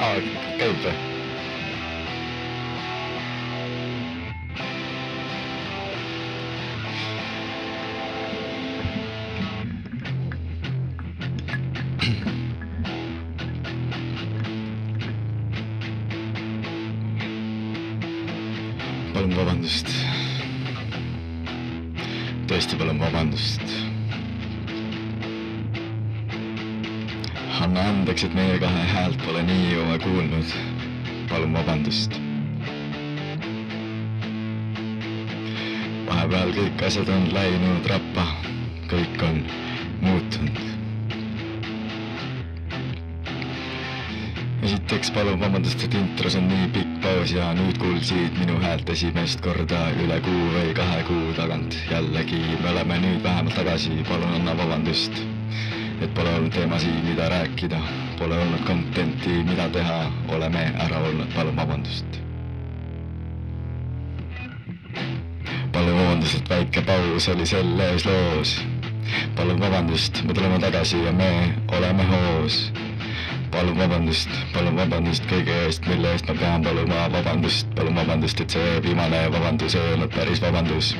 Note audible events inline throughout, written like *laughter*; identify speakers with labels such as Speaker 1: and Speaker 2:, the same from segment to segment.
Speaker 1: maha käib või ? palun vabandust . tõesti palun vabandust . anna andeks , et meie kahe häält pole nii jõua kuulnud . palun vabandust . vahepeal kõik asjad on läinud rappa , kõik on muutunud . esiteks palun vabandust , et intros on nii pikk paus ja nüüd kuulsid minu häält esimest korda üle kuu või kahe kuu tagant . jällegi , me oleme nüüd vähemalt tagasi , palun anna vabandust , et pole olnud teemasid , mida rääkida , pole olnud content'i , mida teha , oleme ära olnud , palun vabandust . palun vabandust , et väike paus oli selles loos . palun vabandust , me tuleme tagasi ja me oleme hoos palun vabandust , palun vabandust kõige eest , mille eest ma pean paluma vabandust , palun vabandust , et see viimane vabandus ei olnud päris vabandus .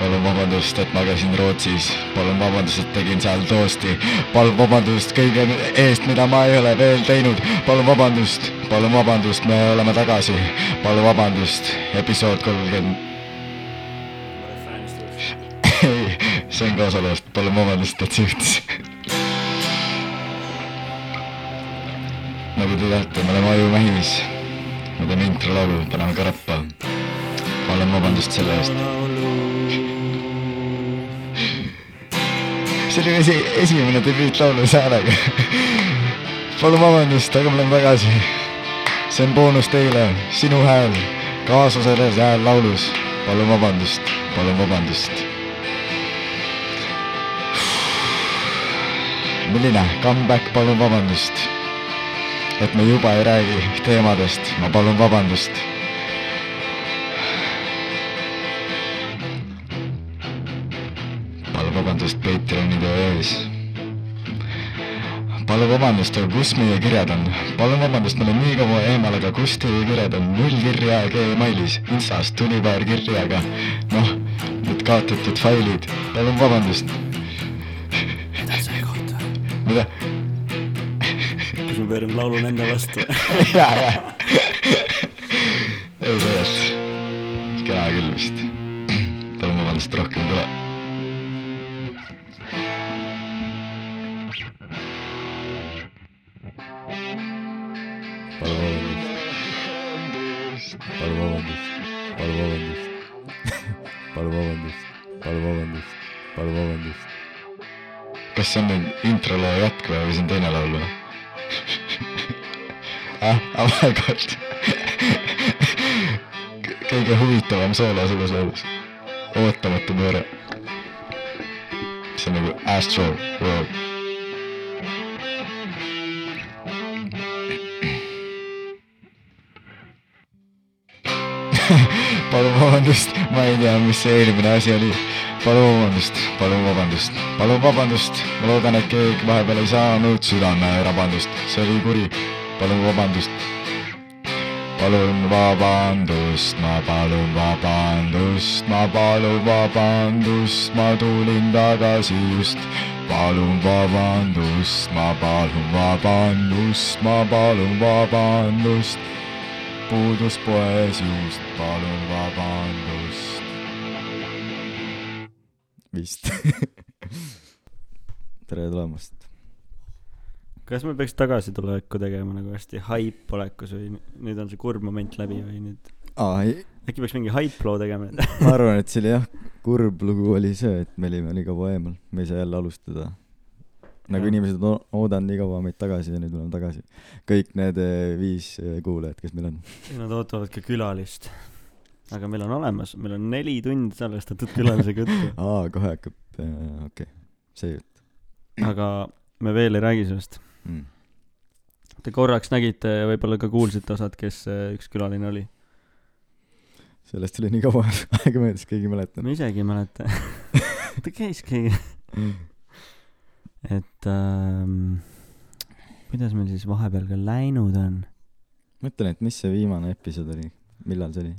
Speaker 1: palun vabandust , et ma käisin Rootsis , palun vabandust , et tegin seal toosti , palun vabandust kõige eest , mida ma ei ole veel teinud , palun vabandust , palun vabandust , me oleme tagasi , palun vabandust , episood kolmkümmend , *laughs*
Speaker 2: ma olen fännist juures .
Speaker 1: ei , see on kaasa loost , palun vabandust , et see juhtus . nagu te teate , me oleme Nagu Aju Mähis . me teeme introlaulu , paneme ka räppa . palun vabandust selle eest . see oli esi , esimene debüütlaulu häälega . palun vabandust , aga me oleme tagasi . see on boonus teile , sinu hääl , kaasosales hääl laulus . palun vabandust , palun vabandust . milline comeback , palun vabandust et me juba ei räägi teemadest , ma palun vabandust . palun vabandust Patreonide ees . palun vabandust , aga kus meie kirjad on ? palun vabandust , me oleme nii kaua eemal , aga kus teie kirjad on ? null kirja Gmailis , Instas tuli paar kirja , aga noh , need kaotatud failid , palun vabandust .
Speaker 2: sa ei kohta .
Speaker 1: mida ? *laughs*
Speaker 2: kas me pöörame laulu nende vastu ?
Speaker 1: ja , ja . *laughs* ei tegelikult , kena küll vist . *clears throat* palun vabandust , rohkem ei tule . palun vabandust . palun vabandust , palun vabandust , palun vabandust , *laughs* palun vabandust , palun vabandust . kas see on nüüd introloo jätk või , või see on teine laul või ? *laughs* ah , oh my god . *laughs* kõige huvitavam soolo selles laulus . ootamatu pööre . see on nagu Astro World . palun vabandust , ma ei tea , mis see eelmine asi oli . palun vabandust , palun vabandust , palun vabandust , ma loodan , et keegi vahepeal ei saanud südamerabandust , see oli kuri . palun vabandust . palun vabandust , ma palun vabandust , ma palun vabandust , ma tulin tagasi just . palun vabandust , ma palun vabandust , ma palun vabandust puudus poes juust , palun vabandust . vist . *laughs* tere tulemast .
Speaker 2: kas me peaks tagasituleku tegema nagu hästi haip olekus või nüüd on see kurb moment läbi või nüüd
Speaker 3: aa , ei ,
Speaker 2: äkki peaks mingi haip loo *laughs* tegema ?
Speaker 3: ma arvan , et see oli jah , kurb lugu oli see , et me olime nii kaua eemal , me ei saa jälle alustada . nagu
Speaker 2: Jah.
Speaker 3: inimesed on oodanud nii kaua meid tagasi ja nüüd me oleme tagasi . kõik need eh, viis eh, kuulajat , kes
Speaker 1: *laughs*
Speaker 3: meil on .
Speaker 2: Nad ootavad ka külalist . aga meil on olemas , meil on neli tundi salvestatud külalisega *laughs* juttu ,
Speaker 3: aa , kohe hakkab , okei okay. , see jutt
Speaker 2: aga me veel ei räägi sellest .
Speaker 3: mm. .
Speaker 2: Te korraks nägite , võib-olla ka kuulsite osad , kes äh, üks külaline oli .
Speaker 3: sellest oli nii kaua *laughs* aega möödas , keegi ei mäletanud .
Speaker 2: ma isegi ei mäleta . ta käis keegi . et ähm, kuidas meil siis vahepeal ka läinud on ?
Speaker 3: mõtlen , et mis see viimane episood oli , millal see oli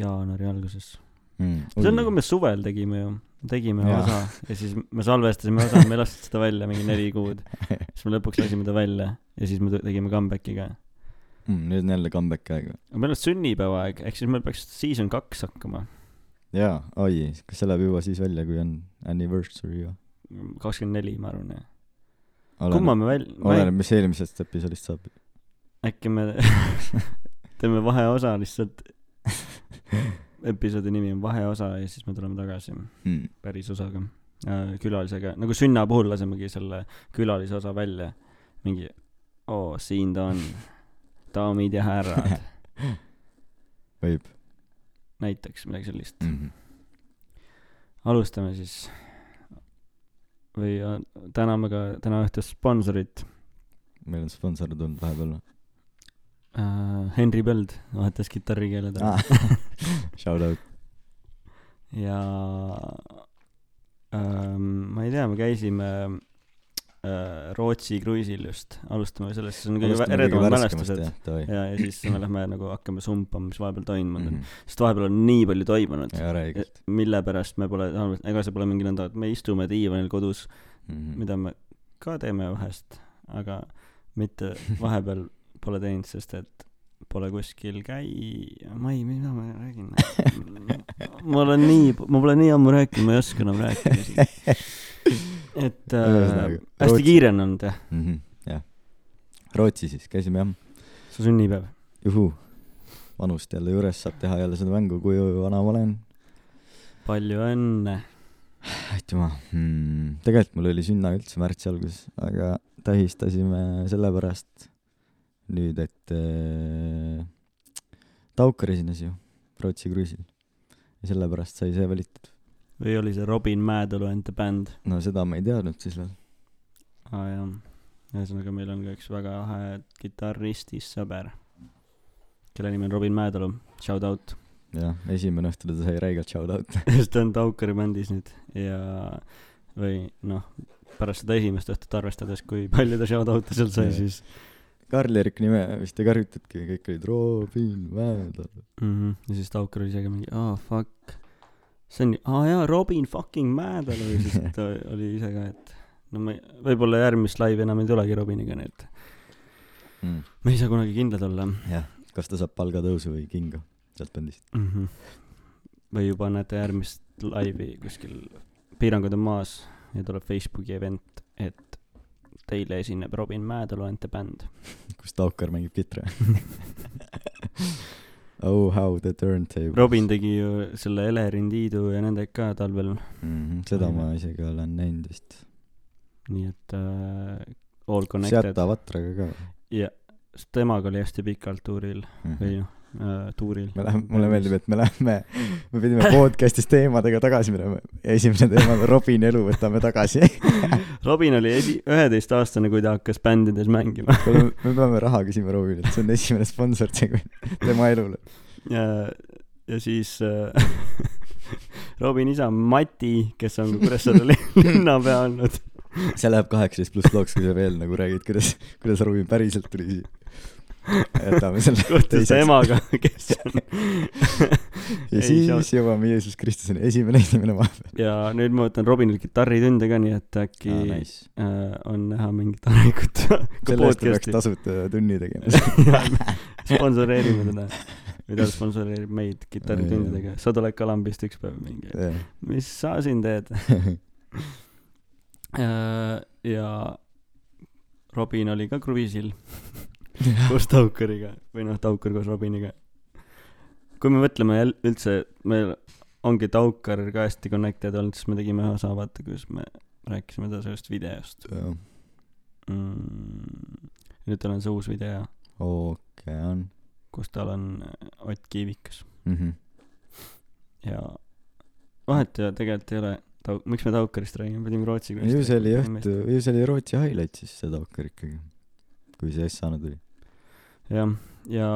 Speaker 2: jaanuari alguses .
Speaker 3: mm. ?
Speaker 2: see on nagu me suvel tegime ju , tegime ja.
Speaker 3: Jaa.
Speaker 2: osa ja siis me salvestasime osa , me ei lasknud seda välja mingi neli kuud . siis me lõpuks lasime ta välja ja siis me tu- tegime comeback'i ka .
Speaker 3: mm, . nüüd on jälle comeback aeg .
Speaker 2: aga meil on sünnipäeva aeg , ehk siis meil peaks season kaks hakkama .
Speaker 3: jaa , oi , kas see läheb juba siis välja , kui on anniversary või ?
Speaker 2: kakskümmend neli , ma arvan , jah . kumma me välja ,
Speaker 3: oleneb , mis eelmisest episoodist saab .
Speaker 2: äkki me teeme vaheosa lihtsalt . episoodi nimi on vaheosa ja siis me tuleme tagasi
Speaker 3: Mm.
Speaker 2: päris osaga , külalisega , nagu sünna puhul lasemegi selle külalise osa välja . mingi , oo , siin ta on , daamid ja
Speaker 3: *laughs*
Speaker 2: härrad ,
Speaker 3: võib
Speaker 2: näiteks midagi sellist .
Speaker 3: mm . -hmm.
Speaker 2: alustame siis või äh, täname ka täna õhtust sponsorit
Speaker 3: meil on sponsor tulnud vahepeal
Speaker 2: äh, , Henri Põld vahetas kitarrikeeled ära
Speaker 3: ah. . *laughs* Shout out .
Speaker 2: ja ähm, ma ei tea , me käisime äh, Rootsi kruiisil just , alustame sellest , see on kõige vä- eredamad mälestused .
Speaker 3: davai .
Speaker 2: ja , ja siis me lähme nagu hakkame sumpama , mis vahepeal toimunud on mm ,
Speaker 3: Mhm.
Speaker 2: -hmm. sest vahepeal on nii palju toimunud .
Speaker 3: jaa , räägid .
Speaker 2: mille pärast me pole , ega see pole mingi nõnda , et me istume diivanil kodus ,
Speaker 3: Mhm.
Speaker 2: mida *laughs* me ka teeme vahest , aga mitte vahepeal pole teinud , sest et pole kuskil käi- , ma ei , mida ma räägin ? ma olen nii , ma pole nii ammu rääkinud , ma ei oska enam rääkida
Speaker 3: *laughs*
Speaker 2: isegi . et äh,
Speaker 3: Ühesõnaga, Rootsi-
Speaker 2: hästi kiire on olnud jah ,
Speaker 3: mhmh , Mhm, jah . Rootsi siis , käisime jah ,
Speaker 2: su sünnipäev .
Speaker 3: juhuu . vanust jälle juures saab teha jälle seda mängu , kui vana ma olen .
Speaker 2: palju õnne .
Speaker 3: aitüma hmm. . tegelikult mul oli sünna üldse märtsi alguses , aga tähistasime sellepärast nüüd , et äh, Taukar esines ju Rootsi kruiisil . ja sellepärast sai see valitud .
Speaker 2: või oli see Robin Mäetalu and the band ?
Speaker 3: no seda ma ei teadnud siis veel .
Speaker 2: aa jaa , ühesõnaga meil on ka üks väga lahe kitarristist sõber , kelle nimi on Robin Mäetalu , shout
Speaker 3: *laughs*
Speaker 2: out .
Speaker 3: jah , esimene õhtul ta sai räigelt shout out .
Speaker 2: sest ta on Taukari bändis nüüd ja või noh , pärast seda esimest õhtut arvestades , kui palju ta shout out'i seal sai ,
Speaker 3: Jaa.
Speaker 2: siis
Speaker 3: Karl-Erik nime vist ei karjutudki , kõik olid Robin Mäedal .
Speaker 2: mm -hmm. ja siis Taukar oli ise ka mingi aa oh, fuck , see on ju , aa jaa , Robin fucking Mäetalu ja siis ta oli ise ka , et no ma ei- võib-olla järgmist laivi enam ei tulegi Robiniga , nii et
Speaker 3: mm. .
Speaker 2: me ei saa kunagi kindlad olla
Speaker 3: jah , kas ta saab palgatõusu või kinga sealt bändist .
Speaker 2: mm . -hmm. või juba näete järgmist laivi kuskil , piirangud on maas ja tuleb Facebooki event , et teile esineb Robin Mäetalu and the band .
Speaker 3: kus Taukar mängib
Speaker 2: *laughs*
Speaker 3: kitra . Oh how the turntable .
Speaker 2: Robin tegi ju selle Elerin Tiidu ja nendega ka talvel ,
Speaker 3: mm . -hmm, seda ma isegi olen näinud vist .
Speaker 2: nii et äh, all
Speaker 3: sealt
Speaker 2: connected .
Speaker 3: Avatraga ka või?
Speaker 2: temaga oli hästi pikalt tuuril või
Speaker 3: Mhm.
Speaker 2: noh äh, , tuuril .
Speaker 3: me läheme , mulle meeldib , et me läheme , me pidime podcast'is teemadega tagasi minema ja esimese
Speaker 2: *laughs*
Speaker 3: teema Robini elu võtame tagasi .
Speaker 2: Robin oli esi- , üheteistaastane , kui ta hakkas bändides mängima .
Speaker 3: me me peame raha küsima Robinilt , see on esimene sponsor segu- tema elule .
Speaker 2: ja , ja siis äh, *laughs* Robin isa on Mati , kes on Kuressaare
Speaker 3: *laughs*
Speaker 2: linn- linnapea olnud .
Speaker 3: see läheb kaheksateist pluss looks , kui sa veel nagu räägid , kuidas , kuidas Robin päriselt tuli siia . jätame selle
Speaker 2: kohtus ta
Speaker 3: teiseks .
Speaker 2: emaga , kes
Speaker 3: *laughs*
Speaker 2: on .
Speaker 3: ja
Speaker 2: ei, see on-
Speaker 3: siis jõuame Jeesus Kristuseni , esimene inimene vahepeal .
Speaker 2: ja nüüd ma võtan Robinil kitarritunde ka , nii et äkki ah, nice.
Speaker 3: nice .
Speaker 2: äh, on näha mingit arengut ka
Speaker 3: *laughs* selle eest ta peaks
Speaker 2: podcast'i .
Speaker 3: tasuta tunni tegema .
Speaker 2: *laughs* sponsoreerime teda . või ta sponsoreerib meid kitarritundidega . sa tuled ka lambist üks päev mingi . mis sa siin teed ? ja Robin oli ka kruviisil koos Taukariga või noh , Taukar koos Robiniga . kui me mõtleme jälle üldse , meil ongi Taukar ka hästi connected olnud , siis me tegime ühe osa , vaata , kus me rääkisime ta sellest videost
Speaker 3: äh,
Speaker 2: mm. . nüüd tal on see uus video ,
Speaker 3: okei on .
Speaker 2: kus tal on eh, Ott Kiivikas
Speaker 3: Mhm.
Speaker 2: ja vahet ju tegelikult ei ole , Tau- , miks me Taukarist räägime , pidime Rootsi
Speaker 3: ju see oli õhtu , ju see oli Rootsi highlight siis see Taukar ikkagi . kui see S-ana tuli .
Speaker 2: jah , ja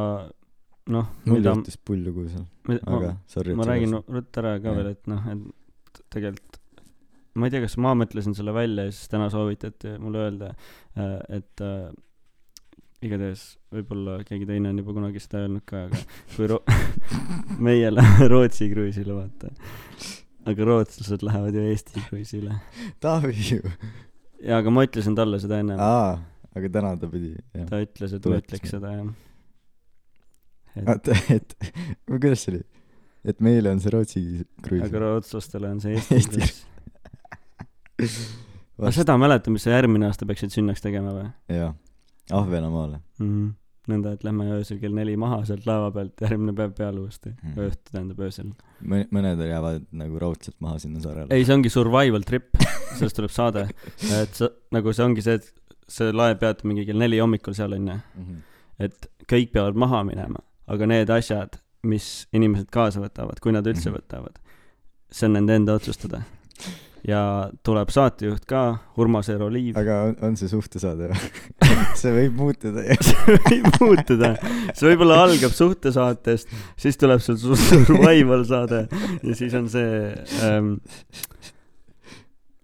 Speaker 2: noh ,
Speaker 3: mul
Speaker 2: mida ,
Speaker 3: juhtus pull lugu seal ,
Speaker 2: mida ,
Speaker 3: aga sorry .
Speaker 2: ma räägin ruttu ära ka
Speaker 3: Jah.
Speaker 2: veel , et noh , et tegelikult ma ei tea , kas ma mõtlesin selle välja ja siis täna soovitati mulle öelda , et äh, igatahes võib-olla keegi teine on juba kunagi seda öelnud ka , aga kui ro- , *laughs* meie läheme *laughs* Rootsi kruiisile , vaata . aga rootslased lähevad ju Eesti kruiisile .
Speaker 3: Taavi ju .
Speaker 2: jaa , aga ma ütlesin talle seda ennem .
Speaker 3: aa , aga täna ta pidi , jah .
Speaker 2: ta ütles , et ma
Speaker 3: Tuletas
Speaker 2: ütleks
Speaker 3: meelde. Ah,
Speaker 2: seda , jah .
Speaker 3: et , et , või kuidas see oli ? et meile on see Rootsi kruiis
Speaker 2: aga . rootslastele on see Eesti
Speaker 3: Eesti
Speaker 2: kruiis . aga seda mäletad , mis sa järgmine aasta peaksid sünnaks tegema või ?
Speaker 3: jaa , Ahvenamaale .
Speaker 2: mm . -hmm. nõnda , et lähme öösel kell neli maha sealt laeva pealt , järgmine päev peale uuesti mm.
Speaker 3: Mhm. .
Speaker 2: ööst tähendab öösel .
Speaker 3: mõne , mõned jäävad nagu raudselt maha sinna saarele .
Speaker 2: ei , see ongi survival trip , sellest tuleb saade , et sa , nagu see ongi see , et see laev peatub mingi kell neli hommikul seal onju ,
Speaker 3: Mhm.
Speaker 2: et kõik peavad maha minema , aga need asjad , mis inimesed kaasa võtavad , kui nad üldse
Speaker 3: Mhm.
Speaker 2: võtavad , see on nende enda otsustada . ja tuleb saatejuht ka , Urmas Eero Liiv .
Speaker 3: aga on, on see
Speaker 2: *laughs*
Speaker 3: suhtesaade või ? see võib muutuda jah .
Speaker 2: see võib muutuda , see võib-olla algab suhtesaatest , siis tuleb sul su- survival saade ja siis on see ähm, ,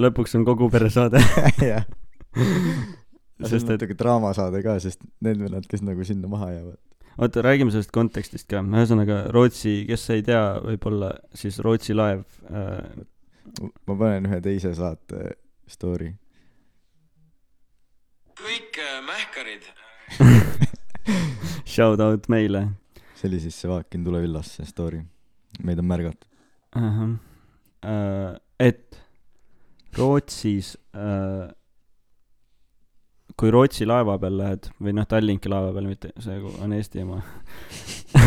Speaker 2: lõpuks on kogu pere saade ,
Speaker 3: *laughs* jah . see on
Speaker 2: sest et
Speaker 3: natuke draamasaade ka , sest need vennad , kes nagu sinna maha jäävad .
Speaker 2: oota , räägime sellest kontekstist ka , ühesõnaga Rootsi , kes ei tea , võib-olla siis Rootsi laev äh, , *laughs*
Speaker 3: ma panen ühe teise saate story .
Speaker 4: kõik äh, mähkarid ,
Speaker 2: shout out meile
Speaker 3: see oli siis see Vaakin tule villas , see story . meid on märgatud .
Speaker 2: uh . -huh. Äh, et Rootsis äh, , kui Rootsi laeva peal lähed või noh , Tallinki laeva peal , mitte see kui on Eesti oma , *laughs*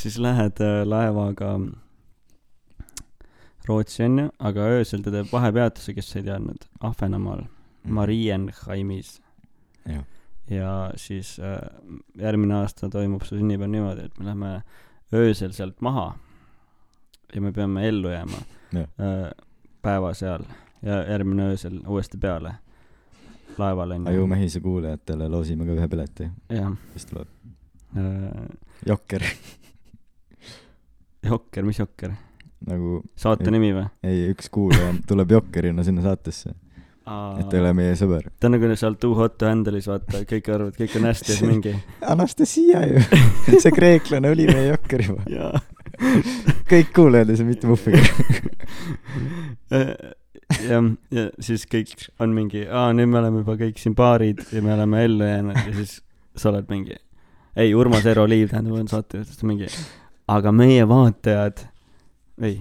Speaker 2: siis lähed äh, laevaga Rootsi onju , aga öösel ta teeb vahepeatuse , kes ei teadnud , Ahvenamaal , Marienheimis .
Speaker 3: jah ,
Speaker 2: ja siis äh, järgmine aasta toimub su sünnipäev niimoodi , et me lähme öösel sealt maha ja me peame ellu jääma
Speaker 3: Jah.
Speaker 2: äh, päeva seal ja järgmine öösel uuesti peale laeval onju .
Speaker 3: Ajumehise kuulajatele loosime ka ühe pileti ,
Speaker 2: jah
Speaker 3: mis tuleb .
Speaker 2: äh, ,
Speaker 3: Jokker ,
Speaker 2: Jokker , mis Jokker ,
Speaker 3: nagu
Speaker 2: saate
Speaker 3: Ei.
Speaker 2: nimi või ?
Speaker 3: ei , üks kuulaja tuleb jokkerina sinna saatesse , et ta ei ole meie sõber .
Speaker 2: ta on nagu seal Too Hot To Handle'is vaata , kõik arvavad , kõik on hästi , siis mingi
Speaker 3: Anastasia ju , *laughs* see kreeklane oli meie jokker juba .
Speaker 2: *laughs* jaa
Speaker 3: kõik kuulajad ei saa mitte
Speaker 2: *laughs*
Speaker 3: muhviga .
Speaker 2: Äh, jah , ja siis kõik on mingi , aa , nüüd me oleme juba kõik siin paarid ja me oleme ellu jäänud ja siis sa oled mingi , ei , Urmas Eero Liiv tähendab , on saatejuht , siis ta mingi , aga meie vaatajad , ei ,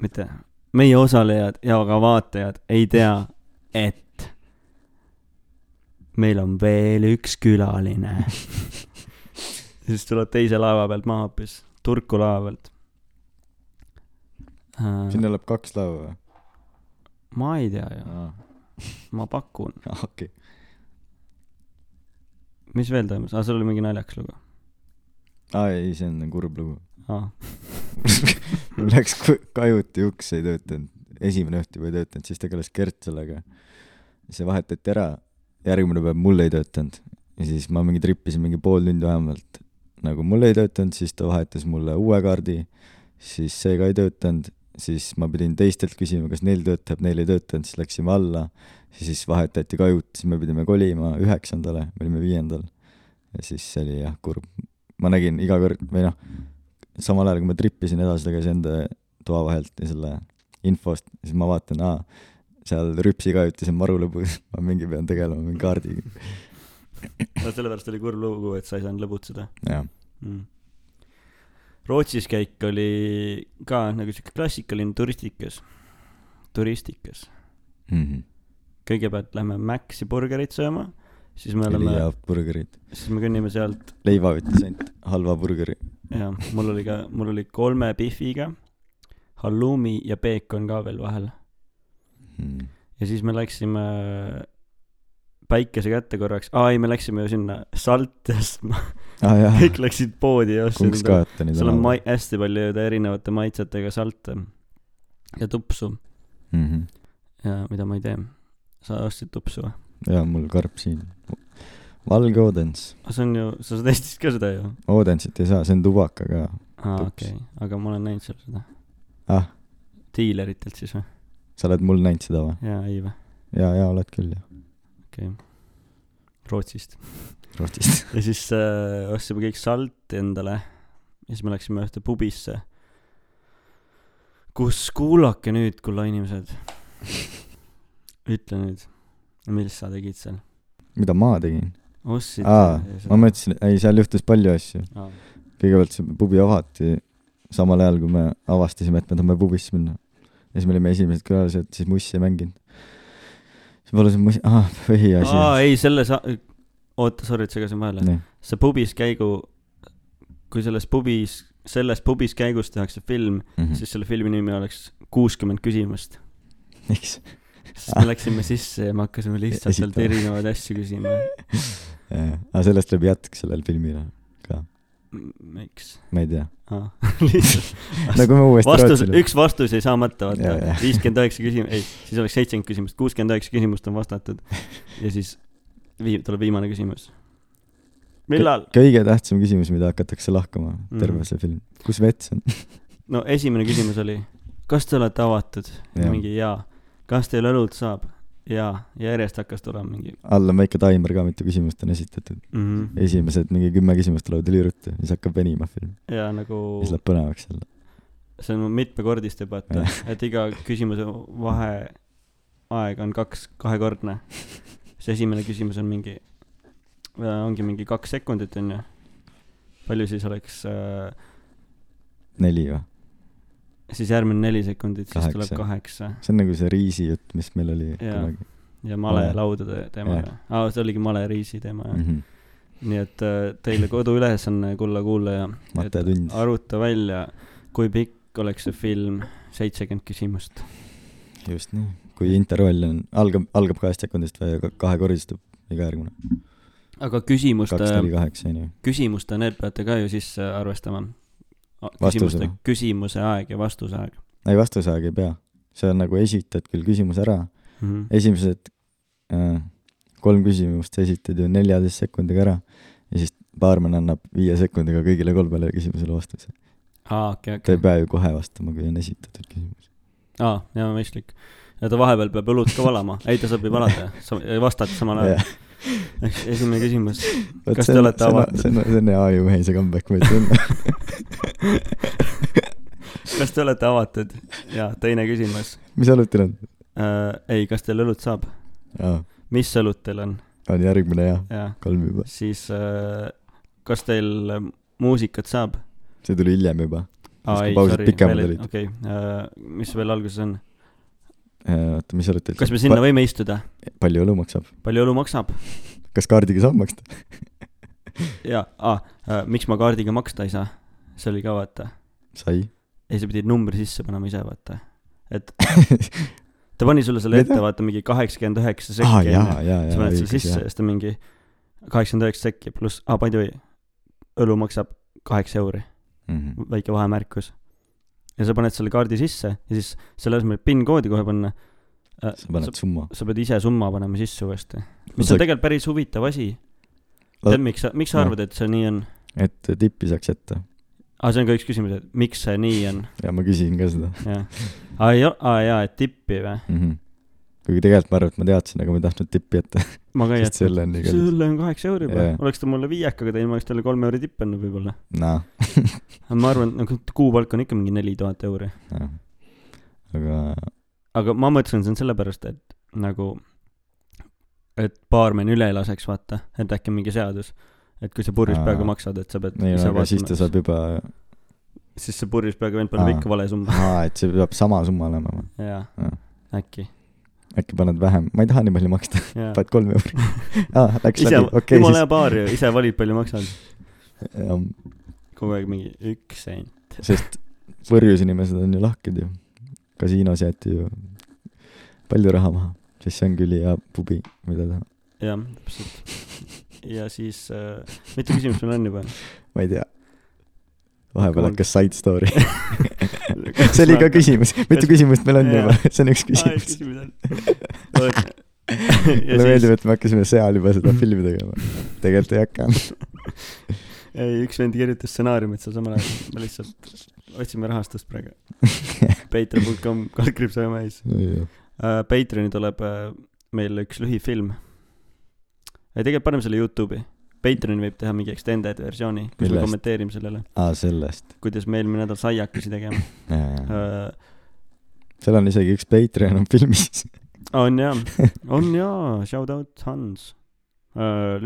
Speaker 2: mitte , meie osalejad ja ka vaatajad ei tea , et meil on veel üks külaline . *laughs* siis tuleb teise laeva pealt maha hoopis , Turku laeva pealt .
Speaker 3: sinna läheb kaks laeva või ?
Speaker 2: Äh, ma ei tea ju , ma pakun .
Speaker 3: okei .
Speaker 2: mis veel toimus , aa , sul oli mingi naljakas lugu
Speaker 3: aa ei , see on kurb lugu .
Speaker 2: ah. .
Speaker 3: *laughs* mul läks ku- kajuti uks ei töötanud , esimene õht juba ei töötanud , siis tegeles Gert sellega . see vahetati ära , järgmine päev mul ei töötanud ja siis ma mingi trippisin mingi pool tundi vähemalt . nagu mul ei töötanud , siis ta vahetas mulle uue kaardi , siis see ka ei töötanud , siis ma pidin teistelt küsima , kas neil töötab , neil ei töötanud , siis läksime alla , siis vahetati kajut , siis me pidime kolima üheksandale , me olime viiendal . ja siis see oli jah , kurb . ma nägin iga kord või noh , samal ajal kui ma trippisin edasi tagasi enda toa vahelt ja selle infost , siis ma vaatan , aa , seal rüpsikajutis on maru lõbus , *laughs* ma mingi pean tegelema mingi kaardiga .
Speaker 2: no sellepärast oli kurb lugu , et sa ei saanud lõbutseda
Speaker 3: jah ,
Speaker 2: mm. . Rootsis käik oli ka nagu siuke klassikaline turistikas , turistikas .
Speaker 3: Mhm.
Speaker 2: kõigepealt lähme Maxi burgerit sööma , siis me
Speaker 3: oli
Speaker 2: oleme ,
Speaker 3: hea burgerid .
Speaker 2: siis me kõnnime sealt
Speaker 3: leiva võttis ainult halva burgeri .
Speaker 2: ja mul oli ka , mul oli kolme pihviga , halloumi ja peekon ka veel vahel
Speaker 3: Mhm.
Speaker 2: ja siis me läksime äh, päikese kätte korraks , aa ei , me läksime ju sinna *laughs* Saltest ,
Speaker 3: aa Ah, jaa ,
Speaker 2: kõik läksid poodi ja ostsid endale ,
Speaker 3: Kungskaatani
Speaker 2: seal on mai- , hästi palju jõuda erinevate maitsetega salte ja tupsu
Speaker 3: -hmm.
Speaker 2: ja mida ma ei tee . sa ostsid tupsu või ?
Speaker 3: jaa , mul karp siin . valge Odens .
Speaker 2: aga Ah, see on ju , sa sa testisid ka seda ju ?
Speaker 3: Odensit ei saa , see on tubakaga .
Speaker 2: aa
Speaker 3: Tups.
Speaker 2: okei okay. , aga ma olen näinud seal seda .
Speaker 3: ah ,
Speaker 2: diileritelt siis või ?
Speaker 3: sa oled mul näinud seda või ?
Speaker 2: jaa , ei vä ?
Speaker 3: jaa , jaa , oled küll ju .
Speaker 2: okei okay. . Rootsist .
Speaker 3: Rootsist .
Speaker 2: ja siis äh, ostsime kõik salti endale ja siis me läksime ühte pubisse , kus , kuulake nüüd , kulla inimesed , ütle nüüd , mis sa tegid seal ?
Speaker 3: mida ma tegin ?
Speaker 2: ostsid
Speaker 3: aa , ma mõtlesin , ei , seal juhtus palju asju .
Speaker 2: aa ,
Speaker 3: kõigepealt see pubi avati samal ajal , kui me avastasime , et me tahame pubisse minna . ja siis me olime esimesed külalised , siis Muss ei mänginud . siis palusin Muss , aa , põhiasi .
Speaker 2: aa , ei selle sa- , oota , sorry , et segasin vahele .
Speaker 3: nii ,
Speaker 2: see pubis käigu , kui selles pubis , selles pubis käigus tehakse film mm ,
Speaker 3: Mhm.
Speaker 2: -hmm. siis selle filmi nimi oleks kuuskümmend küsimust .
Speaker 3: *laughs* miks ?
Speaker 2: siis me läksime sisse ja me hakkasime lihtsalt sealt
Speaker 3: Ah. Esitama.
Speaker 2: erinevaid asju
Speaker 3: *laughs*
Speaker 2: küsima .
Speaker 3: aga sellest läheb jätk sellele filmile ka ,
Speaker 2: miks ?
Speaker 3: ma ei
Speaker 2: *laughs*
Speaker 3: tea .
Speaker 2: aa ,
Speaker 3: *laughs*
Speaker 2: lihtsalt .
Speaker 3: nagu me uuesti
Speaker 2: vastus ,
Speaker 3: Rootsile-
Speaker 2: üks vastus jäi saamata ,
Speaker 3: Jaa,
Speaker 2: vaata
Speaker 3: jaa. .
Speaker 2: viiskümmend üheksa küsim- , ei , siis oleks seitsekümmend küsimust , kuuskümmend üheksa küsimust on vastatud . ja siis vii- , tuleb viimane küsimus . millal ?
Speaker 3: kõige tähtsam küsimus , mida hakatakse lahkama , terve
Speaker 2: Mhm.
Speaker 3: see film . kus vets on ? *laughs*
Speaker 2: no esimene küsimus oli , kas te olete avatud ?
Speaker 3: Jah.
Speaker 2: mingi jaa . kas teil õlut saab ? jaa . järjest hakkas tulema mingi
Speaker 3: all on väike taimer ka , mitu küsimust on esitatud .
Speaker 2: mm . -hmm.
Speaker 3: esimesed mingi kümme küsimust tulevad üliruttu , siis hakkab venima film ,
Speaker 2: ja nagu ,
Speaker 3: siis läheb põnevaks jälle .
Speaker 2: see on mitmekordist juba , et , et iga küsimuse vaheaeg on kaks , kahekordne . see esimene küsimus on mingi , ongi mingi kaks sekundit , on ju . palju siis oleks äh,
Speaker 3: neli või ?
Speaker 2: siis järgmine neli sekundit , siis kaheksa. tuleb
Speaker 3: Kaheksa.
Speaker 2: kaheksa
Speaker 3: see on nagu see riisijutt , mis meil oli
Speaker 2: Jaa.
Speaker 3: kunagi
Speaker 2: ja male
Speaker 3: Male.
Speaker 2: laudade teema
Speaker 3: Jah.
Speaker 2: yeah. . aa , see oligi maleriisi teema , jah
Speaker 3: mm . -hmm.
Speaker 2: nii et äh, teile koduülesanne , kulla kuulaja , et
Speaker 3: Mate tund ,
Speaker 2: aruta välja , kui pikk oleks see film , seitsekümmend küsimust .
Speaker 3: just nii . kui intervall on , algab , algab kahest sekundist või ka- kahekordistub iga järgmine .
Speaker 2: aga äh,
Speaker 3: kaks ,
Speaker 2: küsimuste ,
Speaker 3: neli , kaheksa , onju .
Speaker 2: küsimuste , need peate ka ju sisse arvestama .
Speaker 3: Vastusega.
Speaker 2: küsimuste , küsimuse aeg ja vastuse aeg
Speaker 3: ei , vastuse aeg ei pea . see on nagu esitad küll küsimuse ära ,
Speaker 2: mm .
Speaker 3: Mhm.
Speaker 2: -hmm.
Speaker 3: esimesed äh, kolm küsimust sa esitad ju neljateist sekundiga ära ja siis baarmen annab viie sekundiga kõigile kolmele küsimusele vastuse .
Speaker 2: aa , okei ,
Speaker 3: ta ei
Speaker 2: okei .
Speaker 3: pea ju kohe vastama , kui on esitatud küsimus .
Speaker 2: aa , jaa , mõistlik . ja ta vahepeal peab õlut ka valama . ei , ta saab ju valada , sa vastad samal ajal . ehk esimene küsimus . Kas te olete avatud?
Speaker 3: see on , see on hea ju mehise comeback , ma ütlen . *laughs*
Speaker 2: kas te olete avatud ? ja teine küsimus
Speaker 3: mis õlut teil on ?
Speaker 2: äh, . ei , kas teil õlut saab ?
Speaker 3: aa ,
Speaker 2: mis õlut teil on ?
Speaker 3: on järgmine jah ,
Speaker 2: jaa .
Speaker 3: kolm juba .
Speaker 2: siis äh, kas teil äh, muusikat saab ?
Speaker 3: see tuli hiljem juba . Siis, kui
Speaker 2: ei ,
Speaker 3: pausid
Speaker 2: sorry ,
Speaker 3: pikemad
Speaker 2: veel ei ,
Speaker 3: olid.
Speaker 2: okei äh, , mis veel alguses on ?
Speaker 3: Äh, oota , mis õlut teil
Speaker 2: kas me sinna võime istuda ?
Speaker 3: Pa palju õlu maksab ?
Speaker 2: palju õlu maksab ?
Speaker 3: kas kaardiga saab maksta ?
Speaker 2: jaa , aa äh, , miks ma kaardiga maksta ei saa ? see oli ka vaata , *laughs*
Speaker 3: sai .
Speaker 2: ei sa pidid numbri sisse panema ise vaata , et ta pani sulle selle
Speaker 3: Mida?
Speaker 2: ette vaata mingi kaheksakümmend üheksa
Speaker 3: aa ,
Speaker 2: sekki
Speaker 3: jaa , jaa ,
Speaker 2: sa
Speaker 3: jaa ,
Speaker 2: paned selle
Speaker 3: õigus
Speaker 2: sisse ja
Speaker 3: jah .
Speaker 2: siis ta mingi kaheksakümmend üheksa sekki pluss , aa by the way , õlu maksab kaheksa euri .
Speaker 3: Mhm.
Speaker 2: väike vahemärkus . ja sa paned selle kaardi sisse ja siis selle asemel , et PIN-koodi kohe panna äh, ,
Speaker 3: sa paned summa .
Speaker 2: sa pead ise summa panema sisse uuesti . mis on tegelikult päris huvitav asi .
Speaker 3: La-
Speaker 2: tead , miks sa , miks sa
Speaker 3: Jah.
Speaker 2: arvad , et see nii on ?
Speaker 3: et tippi saaks jätta .
Speaker 2: aa , see on ka üks küsimus , et miks see nii on ,
Speaker 3: ja ma küsisin ka seda
Speaker 2: jah . aa , ei ole , aa jaa , et tippi või ?
Speaker 3: mm . -hmm. kuigi tegelikult ma arvan , et ma teadsin , aga ma ei tahtnud tippi jätta ,
Speaker 2: ma ka ei
Speaker 3: sest
Speaker 2: jätnud .
Speaker 3: selle on nii kallis .
Speaker 2: selle on kaheksa euri juba
Speaker 3: Jah.
Speaker 2: yeah. , oleks ta mulle viiekaga teinud , ma oleks talle kolm euri tipp andnud võib-olla .
Speaker 3: noh ,
Speaker 2: aga ma arvan , et nagu kuupalk on ikka mingi neli tuhat euri .
Speaker 3: aga
Speaker 2: aga ma mõtlesin , see on sellepärast , et nagu , et baarmen üle ei laseks , vaata , et äkki on mingi seadus . et kui sa purjus
Speaker 3: Aa.
Speaker 2: peaga maksad , et sa pead
Speaker 3: ei no
Speaker 2: ise
Speaker 3: aga siis ta
Speaker 2: vaatama ,
Speaker 3: saab juba ,
Speaker 2: siis see purjus peaga vend paneb
Speaker 3: Aa.
Speaker 2: ikka vale summa . *laughs*
Speaker 3: aa , et see peab sama summa olema või ?
Speaker 2: jaa
Speaker 3: Aa. ,
Speaker 2: äkki .
Speaker 3: äkki paned vähem , ma ei taha nii palju
Speaker 2: *laughs*
Speaker 3: maksta ,
Speaker 2: ise ,
Speaker 3: paned kolm euri . aa , läks läbi , okei
Speaker 2: jumala hea baar ju , ise valid , palju maksad .
Speaker 3: siis ,
Speaker 2: kogu aeg mingi üks sent .
Speaker 3: sest Võrjus inimesed on ju lahked ju . kasiinos jäeti ju palju raha maha , siis see ongi ülihea pubi , mida teha .
Speaker 2: jah , täpselt . ja siis äh, , mitu küsimust meil on juba ?
Speaker 3: ma ei tea . vahepeal
Speaker 2: Come on.
Speaker 3: hakkas side story . *laughs* *laughs* see oli ka . küsimus , mitu küsimust meil on
Speaker 2: Jaa.
Speaker 3: juba , see on üks küsimus . *laughs*
Speaker 2: küsimus . *laughs*
Speaker 3: mulle meeldib , et me hakkasime seal juba seda filmi tegema . tegelikult ei hakka .
Speaker 2: ei , üks vend kirjutas stsenaariumit seal samal ajal , me lihtsalt otsime rahastust praegu . Patreon.com , kaldkriips Soomais . Patreoni tuleb äh, meil üks lühifilm . ei , tegelikult paneme selle Youtube'i . Patreon võib teha mingi extended versiooni , kus me
Speaker 3: Millest?
Speaker 2: kommenteerime sellele ,
Speaker 3: aa , sellest .
Speaker 2: kuidas me eelmine nädal saiakesi tegema . Äh,
Speaker 3: seal on isegi üks Patreon on filmis .
Speaker 2: on jaa , on jaa , shout out Hans .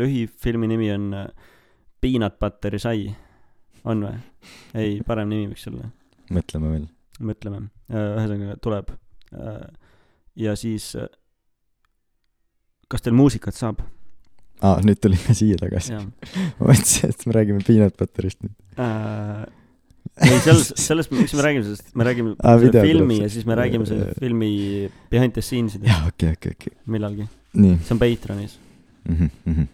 Speaker 2: lühifilmi nimi on äh, Peanut Butteri sai . on või ? ei , parem nimi võiks olla ,
Speaker 3: *laughs* mõtleme veel .
Speaker 2: mõtleme . ühesõnaga tuleb . ja siis , kas teil muusikat saab ?
Speaker 3: aa , nüüd tulime siia tagasi . ma mõtlesin , et me räägime Peanut Butterist nüüd .
Speaker 2: Äh, ei , selles , selles , miks me räägime sellest , me räägime
Speaker 3: Aa,
Speaker 2: selle
Speaker 3: video tuleb
Speaker 2: filmi
Speaker 3: see-
Speaker 2: ja siis me räägime selle filmi behind the scenes idest
Speaker 3: *laughs* jaa , okei , okei , okei .
Speaker 2: millalgi ,
Speaker 3: nii
Speaker 2: see on Patreonis .
Speaker 3: mm . -hmm.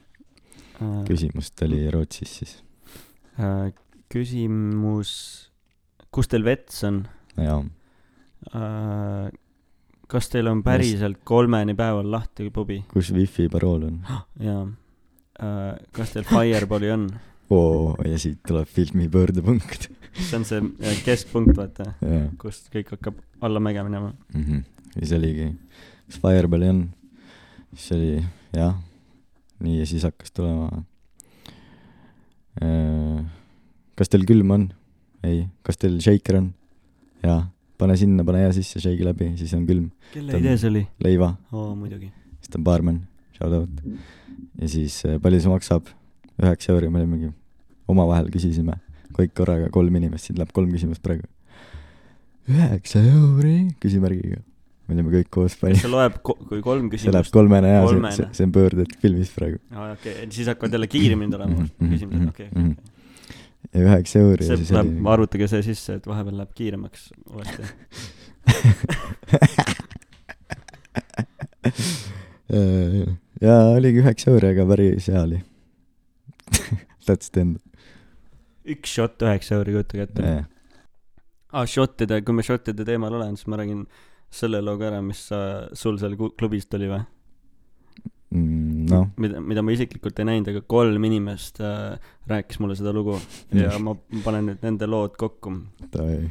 Speaker 3: küsimust oli Rootsis siis .
Speaker 2: Äh, küsimus , kus teil vets on ?
Speaker 3: jaa ,
Speaker 2: kas teil on päriselt kolmeni päeval lahti pubi
Speaker 3: kus wifi parool on ?
Speaker 2: ja äh, kas teil fireballi on ?
Speaker 3: oo , ja siit tuleb filmi pöördepunkt . *laughs*
Speaker 2: see on see äh, keskpunkt , vaata ,
Speaker 3: jaa
Speaker 2: kust kõik hakkab allamäge minema .
Speaker 3: mm . -hmm. ja siis oligi , kas Fireballi on ? siis oli jah , nii ja siis hakkas tulema . kas teil külm on ? ei , kas teil shaker on ? jaa , pane sinna , pane hea sisse , shake'i läbi , siis on külm .
Speaker 2: kelle idee see oli ?
Speaker 3: leiva ,
Speaker 2: oo , muidugi .
Speaker 3: siis ta on baarmen , shout out . ja siis eh, palju see maksab ? üheksa euri , me olimegi , omavahel küsisime , kõik korraga , kolm inimest , siin läheb kolm küsimust praegu . üheksa euri , küsimärgiga . me olime kõik koos palju ,
Speaker 2: see loeb , kui kolm
Speaker 3: see läheb
Speaker 2: küsimust .
Speaker 3: kolmene ja see ,
Speaker 2: kolmene.
Speaker 3: see , see on pöörded filmis praegu .
Speaker 2: aa , okei , siis hakkavad jälle kiiremini tulema
Speaker 3: Mhm, mhm,
Speaker 2: küsimused , okei ,
Speaker 3: mhm.
Speaker 2: okei .
Speaker 3: ja üheksa euri ja
Speaker 2: see
Speaker 3: siis
Speaker 2: läheb ,
Speaker 3: oli
Speaker 2: arvutage see sisse , et vahepeal läheb kiiremaks uuesti .
Speaker 3: ja oligi üheksa euri , aga päris hea oli . *laughs* That's the end .
Speaker 2: üks shot üheksa euri , kujutage ette . aa , šottide , kui me šottide teemal olen , siis ma räägin selle loo ka ära , mis sa , sul seal ku- klubis tuli või ?
Speaker 3: noh ,
Speaker 2: mida , mida ma isiklikult ei näinud , aga kolm inimest äh, rääkis mulle seda lugu ja ma panen nüüd nende lood kokku .
Speaker 3: davai .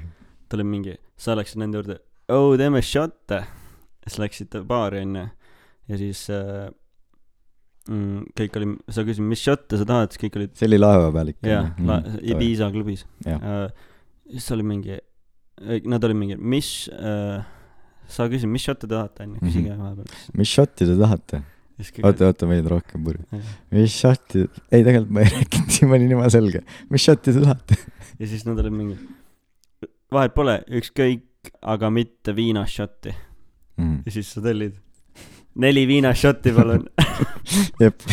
Speaker 2: tal oli mingi , sa läksid nende juurde , oo , teeme šotte . siis läksite baari , onju . ja siis äh, mm, kõik oli , sa küsisid , mis šotte sa tahad , siis kõik olid
Speaker 3: see oli laeva peal ikka . Mm,
Speaker 2: jah , Ibiza klubis .
Speaker 3: Jah.
Speaker 2: siis oli mingi , nad olid mingi , mis , sa küsid , mis šotte tahate , onju , küsige vahepeal .
Speaker 3: mis šotti te tahate ? oota , oota , meil on rohkem purju . mis šotti , ei tegelikult ma ei *laughs* rääkinud , siin pani nime selge . mis šotti te tahate ?
Speaker 2: ja siis nad olid mingi , vahet pole , ükskõik , aga mitte viinašotti .
Speaker 3: Mm.
Speaker 2: ja siis sa tellid neli viinašotti , palun .
Speaker 3: jep ,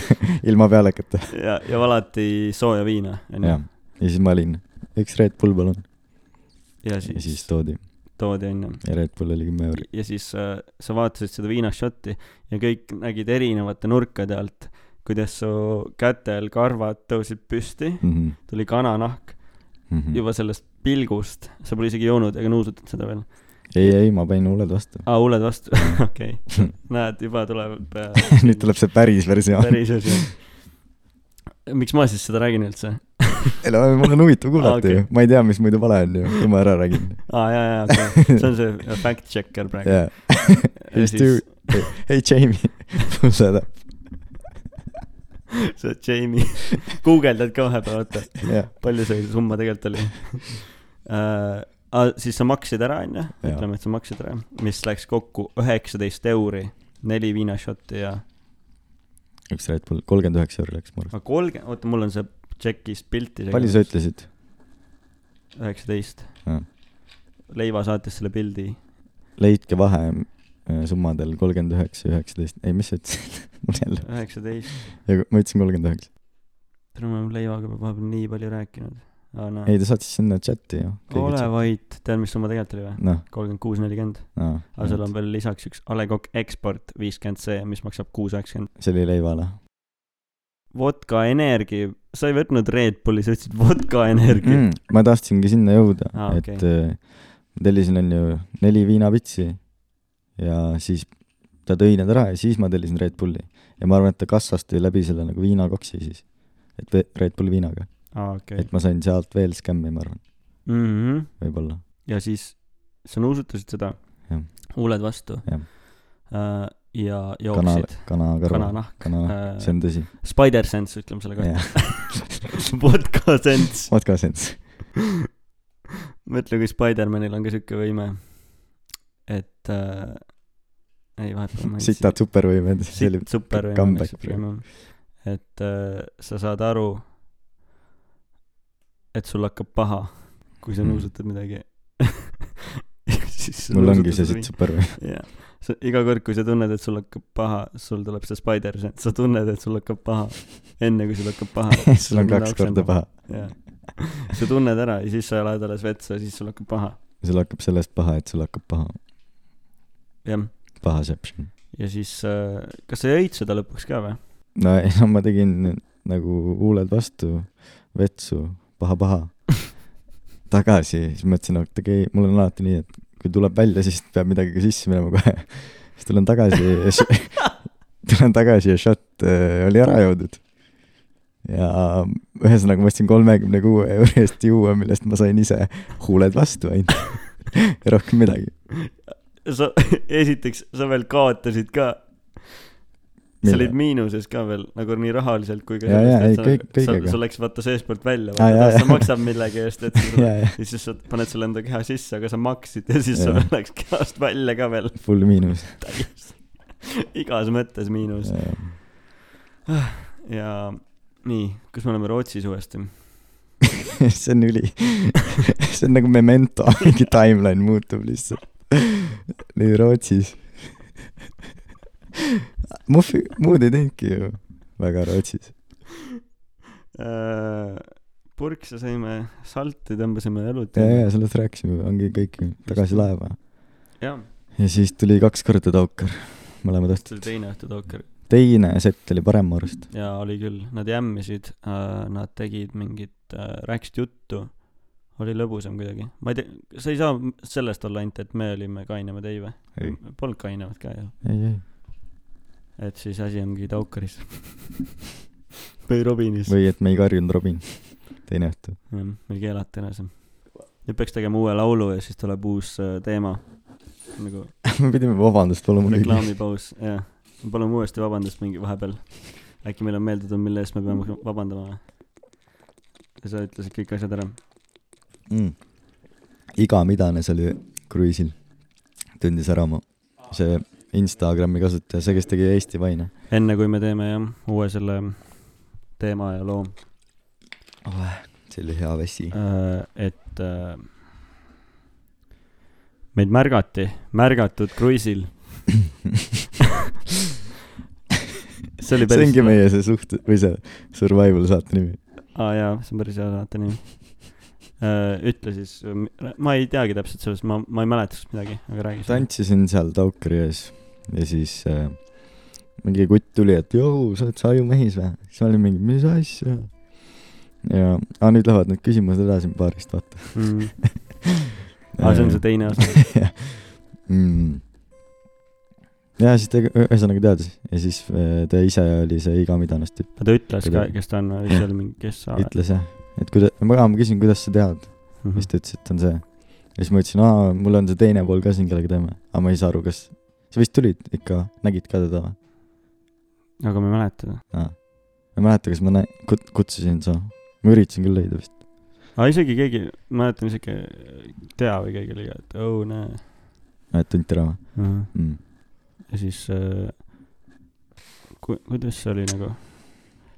Speaker 3: ilma pealekata .
Speaker 2: ja , ja alati sooja viina , onju
Speaker 3: jah ., ja siis ma olin , üks Red Bull palun .
Speaker 2: ja
Speaker 3: ja
Speaker 2: siis
Speaker 3: siis toodi
Speaker 2: toodi , onju
Speaker 3: ja Red Bull oli kümme euri .
Speaker 2: ja siis äh, sa vaatasid seda viinašotti ja kõik nägid erinevate nurkade alt , kuidas su kätel karvad tõusid püsti ,
Speaker 3: Mhm,
Speaker 2: tuli kananahk
Speaker 3: Mm.
Speaker 2: juba sellest pilgust , sa pole isegi joonud ega nuusutanud seda veel .
Speaker 3: ei , ei , ma panin huuled vastu . *laughs*
Speaker 2: aa , huuled vastu , *laughs* okei , näed , juba tuleb äh,
Speaker 3: *laughs* nüüd tuleb see päris versioon .
Speaker 2: päris asi . miks ma siis seda räägin üldse ?
Speaker 3: ei no mul on huvitav
Speaker 2: Aa,
Speaker 3: kuulata
Speaker 2: okei.
Speaker 3: ju , ma ei tea , mis muidu vale on ju , kui ma ära räägin .
Speaker 2: aa , jaa , jaa , okei , see on see fact checker praegu .
Speaker 3: *laughs* jaa , just ju . ei Jamie , *laughs* pull that up ,
Speaker 2: see Jamie , *laughs* guugeldad ka vahepeal , oota .
Speaker 3: jah .
Speaker 2: palju see summa tegelikult oli uh, ? siis sa maksid ära , onju ,
Speaker 3: Jaa.
Speaker 2: ütleme , et sa maksid ära , mis läks kokku üheksateist euri , neli viinašotti ja ,
Speaker 3: üks Red Bull , kolmkümmend üheksa euri läks mu arust .
Speaker 2: aga Ah, kolmkümmend , oota , mul on see tšekis pilti .
Speaker 3: palju sa ? ütlesid ?
Speaker 2: üheksateist
Speaker 3: Jaa. .
Speaker 2: Leiva saatis selle pildi .
Speaker 3: leidke vahe äh, summadel kolmkümmend üheksa , üheksateist , ei , mis sa ütlesid ? *laughs* mul jälle ,
Speaker 2: üheksateist ,
Speaker 3: ma ütlesin kolmkümmend üheksa .
Speaker 2: tänu me oleme Leivaga vahepeal nii palju rääkinud . aa , no
Speaker 3: ei , ta saatis sinna chati ju .
Speaker 2: ole vait , tead , mis summa tegelikult oli või ?
Speaker 3: noh , noh,
Speaker 2: kolmkümmend kuus , nelikümmend , aga seal on
Speaker 3: aa ,
Speaker 2: veel lisaks üks A Le Coq Export viiskümmend C , mis maksab kuus üheksakümmend .
Speaker 3: see oli leivale .
Speaker 2: vodka Energi , sa ei võtnud Red Bulli , sa võtsid vodka Energi mm. .
Speaker 3: ma tahtsingi sinna jõuda
Speaker 2: Aa, , okei.
Speaker 3: et äh, ma tellisin , on ju , neli viinapitsi ja siis ta tõi need ära ja siis ma tellisin Red Bulli . ja ma arvan , et ta kassas tõi läbi selle nagu viinakoksi siis . et ve- Red Bull viinaga .
Speaker 2: aa , okei .
Speaker 3: et ma sain sealt veel skämmi , ma arvan , võib-olla .
Speaker 2: ja siis sa nuusutasid seda
Speaker 3: Jah. ,
Speaker 2: huuled vastu
Speaker 3: Jah.
Speaker 2: Äh, ja
Speaker 3: kana
Speaker 2: jooksid ,,
Speaker 3: kanakarva ,
Speaker 2: kananahk .
Speaker 3: kananahk , see on tõsi .
Speaker 2: Spider Sense , ütleme selle kohta . Vodka Sense .
Speaker 3: Vodka Sense .
Speaker 2: mõtle , kui Spider-manil on ka sihuke võime , et äh, ei vahet ei ole .
Speaker 3: sitad supervõimed , see oli
Speaker 2: siit super
Speaker 3: comeback
Speaker 2: võimalus . et äh, sa saad aru , et sul hakkab paha , kui sa
Speaker 3: Mm.
Speaker 2: nuusutad midagi .
Speaker 3: mul ongi see siit . supervõim .
Speaker 2: jah , sa iga kord , kui sa tunned , et sul hakkab paha , sul tuleb see spider , sa tunned , et sul hakkab paha , enne kui sul hakkab paha .
Speaker 3: *laughs* sul on kaks korda . paha .
Speaker 2: jah , *laughs* sa tunned ära ja siis sa lähed alles vetsu ja siis sul hakkab paha ,
Speaker 3: sul hakkab sellest paha , et sul hakkab paha ,
Speaker 2: jah .
Speaker 3: pahaception .
Speaker 2: ja siis äh, , kas sa jõid seda lõpuks ka või ?
Speaker 3: no ei , no ma tegin nagu huuled vastu , vetsu ,
Speaker 2: *laughs*
Speaker 3: paha-paha , tagasi , siis mõtlesin , et okei okay, , mul on alati nii , et kui tuleb välja , siis peab midagi ka sisse minema kohe . siis tulen tagasi ja š- *laughs* tulen tagasi ja šot äh, oli ära jõudnud . ja ühesõnaga ma ostsin kolmekümne kuue euro eest juua , millest ma sain ise huuled vastu ainult *laughs* ja rohkem midagi .
Speaker 2: sa , *laughs* esiteks , sa veel kaotasid ka , sa olid miinuses ka veel nagu nii rahaliselt kui ka
Speaker 3: Jaa, jaa, ei,
Speaker 2: sellest , et
Speaker 3: kõik-
Speaker 2: sa- sa ,
Speaker 3: kõigega.
Speaker 2: sul läks vaata seestpoolt välja ,
Speaker 3: Aa, jaa,
Speaker 2: sa
Speaker 3: jaa.
Speaker 2: maksad millegi eest , *laughs* et
Speaker 3: *laughs*
Speaker 2: sa-
Speaker 3: jaa , jah ,
Speaker 2: ja siis sa paned selle enda keha sisse , aga sa maksid ja siis sul
Speaker 3: Jaa.
Speaker 2: läks kehast välja ka veel *laughs*
Speaker 3: full miinus .
Speaker 2: igas mõttes miinus ja nii , kus me oleme Rootsis uuesti ?
Speaker 3: *laughs* see on üli , see on nagu memento , *laughs* mingi timeline muutub lihtsalt . nüüd Rootsis . *laughs* Muffi , muud ei teinudki ju väga Rootsis .
Speaker 2: purkse sõime , Äh, salti tõmbasime õlut .
Speaker 3: ja , ja sellest rääkisime , ongi kõik ju, tagasi laeva .
Speaker 2: jah ,
Speaker 3: ja siis tuli kaks korda Taukar , mõlemad
Speaker 2: see oli
Speaker 3: õhtud .
Speaker 2: teine õhtu Toker
Speaker 3: teine sett oli parem mu arust .
Speaker 2: ja oli küll , nad jämmisid , nad tegid mingit , rääkisid juttu , oli lõbusam kuidagi . ma ei tea , sa ei saa sellest olla ainult , et me olime kainemad , ei või ?
Speaker 3: ei ,
Speaker 2: polnud kainemad ka ju .
Speaker 3: ei , ei .
Speaker 2: et siis asi ongi Taukaris *laughs* või Robinis
Speaker 3: või et me ei karjunud Robin , *laughs* teine õhtu . *laughs*
Speaker 2: jah , meil keelati ära see nüüd peaks tegema uue laulu ja siis tuleb uus äh, teema nagu
Speaker 3: me pidime vabandust paluma kõigile .
Speaker 2: reklaamipaus jah Me palume uuesti vabandust mingi vahepeal äkki meil on meelde tulnud mille eest me peame vabandama või ja sa ütlesid kõik asjad ära
Speaker 3: mm. . igamidane , see oli kruiisil , tundis ära mu see Instagrami kasutaja , see , kes tegi Eesti vaine
Speaker 2: enne kui me teeme jah uue selle teema ja loo
Speaker 3: oh, . see oli hea vesi .
Speaker 2: äh, et äh, meid märgati märgatud kruiisil *laughs* see oli
Speaker 3: see
Speaker 2: päris
Speaker 3: ongi meie see suht- või see survival saate nimi .
Speaker 2: aa jaa , see on päris hea saate nimi . ütle siis , ma ei teagi täpselt sellest , ma , ma ei mäleta sellest midagi , aga räägi siis .
Speaker 3: tantsisin seal Taukari ees ja siis äh, mingi kutt tuli , et jõu , sa oled Saju mehis või ? siis ma olin mingi , mis asja ? ja , aa nüüd lähevad need küsimused edasi paarist , vaata .
Speaker 2: *laughs* Mm. Äh. aa , see on see teine osa .
Speaker 3: *laughs* mm. . ja siis ta ühe- ühesõnaga teadis ja siis äh, ta ise oli see igamithanast tüüp ,
Speaker 2: aga ta ütles ka , kes ta on , või see oli mingi , kes sa oled .
Speaker 3: ütles jah , et kuidas , ma , ma küsin , kuidas sa tead , siis ta ütles , et on see . ja siis ma ütlesin , aa , mul on see teine pool ka siin , kellega teeme , aga ma ei saa aru , kas , sa vist tulid ikka , nägid ka teda või ?
Speaker 2: Mhm. aga ma ei mäleta .
Speaker 3: aa , ma ei mäleta , kas ma nä- , kut- , kutsusin sa , ma üritasin küll leida vist .
Speaker 2: aa , isegi keegi , mäletan isegi , Tea või keegi oli ka , et oh näe
Speaker 3: et tunti ära või
Speaker 2: mm. .
Speaker 3: mm. ?
Speaker 2: ja siis äh, , ku- , kuidas see oli nagu ?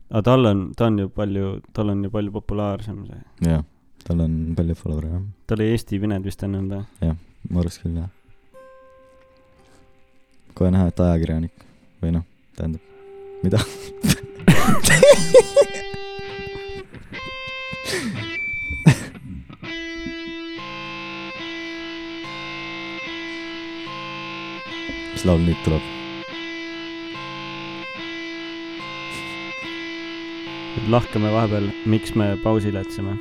Speaker 2: aa , tal on , ta on ju palju , tal on ju palju populaarsem see .
Speaker 3: jah , tal on palju follower'e jah ,
Speaker 2: ta oli Eesti Vined vist ennem või ?
Speaker 3: ma arvaks küll jah . kohe näha , et ajakirjanik või noh , tähendab . mis laul nüüd tuleb ?
Speaker 2: lahkame vahepeal , miks me pausi jätsime .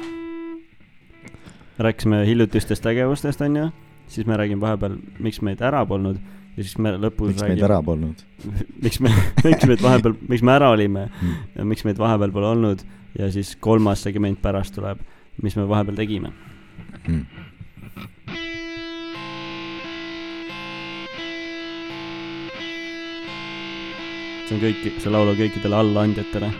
Speaker 2: rääkisime hiljutistest tegevustest , onju , siis me räägime vahepeal , miks meid ära polnud ja ja siis me lõpus
Speaker 3: miks meid ära polnud ?
Speaker 2: *laughs* miks me , miks meid vahepeal , miks me ära olime
Speaker 3: Mm.
Speaker 2: ja miks meid vahepeal pole olnud ja siis kolmas segment pärast tuleb , mis me vahepeal tegime .
Speaker 3: Hmm.
Speaker 2: see on kõik , see laul on kõikidele allaandjatele .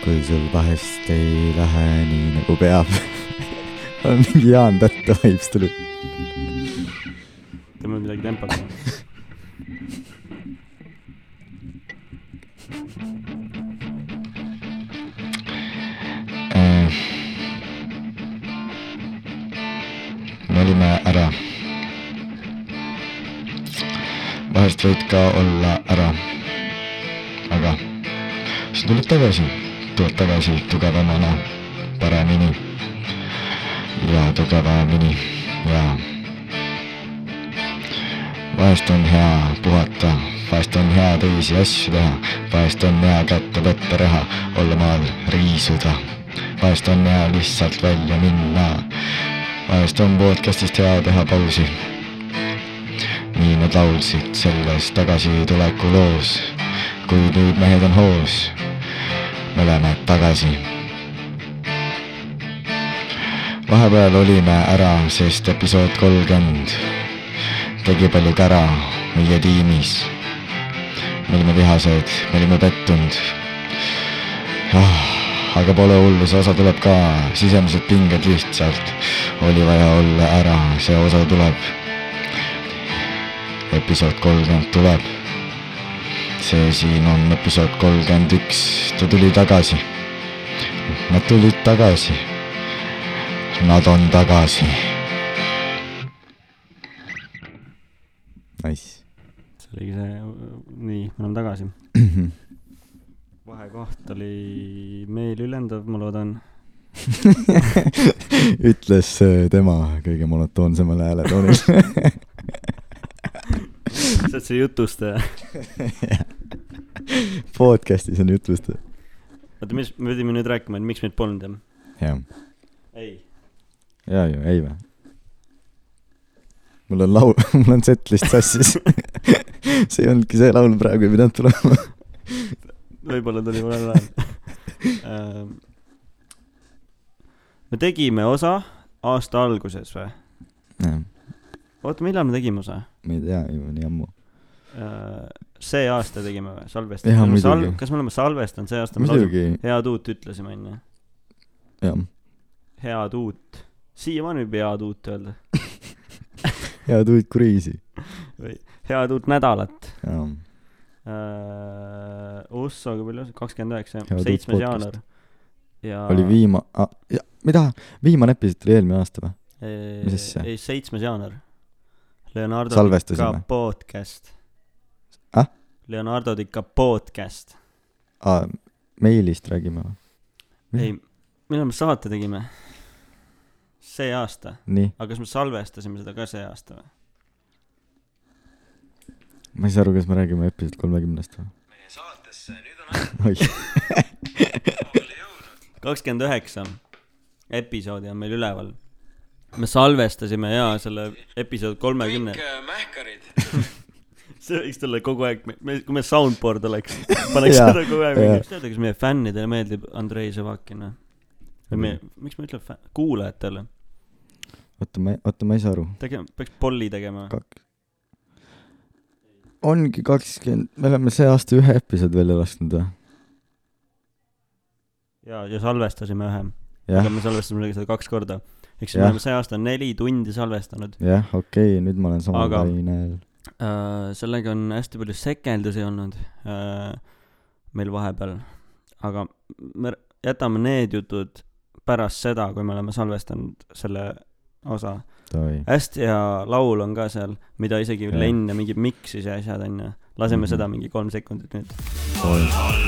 Speaker 3: kui sul vahest ei lähe nii nagu peab . *laughs* on mingi Jaan Tätte vibes tulnud .
Speaker 2: teeme midagi tempokat .
Speaker 1: Eh. me olime ära . vahest võid ka olla ära . aga sa tuled tagasi , tuled tagasi tugevamana , paremini ja tugevamini ja vahest on hea puhata , vahest on hea teisi asju teha , vahest on hea kätte võtta raha , olla maal , riisuda , vahest on hea lihtsalt välja minna vahest on podcastist hea teha pausi . nii nad laulsid selles tagasituleku loos , kuid nüüd mehed on hoos . me oleme tagasi . vahepeal olime ära , sest episood kolmkümmend tegi palju kära meie tiimis . me olime vihased , me olime pettunud ah, . aga pole hullu , see osa tuleb ka , sisemised pinged lihtsalt . oli vaja olla ära , see osa tuleb . episood kolmkümmend tuleb . see siin on episood kolmkümmend üks , ta tuli tagasi . Nad tulid tagasi . Nad on tagasi .
Speaker 3: Nice .
Speaker 2: see oligi see , nii , me oleme tagasi . *clears throat* vahekoht oli meil ülendav , ma loodan .
Speaker 3: *laughs* ütles äh, tema kõige monotoonsemal hääletoonil . *laughs*
Speaker 2: sa oled see jutustaja .
Speaker 3: podcast'is on jutlust .
Speaker 2: oota , mis , me pidime nüüd rääkima , et miks meid polnud jah ?
Speaker 3: jah ,
Speaker 2: ei .
Speaker 3: ja ju , ei vä ? mul on laul , *laughs* mul on set list sassis . *laughs* see ei olnudki see laul praegu , ei pidanud tulema .
Speaker 2: võib-olla tuli mul ära ajal . me tegime osa aasta alguses või ?
Speaker 3: ma
Speaker 2: oota , millal me tegime osa ?
Speaker 3: ei tea juba nii ammu .
Speaker 2: see aasta tegime või ,
Speaker 3: Jaa,
Speaker 2: salvestasime
Speaker 3: muidugi. ?
Speaker 2: kas me oleme salvestanud see aasta ?
Speaker 3: muidugi ,
Speaker 2: head uut ütlesime , onju .
Speaker 3: jah .
Speaker 2: head uut . siiamaani võib head uut öelda .
Speaker 3: head uut kuriisi .
Speaker 2: või head uut nädalat . Äh,
Speaker 3: jaa ,
Speaker 2: Usso , kui palju , kakskümmend üheksa ,
Speaker 3: Head uut
Speaker 2: seitsmes
Speaker 3: podcast.
Speaker 2: jaanuar . ja
Speaker 3: oli viima- ah, , mida , viimane episood oli eelmine aasta või ? mis asja?
Speaker 2: ei , seitsmes jaanuar . Leonardo
Speaker 3: salvestasime .
Speaker 2: podcast
Speaker 3: Ah? .
Speaker 2: Leonardo Dica podcast .
Speaker 3: aa , meilist räägime või ? Mis?
Speaker 2: ei , millal me saate tegime ? see aasta ,
Speaker 3: nii ,
Speaker 2: aga kas me salvestasime seda ka see aasta või ?
Speaker 3: ma ei saa aru , kas me räägime episood kolmekümnest või ?
Speaker 4: meie saatesse ,
Speaker 3: *laughs*
Speaker 4: nüüd on aeg
Speaker 3: oih ,
Speaker 4: kaugele jõudnud .
Speaker 2: kakskümmend üheksa episoodi on meil üleval . me salvestasime jaa selle episood kolmekümne
Speaker 4: kõik , äh, mähkarid ,
Speaker 2: see võiks tulla kogu aeg , me , kui me soundboard
Speaker 3: *laughs*
Speaker 2: oleks , paneks
Speaker 3: Jaa,
Speaker 2: seda kogu aeg
Speaker 3: jaa.
Speaker 2: mingi , teate , kas meie fännidele meeldib Andrei Zevakin või ?
Speaker 3: Mm.
Speaker 2: või me , miks ma ütlen fänn , kuulajatele ,
Speaker 3: oota , ma , oota , ma ei saa aru .
Speaker 2: tegema , peaks polli tegema .
Speaker 3: kaks . ongi kakskümmend , me oleme see aasta ühe episoodi välja lasknud või ?
Speaker 2: ja , ja salvestasime ühe ,
Speaker 3: jah
Speaker 2: aga , me salvestasime seda kaks korda . eks me
Speaker 3: Jah.
Speaker 2: oleme see aasta neli tundi salvestanud
Speaker 3: jah , okei okay, , nüüd ma olen samal
Speaker 2: Aga-
Speaker 3: lainel .
Speaker 2: uh, . sellega on hästi palju sekeldusi olnud uh, meil vahepeal , aga me jätame need jutud pärast seda , kui me oleme salvestanud selle osa *laughs*
Speaker 3: oi ,
Speaker 2: hästi hea laul on ka seal , mida isegi
Speaker 3: Jah.
Speaker 2: Len ja mingid miksis ja asjad onju . laseme mm -hmm.
Speaker 3: Mhm.
Speaker 2: seda mingi kolm sekundit nüüd .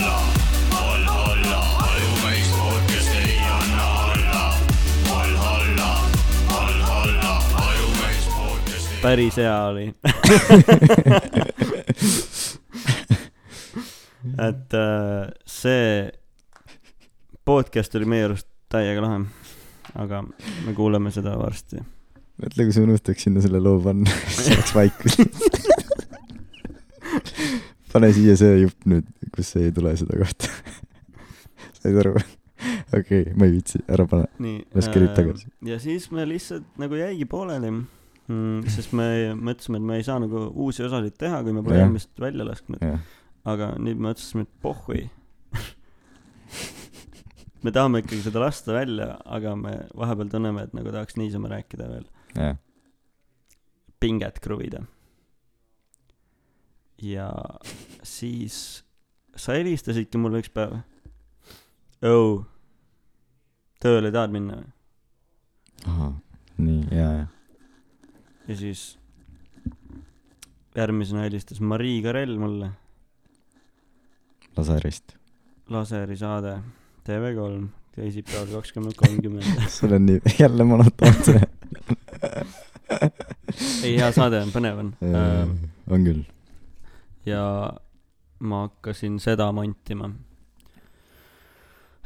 Speaker 2: päris hea oli . et äh, see podcast oli meie arust täiega lahe . aga me kuuleme seda varsti .
Speaker 3: mõtle , kui nagu sa unustaks sinna selle loo panna , *laughs* siis oleks vaikus . pane siia see jupp nüüd , kus ei tule seda kohta . *laughs* said aru ? okei okay, , ma ei viitsi , ära pane .
Speaker 2: nii .
Speaker 3: Las kerib tagasi. .
Speaker 2: ja siis me lihtsalt nagu jäigi pooleli mm, , sest me mõtlesime , et me ei saa nagu uusi osasid teha , kui me pole
Speaker 3: Jah.
Speaker 2: eelmist välja lasknud , aga nüüd me otsustasime , et pohhui . me tahame ikkagi seda lasta välja , aga me vahepeal tunneme , et nagu tahaks niisama rääkida veel ,
Speaker 3: jah ,
Speaker 2: pinget kruvida . ja siis sa helistasidki mulle üks päev . õu , tööle ei tahad minna või ?
Speaker 3: ahah , nii , ja , ja .
Speaker 2: ja siis järgmisena helistas Marii Karell mulle ,
Speaker 3: Lasarist .
Speaker 2: laseri saade TV3 teisipäeval kakskümmend kolmkümmend .
Speaker 3: sul on nii , *laughs* jälle monotoonse .
Speaker 2: ei , hea Ähm, saade on , põnev on .
Speaker 3: on küll .
Speaker 2: ja ma hakkasin seda montima .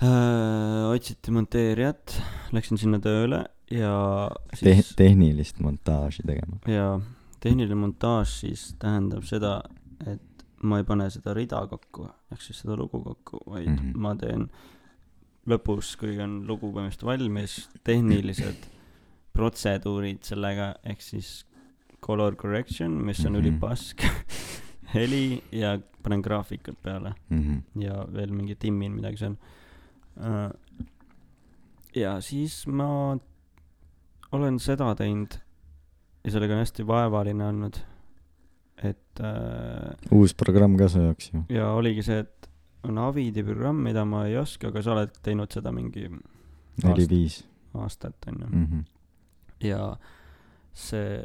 Speaker 2: otsiti monteerijat , läksin sinna tööle ja
Speaker 3: Te- ,
Speaker 2: siis ,
Speaker 3: tehnilist montaaži tegema .
Speaker 2: ja tehniline montaaž siis tähendab seda , et ma ei pane seda rida kokku , ehk siis seda lugu kokku , vaid mm
Speaker 3: Mhm.
Speaker 2: -hmm. ma teen lõpus , kui on lugu põhimõtteliselt valmis , tehnilised protseduurid sellega , ehk siis color correction , mis on mm
Speaker 3: Mhm.
Speaker 2: -hmm. ülipask , *laughs* heli ja panen graafikud peale
Speaker 3: Mhm.
Speaker 2: ja veel mingi timmin midagi seal . ja siis ma olen seda teinud ja sellega on hästi vaevaline olnud , et äh,
Speaker 3: uus programm ka su jaoks ju .
Speaker 2: ja oligi see , et on Avidi programm , mida ma ei oska , aga sa oled teinud seda mingi Aasta.
Speaker 3: neli-viis .
Speaker 2: aastat , onju .
Speaker 3: Mhm.
Speaker 2: ja see ,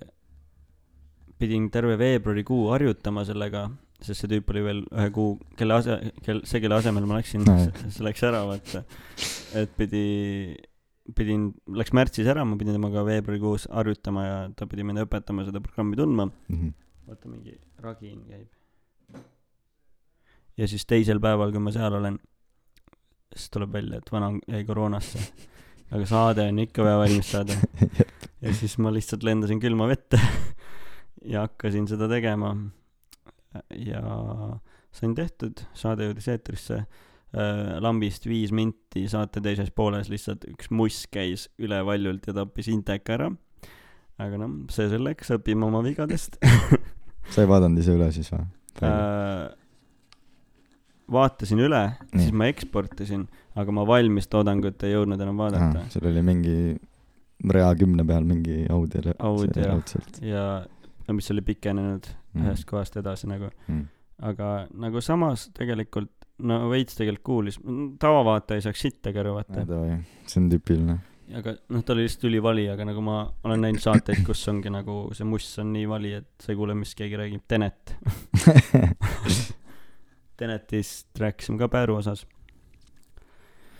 Speaker 2: pidin terve veebruarikuu harjutama sellega , sest see tüüp oli veel ühe kuu , kelle ase- , kel- , see , kelle asemel ma läksin
Speaker 3: No,
Speaker 2: no, , see läks ära , vaata . et pidi , pidin , läks märtsis ära , ma pidin temaga veebruarikuus harjutama ja ta pidi mind õpetama seda programmi tundma .
Speaker 3: Mhm.
Speaker 2: vaata mingi ragin käib . ja siis teisel päeval , kui ma seal olen , siis tuleb välja , et vana on- jäi koroonasse . aga saade on ikka vaja valmis saada . ja siis ma lihtsalt lendasin külma vette ja hakkasin seda tegema . ja sain tehtud , saade jõudis eetrisse . lambist viis minti saate teises pooles lihtsalt üks muss käis üle valjult ja tappis inteka ära . aga noh , see selleks , õpime oma vigadest .
Speaker 3: sa ei vaadanud ise üle siis või ?
Speaker 2: äh, vaatasin üle , siis
Speaker 3: Nii.
Speaker 2: ma eksportisin , aga ma valmis toodangut ei jõudnud enam vaadata .
Speaker 3: sul oli mingi rea kümne peal mingi audio .
Speaker 2: Audio.
Speaker 3: raudselt .
Speaker 2: ja no mis oli pikenenud mm. ühest kohast edasi nagu , aga nagu samas tegelikult no veits tegelikult kuulis , tavavaataja ei saaks sittagi aru , vaata .
Speaker 3: see on tüüpiline .
Speaker 2: aga noh , ta oli lihtsalt ülivali , aga nagu ma olen näinud saateid , kus ongi nagu see must on nii vali , et sa ei kuule , mis keegi räägib , Tenet . Tenetist rääkisime ka Pääru osas .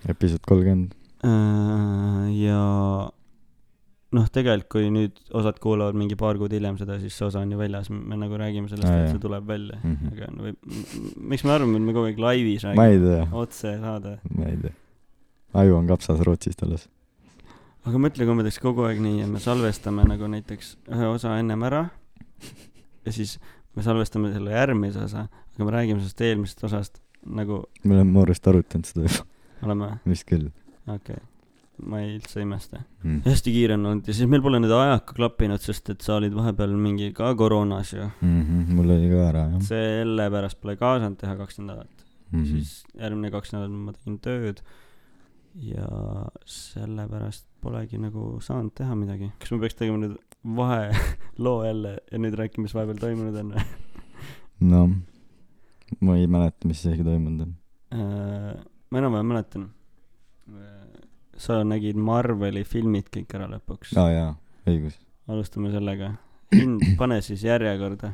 Speaker 3: episood kolmkümmend .
Speaker 2: Äh, ja noh , tegelikult kui nüüd osad kuulavad mingi paar kuud hiljem seda , siis see osa on ju väljas , me nagu räägime sellest ,
Speaker 3: Aa,
Speaker 2: et
Speaker 3: jah.
Speaker 2: see tuleb välja mm .
Speaker 3: Mhm.
Speaker 2: -hmm. aga no või , miks me arvame , et me kogu aeg laivis
Speaker 3: ma ei
Speaker 2: räägime ,
Speaker 3: tea ,
Speaker 2: otse saade .
Speaker 3: ma ei tea . aju on kapsas Rootsist alles .
Speaker 2: aga mõtle , kui me teeks kogu aeg nii , et me salvestame nagu näiteks ühe osa ennem ära ja siis me salvestame selle järgmise osa , aga me räägime sellest eelmisest osast nagu
Speaker 3: me oleme mu arust arutanud seda juba , *laughs*
Speaker 2: oleme ,
Speaker 3: vist küll
Speaker 2: ma ei üldse ei imesta .
Speaker 3: mm. .
Speaker 2: hästi kiire on olnud ja siis meil pole nüüd ajaga klappinud , sest et sa olid vahepeal mingi ka koroonas ju .
Speaker 3: Mm -hmm. mul oli ka ära jah Mhm.
Speaker 2: selle pärast pole ka saanud teha kaks nädalat mm. . siis järgmine kaks nädalat ma tegin tööd ja sellepärast polegi nagu saanud teha midagi . kas me peaks tegema nüüd *laughs* vaheloo jälle ja nüüd rääkima , mis vahepeal toimunud on *laughs* Äh, või ?
Speaker 3: noh , ma ei mäleta , mis isegi toimunud on .
Speaker 2: ma enam-vähem mäletan . sa nägid Marveli filmid kõik ära lõpuks .
Speaker 3: aa jaa , õigus .
Speaker 2: alustame sellega .
Speaker 3: *clears throat*
Speaker 2: hind , pane siis järjekorda .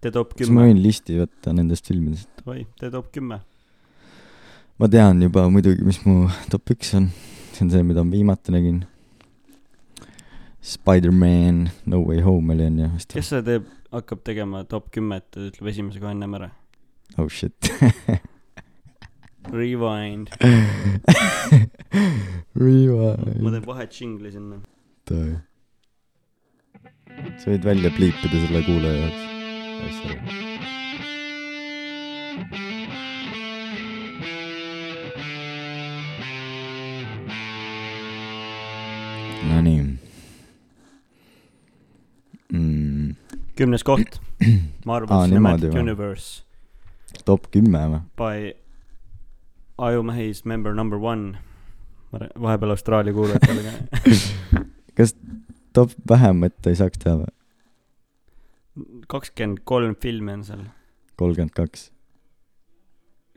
Speaker 2: tee top
Speaker 3: kas ma
Speaker 2: kümme .
Speaker 3: võin listi võtta nendest filmidest ?
Speaker 2: oi , tee top kümme .
Speaker 3: ma tean juba muidugi , mis mu *laughs* top üks on . see on see , mida ma viimati nägin . Spider-man No Way Home oli onju , vist
Speaker 2: kes seda teeb , hakkab tegema top kümmet ja ütleb esimese kohe ennem ära .
Speaker 3: oh shit . *laughs*
Speaker 2: Rewind .
Speaker 3: Rewind
Speaker 2: ma . teen vahet džingli sinna .
Speaker 3: äh, sa võid välja pliipida selle kuulaja jaoks . asja ära . Nonii mm, .
Speaker 2: kümnes
Speaker 3: *clears throat*
Speaker 2: koht , Marvel
Speaker 3: Aa, niimoodi
Speaker 2: Cinematic
Speaker 3: või?
Speaker 2: Universe
Speaker 3: top kümme või ?
Speaker 2: by Ajumehis member number one . ma rää- vahepeal Austraalia kuulajatele ka *laughs*
Speaker 3: top vähemat ei saaks teha või ?
Speaker 2: kakskümmend kolm filmi on seal ,
Speaker 3: kolmkümmend kaks .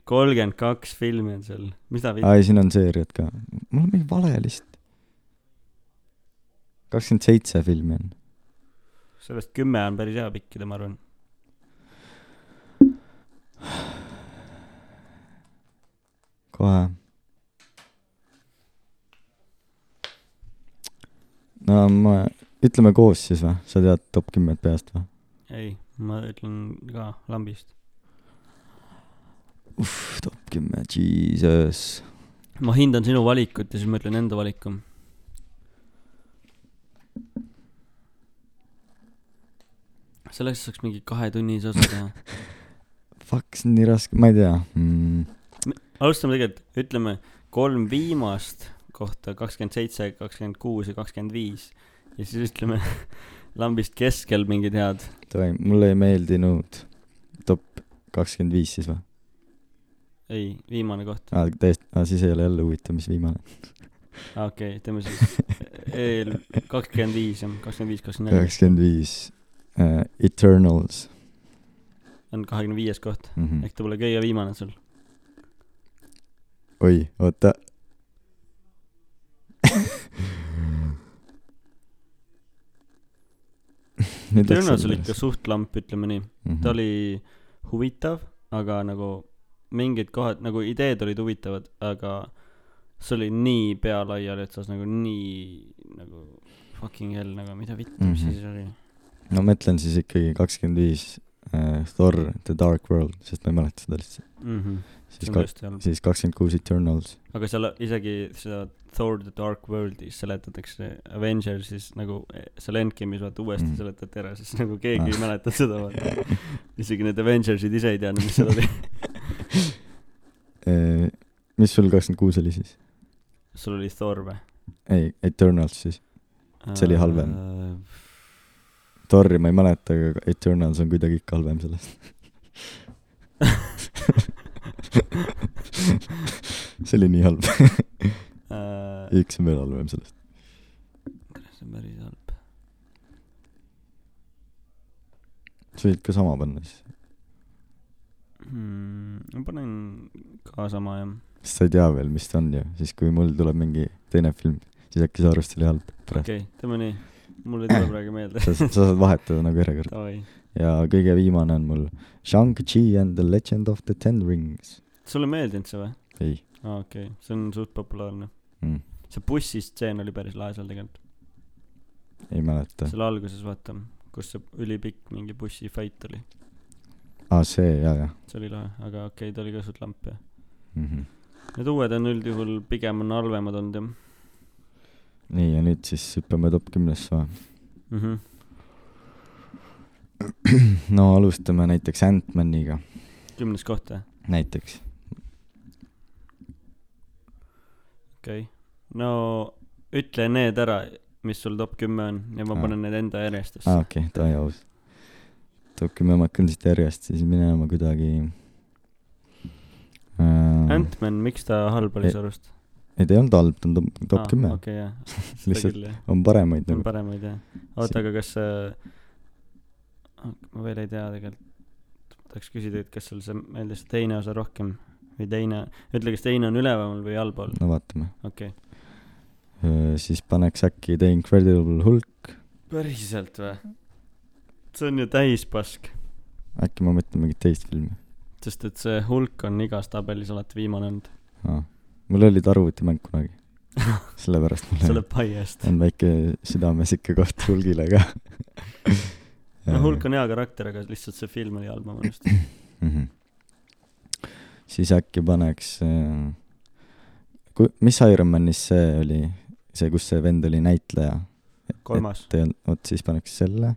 Speaker 2: kolmkümmend kaks filmi on seal , mis ta viit- ,
Speaker 3: aa , ei siin on seeriad ka . mul on mingi vale list . kakskümmend seitse filmi on .
Speaker 2: sellest kümme on päris hea pikkida , ma arvan .
Speaker 3: kohe . no ma , ütleme koos siis või ? sa tead top kümmet peast või ?
Speaker 2: ei , ma ütlen ka lambist .
Speaker 3: top kümme , jesus .
Speaker 2: ma hindan sinu valikut ja siis ma ütlen enda valiku . selleks saaks mingi kahetunnise osa teha .
Speaker 3: Fuck , see on nii raske , ma ei tea mm. .
Speaker 2: alustame tegelikult , ütleme kolm viimast kohta , kakskümmend seitse , kakskümmend kuus ja kakskümmend viis . ja siis ütleme *laughs* lambist keskel mingid head .
Speaker 3: Davai , mulle ei meeldinud top kakskümmend viis siis või ?
Speaker 2: ei , viimane koht .
Speaker 3: aa , täiesti , aa siis ei ole jälle huvitav , mis viimane .
Speaker 2: okei okay, , teeme siis *laughs* eel kakskümmend viis jah , kakskümmend viis , kakskümmend neli
Speaker 3: kaheksakümmend viis . Eternals
Speaker 2: on kahekümne viies koht .
Speaker 3: mm . -hmm.
Speaker 2: ehk ta pole kõige viimane sul .
Speaker 3: oi ,
Speaker 2: *laughs*
Speaker 3: oota .
Speaker 2: Tõenäoliselt oli ikka suht lamp , ütleme nii .
Speaker 3: Mhm.
Speaker 2: ta . oli huvitav , aga nagu mingid kohad , nagu ideed olid huvitavad , aga see oli nii pea laiali otsas , nagu nii nagu fucking hell , nagu mida vittu , mis
Speaker 3: Mhm.
Speaker 2: see siis oli .
Speaker 3: no ma ütlen siis ikkagi kakskümmend viis äh, Thor The Dark World , sest ma ei mäleta seda lihtsalt .
Speaker 2: Mhm. see
Speaker 3: siis
Speaker 2: on
Speaker 3: kaks ,
Speaker 2: tõesti halb .
Speaker 3: siis kakskümmend kuus Eternals .
Speaker 2: aga seal isegi seda Thor the Dark World'i seletatakse Avengersis nagu eh, seal Endgame'is vaata uuesti
Speaker 3: Mhm.
Speaker 2: seletati ära , sest nagu keegi ei
Speaker 3: Ah.
Speaker 2: mäleta seda vaata . isegi need Avengersid ise ei teadnud , mis seal
Speaker 3: *laughs*
Speaker 2: oli .
Speaker 3: Äh, mis sul kakskümmend kuus oli siis ?
Speaker 2: sul oli Thor või ?
Speaker 3: ei , Eternals siis . See oli halvem.
Speaker 2: Äh,
Speaker 3: Thor'i ma ei mäleta , aga Eternals on kuidagi ikka halvem sellest . *laughs* see oli nii halb , *laughs*
Speaker 2: see
Speaker 3: üks on veel halvem sellest .
Speaker 2: on Äh, päris halb .
Speaker 3: sa võid ka sama panna siis ,
Speaker 2: Hmm, ma panen ka sama jah .
Speaker 3: sest sa ei tea veel , mis ta on ju , siis kui mul tuleb mingi teine film , siis äkki sa arvad , see oli halb .
Speaker 2: okei okay, , teeme nii . mul ei tule praegu meelde .
Speaker 3: sa , sa saad vahetada nagu järjekord .
Speaker 2: Davai .
Speaker 3: ja kõige viimane on mul Shang-Chi and the Legend of the Ten Rings .
Speaker 2: sulle ei meeldinud see või ?
Speaker 3: ei
Speaker 2: aa okei okay. , see on suht populaarne .
Speaker 3: mm, ,
Speaker 2: see bussistseen oli päris lahe seal tegelikult .
Speaker 3: ei mäleta .
Speaker 2: seal alguses vaata , kus see ülipikk mingi bussifight oli .
Speaker 3: aa , Ah, see , jaa , jaa
Speaker 2: see oli lahe , aga okei okay, , ta oli ka suht lamp jah .
Speaker 3: mm . -hmm.
Speaker 2: Need uued on üldjuhul pigem on halvemad olnud jah
Speaker 3: nii , ja nüüd siis hüppame top kümnesse või ? *clears throat*
Speaker 2: mm . -hmm.
Speaker 3: no alustame näiteks Ant-Maniga ,
Speaker 2: kümnes koht jah ?
Speaker 3: näiteks .
Speaker 2: okei okay. . no ütle need ära , mis sul top kümme on ja ma
Speaker 3: Aa.
Speaker 2: panen need enda järjestusse
Speaker 3: aa , Ah, okei okay, , davai , aus . tõuke me omakene siit järjest , siis minema kuidagi äh, .
Speaker 2: Ant-Man , miks ta halb oli
Speaker 3: Ei,
Speaker 2: su arust ?
Speaker 3: ei , ta ei olnud halb , ta on top , top kümme okay. ,
Speaker 2: Ah,
Speaker 3: *laughs*
Speaker 2: okei , jah .
Speaker 3: Lihtsalt
Speaker 2: küll
Speaker 3: *laughs*
Speaker 2: jah ,
Speaker 3: on paremaid
Speaker 2: on
Speaker 3: nagu .
Speaker 2: paremaid jah . oota , aga kas äh, , ma veel ei tea tegelikult , tahaks küsida , et kas sul see meeldis see teine osa rohkem või teine , ütle , kas teine on üleval või allpool ,
Speaker 3: no vaatame
Speaker 2: okei okay. .
Speaker 3: äh, . siis paneks äkki The Incredible Hulk ,
Speaker 2: päriselt või ? see on ju täispask ,
Speaker 3: äkki ma mõtlen mingit teist filmi
Speaker 2: sest et see hulk on igas tabelis alati viimane olnud ,
Speaker 3: ah. . mul oli arvutimäng
Speaker 2: *laughs*
Speaker 3: kunagi , sellepärast
Speaker 2: selle
Speaker 3: mul
Speaker 2: pai eest ..
Speaker 3: on väike südames ikka koht hulgile ka
Speaker 2: *laughs* no hulk on hea karakter , aga lihtsalt see film oli halb , ma arvan .
Speaker 3: mm . -hmm. siis äkki paneks äh, , ku- , mis Ironmanis see oli , see , kus see vend oli näitleja ,
Speaker 2: kolmas ,
Speaker 3: *laughs* et ei olnud , vot siis paneks selle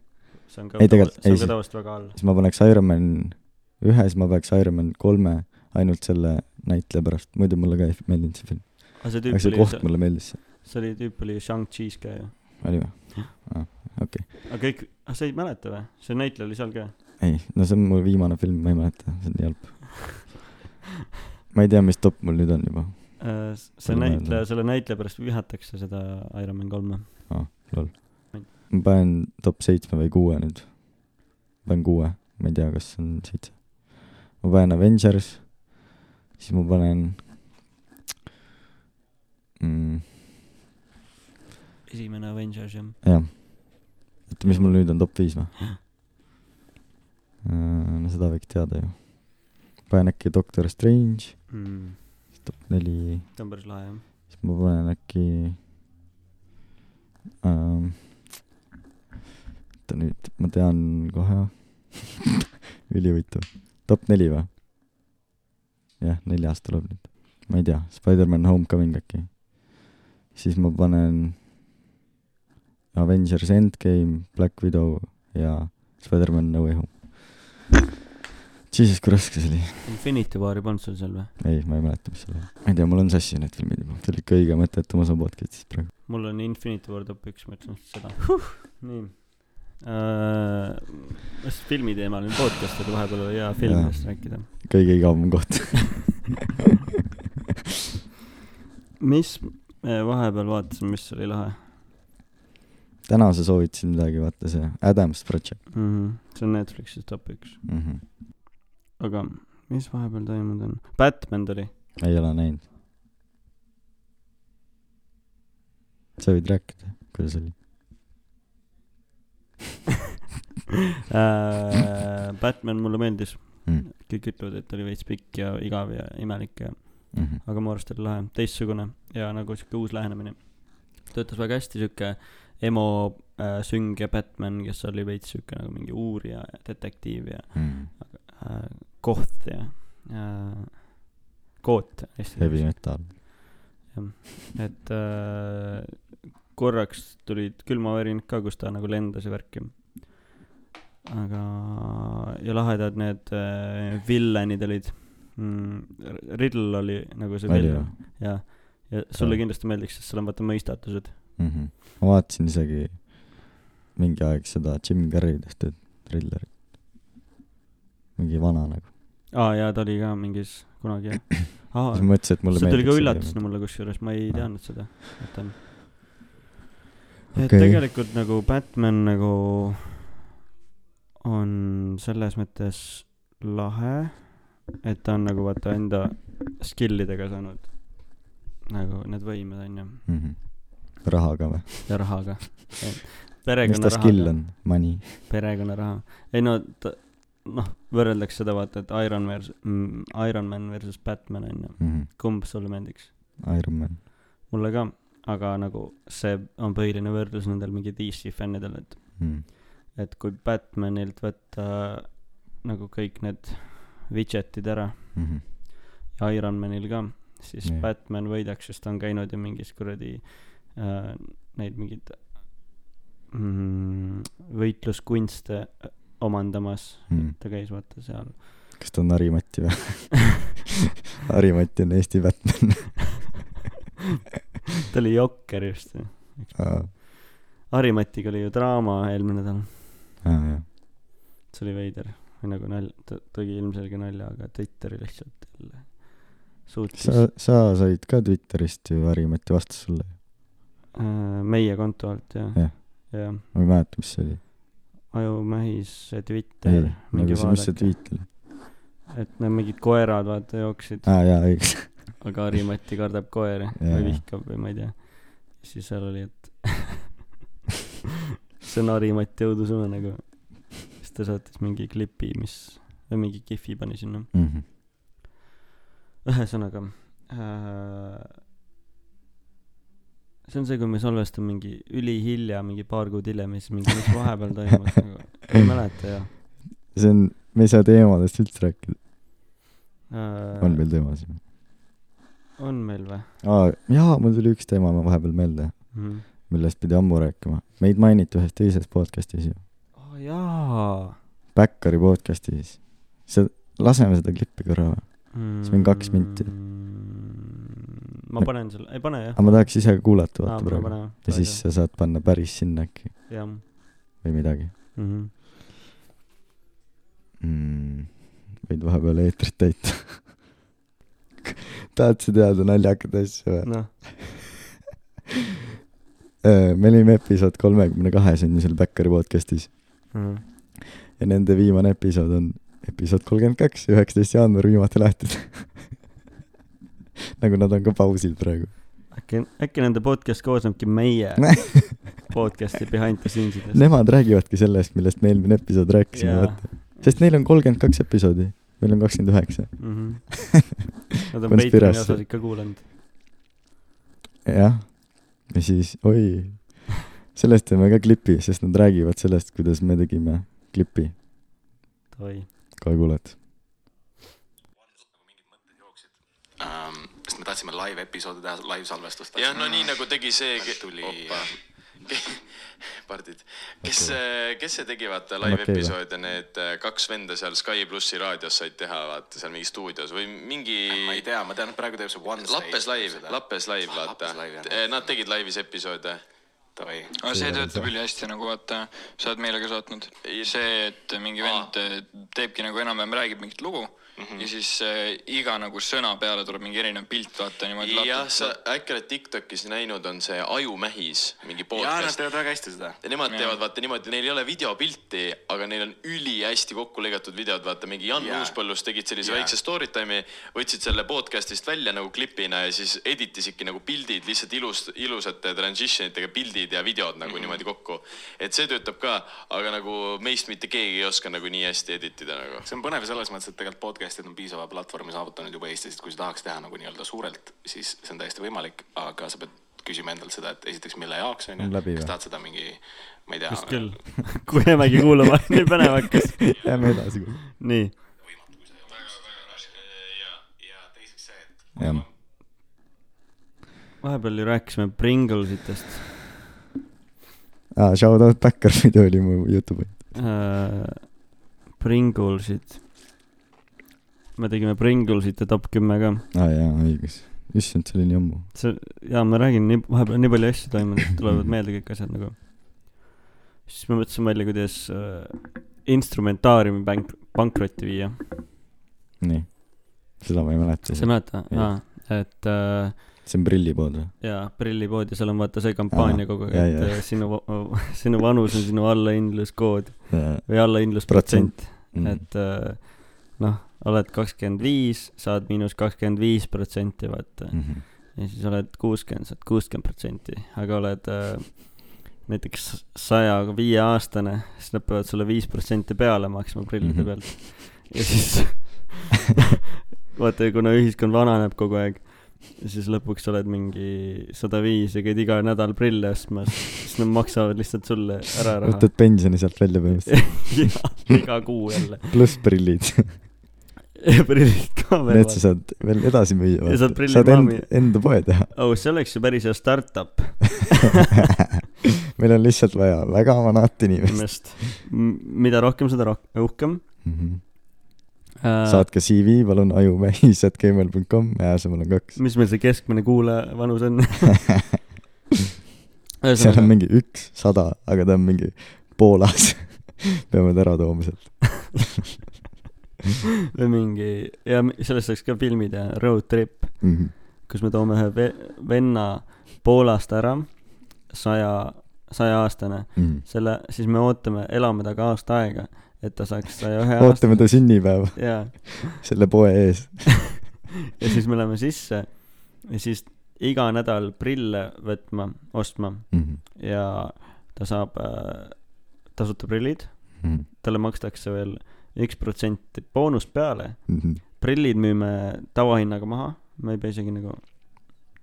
Speaker 2: see on ka
Speaker 3: Ei, tegelikult-
Speaker 2: see
Speaker 3: ei,
Speaker 2: on
Speaker 3: siis-
Speaker 2: ka tavaliselt väga all .
Speaker 3: siis ma paneks Ironman ühe , siis ma peaks Ironman kolme ainult selle näitleja pärast , muidu mulle ka ei meeldinud see film .
Speaker 2: aga see
Speaker 3: aga
Speaker 2: tüüp
Speaker 3: see
Speaker 2: oli
Speaker 3: koht , mulle meeldis ,
Speaker 2: see oli , tüüp oli Shang-Chi's ka ju .
Speaker 3: oli või ?
Speaker 2: aga kõik , ah sa ei mäleta või ? see näitleja oli seal ka .
Speaker 3: ei , no see on mu viimane film , ma ei mäleta , see on nii halb . ma ei tea , mis top mul nüüd on juba ,
Speaker 2: Äh, see
Speaker 3: Palju
Speaker 2: näitleja
Speaker 3: meelde. ,
Speaker 2: selle näitleja pärast vihatakse seda Ironman kolme .
Speaker 3: lol . ma panen top seitsme või kuue nüüd . panen kuue , ma ei tea , kas see on seitse . ma panen Avengers , siis ma panen mm, ,
Speaker 2: esimene Avengers jah .
Speaker 3: jah . oota , mis mul nüüd on top viis või ? no seda võiks teada ju . panen äkki Doctor Strange ,
Speaker 2: mm, .
Speaker 3: top neli
Speaker 2: ta on päris lahe jah .
Speaker 3: siis ma panen äkki ähm, . oota nüüd , ma tean kohe . *laughs* ülihuvitav , top neli või ? jah , neljas tuleb nüüd , ma ei tea , Spider-man Homecoming äkki . siis ma panen Avengers Endgame , Black Widow ja Spider-man No Way Home . Jesus , kui raske see oli .
Speaker 2: Infinity War'i polnud sul seal või ?
Speaker 3: ei , ma ei mäleta , mis seal oli . ma ei tea , mul on sassi need filmid juba . see oli kõige mõttetum osa podcast'ist praegu .
Speaker 2: mul on Infinity War top üks , ma ütlen seda huh. . nii uh, . kas filmi teemal on podcast , et vahepeal oli hea filmidest rääkida .
Speaker 3: kõige igavam koht .
Speaker 2: mis me vahepeal vaatasime , mis oli lahe
Speaker 3: *laughs* täna sa soovitasid midagi , vaata see Adams Project
Speaker 2: mm ? -hmm. see on Netflixis top üks .
Speaker 3: mm . -hmm.
Speaker 2: aga mis vahepeal toimunud on ? Batman tuli .
Speaker 3: ei ole näinud . sa võid rääkida , kuidas oli ?
Speaker 2: Uh, Batman mulle meeldis
Speaker 3: Mm.
Speaker 2: mm. . kõik ütlevad , et ta oli veits pikk ja igav ja imelik ja ,
Speaker 3: Mm -hmm.
Speaker 2: aga mu arust oli lahe , teistsugune ja nagu sihuke uus lähenemine . töötas väga hästi sihuke emo äh, sünge Batman , kes oli veits sihuke nagu mingi uurija ja detektiiv ja
Speaker 3: mm -hmm.
Speaker 2: äh, koht ja äh, koot .
Speaker 3: Heavy metal .
Speaker 2: et äh, korraks tulid külmavärinad ka , kus ta nagu lendas ja värki . aga , ja lahedad need äh, villanid olid mm, . Riddle oli nagu see
Speaker 3: oli
Speaker 2: villan
Speaker 3: või ?
Speaker 2: ja , ja sulle
Speaker 3: Jah.
Speaker 2: kindlasti meeldiks , sest seal on vaata mõistatused .
Speaker 3: mm ? -hmm. ma vaatasin isegi mingi aeg seda Jim Carrey tehtud trillerit . mingi vana nagu .
Speaker 2: aa jaa , ta oli ka mingis kunagi jah . aa ,
Speaker 3: siis ma mõtlesin , et mulle
Speaker 2: see tuli
Speaker 3: meeldiks
Speaker 2: ka üllatusena mulle kusjuures , ma ei
Speaker 3: Aa.
Speaker 2: teadnud seda , et ta on . et
Speaker 3: Okei.
Speaker 2: okay. tegelikult nagu Batman nagu on selles mõttes lahe , et ta on nagu vaata enda skill idega saanud nagu need võimed onju
Speaker 3: mm . -hmm. raha ka või ?
Speaker 2: ja rahaga .
Speaker 3: *laughs* mis ta skill on ? Money .
Speaker 2: perekonnaraha . ei no ta , noh , võrreldakse seda vaata , et Iron Man , Iron Man versus Batman onju ,
Speaker 3: mm . -hmm.
Speaker 2: kumb sulle meeldiks ?
Speaker 3: Iron Man .
Speaker 2: mulle ka , aga nagu see on põhiline võrdlus nendel mingi DC fännidel , et ,
Speaker 3: Mm.
Speaker 2: et kui Batmanilt võtta nagu kõik need widget'id ära
Speaker 3: Mm -hmm.
Speaker 2: ja Ironmanil ka , siis
Speaker 3: Nii.
Speaker 2: yeah. Batman võidaks , sest ta on käinud ju mingis kuradi äh, neid mingeid mm, võitluskunste äh, omandamas
Speaker 3: Mm.
Speaker 2: mm. , ta käis vaata seal
Speaker 3: kas ta on Harimati või ? *laughs* Harimati on Eesti Batman .
Speaker 2: ta oli jokker just ju .
Speaker 3: aa ,
Speaker 2: Harimatiga oli ju draama eelmine nädal
Speaker 3: aa jah .
Speaker 2: see oli veider või nagu nalja ta tegi ilmselge nalja aga Twitteri lihtsalt jälle suutis
Speaker 3: sa , sa said ka Twitterist ju Harimati vastus sulle .
Speaker 2: äh, meie konto alt jah
Speaker 3: Jah.
Speaker 2: jah
Speaker 3: ma ei mäleta , mis see oli .
Speaker 2: ajumähis see
Speaker 3: ei
Speaker 2: Twitter , mingi
Speaker 3: nagu see , mis see
Speaker 2: vaadake
Speaker 3: tweet oli ?
Speaker 2: et need mingid koerad vaata jooksid
Speaker 3: aa jaa , õigus .
Speaker 2: aga Harimati kardab koeri
Speaker 3: Ah. Jaa.
Speaker 2: või vihkab või ma ei tea siis seal oli et *laughs* see on Harimati õudusõna nagu siis ta saatis mingi klipi mis või mingi kihvi pani sinna
Speaker 3: Mhm.
Speaker 2: ühesõnaga äh, . see on see , kui me salvestame mingi ülihilja , mingi paar kuud hiljem ja siis mingi , mis vahepeal toimus
Speaker 3: *laughs*
Speaker 2: nagu , ei mäleta jah
Speaker 3: see on , me ei saa teemadest üldse rääkida .
Speaker 2: äh,
Speaker 3: on meil teemasid või ?
Speaker 2: on meil või
Speaker 3: aa , jaa , mul tuli üks teema ma vahepeal meelde ,
Speaker 2: mm. ?
Speaker 3: millest pidi ammu rääkima . meid mainiti ühes teises podcast'is ju .
Speaker 2: Oh, jaa , aa .
Speaker 3: Backari podcast'i siis . see , laseme seda klippi korra .
Speaker 2: see
Speaker 3: on kaks minti. .
Speaker 2: Mm. ma panen selle , ei pane jah .
Speaker 3: aga ma tahaks ise kuulata vaata
Speaker 2: pane ,
Speaker 3: praegu .
Speaker 2: pane .
Speaker 3: ja siis . sa saad panna päris sinna äkki
Speaker 2: jah
Speaker 3: või midagi
Speaker 2: mhm. .
Speaker 3: mm, . võid vahepeal eetrit täita . tahad sa teada naljakad asju või ?
Speaker 2: noh ,
Speaker 3: me olime Äh, episood kolmekümne kahes on ju seal Backari podcast'is Mhm. ja nende viimane episood on episood kolmkümmend kaks ja üheksateist jaanuar viimati laetud . nagu nad on ka pausil praegu .
Speaker 2: äkki , äkki nende podcast koosnebki
Speaker 3: *laughs*
Speaker 2: meie podcast'i behind the scenes idest .
Speaker 3: Nemad räägivadki sellest , millest me eelmine episood rääkisime , vaata . sest neil on kolmkümmend kaks episoodi , meil on kakskümmend üheksa .
Speaker 2: mm . -hmm. Nad on
Speaker 3: Konspiraatsia.
Speaker 2: Patreoni osas ikka kuulanud .
Speaker 3: jah , ja siis , oi , sellest teeme ka klipi , sest nad räägivad sellest , kuidas me tegime klipi .
Speaker 2: oi ,
Speaker 3: kohe kuuled .
Speaker 5: ähm, . sest me tahtsime live episoodi teha , live salvestust .
Speaker 6: jah , no nii nagu tegi see ,
Speaker 5: tuli-
Speaker 6: tuli *laughs* pardid , kes , kes see tegi , vaata live
Speaker 3: okei või?
Speaker 6: episoode , need äh, kaks venda seal Sky plussi raadios said teha , vaata seal mingi stuudios või mingi
Speaker 5: ma ei tea , ma tean , et praegu teeb see One
Speaker 6: Lappes live , Lappes live , vaata Eh,
Speaker 5: Lappes live, jah. .
Speaker 6: Nad tegid laivis episoode .
Speaker 5: Davai .
Speaker 7: aga see töötab ülihästi nagu vaata , sa oled meile ka saatnud . see , et mingi vend eh, teebki nagu enam-vähem räägib mingit lugu mm
Speaker 6: Mhm.
Speaker 7: -hmm. ja siis äh, iga nagu sõna peale tuleb mingi erinev pilt , vaata niimoodi .
Speaker 6: jah , sa äkki oled Tiktokis näinud , on see Ajumähis mingi
Speaker 5: jaa , nad
Speaker 6: podcast .
Speaker 5: teevad väga hästi seda .
Speaker 6: Ja nemad teevad vaata niimoodi , neil ei ole videopilti , aga neil on ülihästi kokku lõigatud videod , vaata mingi Jan
Speaker 5: Jaa.
Speaker 6: yeah. Uuspõllus tegid sellise
Speaker 5: Jaa.
Speaker 6: yeah. väikse story time'i , võtsid selle podcast'ist välja nagu klipina ja siis editisidki nagu pildid lihtsalt ilus , ilusate transition itega pildid ja videod nagu
Speaker 5: Mhm.
Speaker 6: mm -hmm. niimoodi kokku . et see töötab ka , aga nagu meist mitte keegi ei oska nagu nii hästi editida nagu .
Speaker 5: see on põnev selles mõttes , et tegelikult podcast'id on piisava platvormi saavutanud juba Eestis , et kui sa tahaks teha nagu nii-öelda suurelt , siis see on täiesti võimalik , aga sa pead küsima endalt seda , et esiteks , mille jaoks on
Speaker 3: On
Speaker 5: ju
Speaker 3: läbi , või?
Speaker 5: kas tahad seda mingi , ma ei tea .
Speaker 2: vist küll . kui jäämegi kuulama , *laughs* nii põnev hakkas . *laughs*
Speaker 3: Lähme edasi .
Speaker 2: nii ,
Speaker 3: jah ,
Speaker 2: vahepeal ju rääkisime Pringlesitest
Speaker 3: Ah, shout out Backer video oli mu Youtube'i .
Speaker 2: äh, . Pringlesid . me tegime Pringlesite top kümme ka .
Speaker 3: aa Ah, jaa , õigus . issand , see oli nii ammu .
Speaker 2: see , jaa , ma räägin nii , vahepeal nii palju asju toimunud , et tulevad meelde kõik asjad nagu . siis ma mõtlesin välja , kuidas äh, instrumentaariumi pank- , pankrotti viia .
Speaker 3: nii . seda ma ei mäleta .
Speaker 2: sa ei mäleta ?
Speaker 3: Ei.
Speaker 2: aa , et äh,
Speaker 3: see on prillipood või ?
Speaker 2: jaa , prillipood ja seal on vaata see kampaania
Speaker 3: Aa,
Speaker 2: kogu aeg ,
Speaker 3: jaa,
Speaker 2: et
Speaker 3: jaa.
Speaker 2: äh, sinu , *laughs* sinu vanus on sinu allahindluskood või allahindlusprotsent
Speaker 3: Protsent. , mm.
Speaker 2: et äh, noh , oled kakskümmend viis , saad miinus kakskümmend viis protsenti , vaata
Speaker 3: -hmm.
Speaker 2: ja siis oled kuuskümmend , saad kuuskümmend protsenti , aga oled äh, näiteks saja viie aastane , siis nad peavad sulle viis protsenti peale maksma prillide
Speaker 3: Mhm.
Speaker 2: pealt . ja siis *laughs* vaata , kuna ühiskond vananeb kogu aeg , siis lõpuks oled mingi sada viis ja käid iga nädal prille ostmas , siis nad maksavad lihtsalt sulle ära raha
Speaker 3: võtad . pensioni sealt välja
Speaker 2: *laughs*
Speaker 3: põhimõtteliselt .
Speaker 2: iga kuu jälle .
Speaker 3: pluss prillid .
Speaker 2: ja prillid ka veel
Speaker 3: Need . sa saad veel edasi müüa .
Speaker 2: Ja saad prillid
Speaker 3: saad
Speaker 2: maha
Speaker 3: end,
Speaker 2: müüa.
Speaker 3: enda poe teha .
Speaker 2: oh , see oleks ju päris hea startup
Speaker 3: meil on lihtsalt vaja väga vanat inimest .
Speaker 2: inimest , mida rohkem , seda rohkem , uhkem
Speaker 3: Mhm.
Speaker 2: äh,
Speaker 3: saatke CV , palun ajumehis.gmail.com ja asemel on kaks .
Speaker 2: mis meil see keskmine kuulaja vanus on ?
Speaker 3: seal
Speaker 2: *laughs*
Speaker 3: on
Speaker 2: ühesõnaga ,
Speaker 3: mingi üks , sada , aga ta on mingi Poolas . *laughs* peame ta ära tooma sealt .
Speaker 2: või mingi ja mi- sellest saaks ka filmid ja road trip ,
Speaker 3: Mhm,
Speaker 2: kus me toome ühe ve- venna Poolast ära , saja , sajaaastane ,
Speaker 3: mhm.
Speaker 2: selle , siis me ootame , elame temaga aasta aega , et ta saaks saja ühe
Speaker 3: ootame ta sünnipäeva
Speaker 2: aasta ja ,
Speaker 3: selle poe ees .
Speaker 2: ja siis me läheme sisse ja siis iga nädal prille võtma , ostma
Speaker 3: Mhm,
Speaker 2: ja ta saab äh, tasuta prillid ,
Speaker 3: mhm,
Speaker 2: talle makstakse veel üks protsent boonust peale ,
Speaker 3: mhm.
Speaker 2: prillid müüme tavahinnaga maha , me ei pea isegi nagu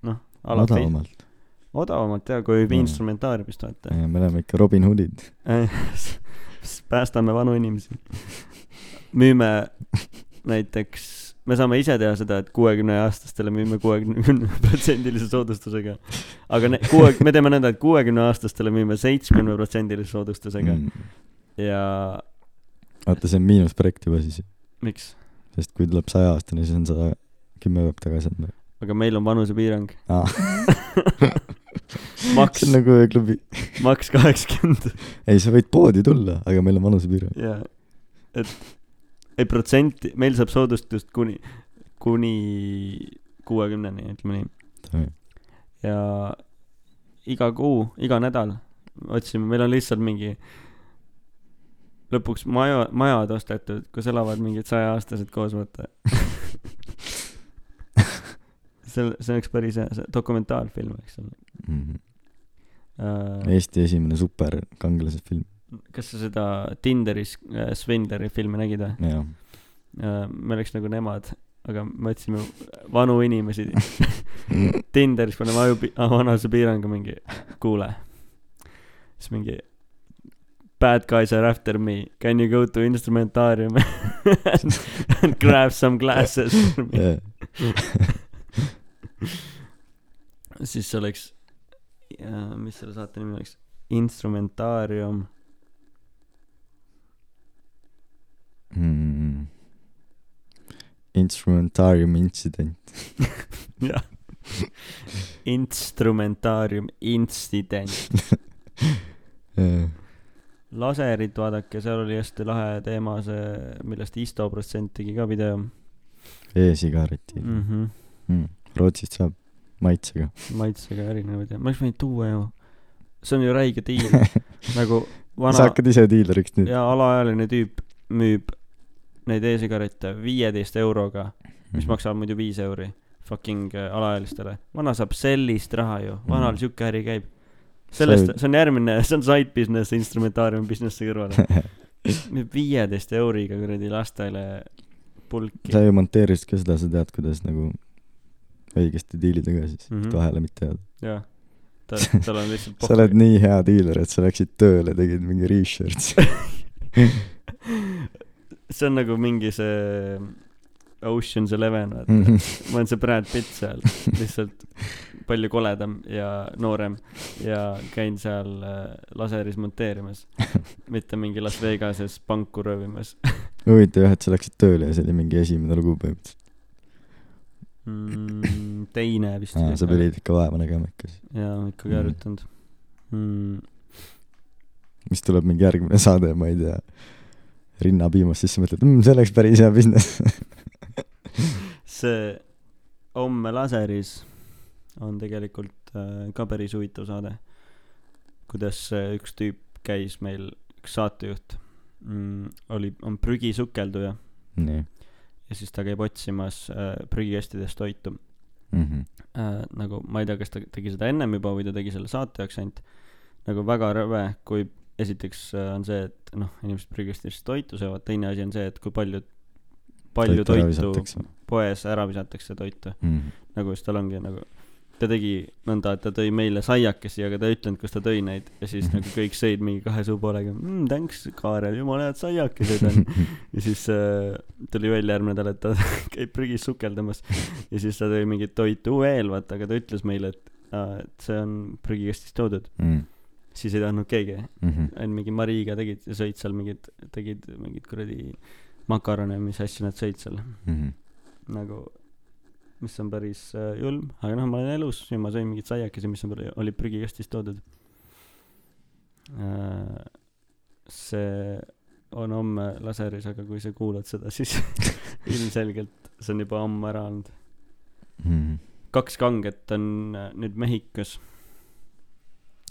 Speaker 2: noh , alati
Speaker 3: odavamalt .
Speaker 2: odavamalt ja kui
Speaker 3: Mm.
Speaker 2: mm. instrumentaariumist vaata *laughs*
Speaker 3: me oleme ikka Robin Hoodid .
Speaker 2: päästame vanu inimesi , müüme näiteks , me saame ise teha seda , et kuuekümne aastastele müüme kuuekümne protsendilise soodustusega , aga ne- kuue , me
Speaker 3: Mm.
Speaker 2: teeme nõnda , et kuuekümne aastastele müüme seitsmekümne protsendilise soodustusega ja
Speaker 3: Mhm. vaata , see on miinusprojekt juba siis ,
Speaker 2: miks ?
Speaker 3: sest kui tuleb sajaaastane , siis on sada kümme päeva tagasi .
Speaker 2: aga meil on vanusepiirang .
Speaker 3: Aa.
Speaker 2: maks
Speaker 3: *laughs* see , on nagu ööklubi .
Speaker 2: maks kaheksakümmend
Speaker 3: ei , sa võid poodi tulla , aga meil on vanusepiirang .
Speaker 2: ja et ei protsenti , meil saab soodustust kuni , kuni kuuekümneni , ütleme nii . ja iga kuu , iga nädal otsime , meil on lihtsalt mingi lõpuks maja , majad ostetud , kus elavad mingid sajaaastased koos , vaata . see , see oleks päris hea , see dokumentaalfilm , eks Mhm. ole .
Speaker 3: Eesti esimene superkangelase film ,
Speaker 2: kas sa seda Tinderis äh, Svindleri filmi nägid või ?
Speaker 3: jah .
Speaker 2: me oleks nagu nemad , aga me otsime vanu inimesi Tinderis paneme aju pi- , vanusepiirangu mingi , kuule . siis mingi bad guys are after me , can you go to instrumentarium *laughs* and, and grab some glasses for me . siis see oleks , mis selle saate nimi oleks , instrumentaarium , Mhm.
Speaker 3: mm. . Instrumentarium intsident .
Speaker 2: jah . instrumentaarium incident . laserit vaadake , seal oli hästi lahe teema see , millest Isto protsent tegi ka video
Speaker 3: E-sigareti
Speaker 2: mm . -hmm.
Speaker 3: mm. . Rootsist saab maitsega .
Speaker 2: maitsega erinevaid ja ma oleks võinud tuua ju . see on ju räige diil nagu
Speaker 3: sa
Speaker 2: vana
Speaker 3: hakkad ise diileriks nüüd ?
Speaker 2: ja alaealine tüüp müüb neid e-sigarette viieteist euroga ,
Speaker 3: Mhm.
Speaker 2: mis maksavad muidu viis euri fucking äh, alaealistele . vana saab sellist raha ju , vanal
Speaker 3: Mhm.
Speaker 2: mm. sihuke äri käib .
Speaker 3: Sa
Speaker 2: sellest ,
Speaker 3: ju-
Speaker 2: see on järgmine , see on side business , instrumentaariumi business'i kõrvale .
Speaker 3: *laughs*
Speaker 2: müüb viieteist euriga kuradi lastele pulki
Speaker 3: sa . ju monteerisid ka seda , sa tead , kuidas nagu õigesti diilida ka siis mm , -hmm.
Speaker 2: Mhm.
Speaker 3: et vahele mitte jääda .
Speaker 2: jah , ta , tal on lihtsalt
Speaker 3: *laughs* sa oled nii hea diiler , et sa läksid tööle , tegid mingi
Speaker 2: *laughs*
Speaker 3: research'i .
Speaker 2: see on nagu mingi see Ocean's Eleven , vaata . ma olen see Brad Pitt seal , lihtsalt palju koledam ja noorem ja käin seal äh, laseris monteerimas , mitte mingi Las Vegases panku röövimas
Speaker 3: huvitav jah , et sa läksid tööle ja see oli mingi esimene lugu põhimõtteliselt .
Speaker 2: mm, . teine vist .
Speaker 3: sa pidid ikka vaeva nägema ikka siis .
Speaker 2: jaa , ikkagi
Speaker 3: Mm.
Speaker 2: harjutanud mm. .
Speaker 3: mis tuleb mingi järgmine saade , ma ei tea , rinnapiimast , siis sa mõtled mmm, , see oleks päris hea business .
Speaker 2: see homme laseris on tegelikult äh, ka päris huvitav saade , kuidas äh, üks tüüp käis meil , üks saatejuht mm, oli , on prügisukelduja
Speaker 3: nii
Speaker 2: ja siis ta käib otsimas äh, prügikastidest toitu
Speaker 3: mm . -hmm.
Speaker 2: äh, . nagu ma ei tea , kas ta tegi seda ennem juba või ta tegi selle saate jaoks ainult . nagu väga rõve , kui esiteks äh, on see , et noh , inimesed prügikastidest toitu söövad , teine asi on see , et kui palju , palju
Speaker 3: Toitu ära
Speaker 2: toitu
Speaker 3: visatakse.
Speaker 2: poes ära visatakse toitu .
Speaker 3: Mm -hmm.
Speaker 2: nagu siis tal ongi nagu , ta tegi nõnda , et ta tõi meile saiakesi , aga ta ei ütelnud , kus ta tõi neid ja siis nagu kõik sõid mingi kahe suu poolega mm, . Thanks , Kaarel , jumala head saiakesed
Speaker 3: *laughs*
Speaker 2: on . ja siis äh, tuli välja järgmine nädal , et ta *laughs* käib prügis sukeldamas ja siis ta tõi mingit toitu veel , vaata , aga ta ütles meile , et äh, , et see on prügikastist toodud .
Speaker 3: Mm
Speaker 2: siis ei tahtnud keegi ,
Speaker 3: -hmm.
Speaker 2: ainult mingi Mariiga tegid ja sõid seal mingid , tegid mingeid kuradi makarone , mis asju nad sõid seal
Speaker 3: Mm
Speaker 1: Mhm.
Speaker 3: -hmm.
Speaker 2: nagu , mis on päris äh, julm , aga noh , ma olen elus ja ma sõin mingeid saiakesi , mis on , olid prügikastist toodud äh, . see on homme laseris , aga kui sa kuulad seda , siis *laughs* ilmselgelt see on juba ammu ära olnud .
Speaker 3: Mm -hmm.
Speaker 2: kaks kanget on äh, nüüd Mehhikos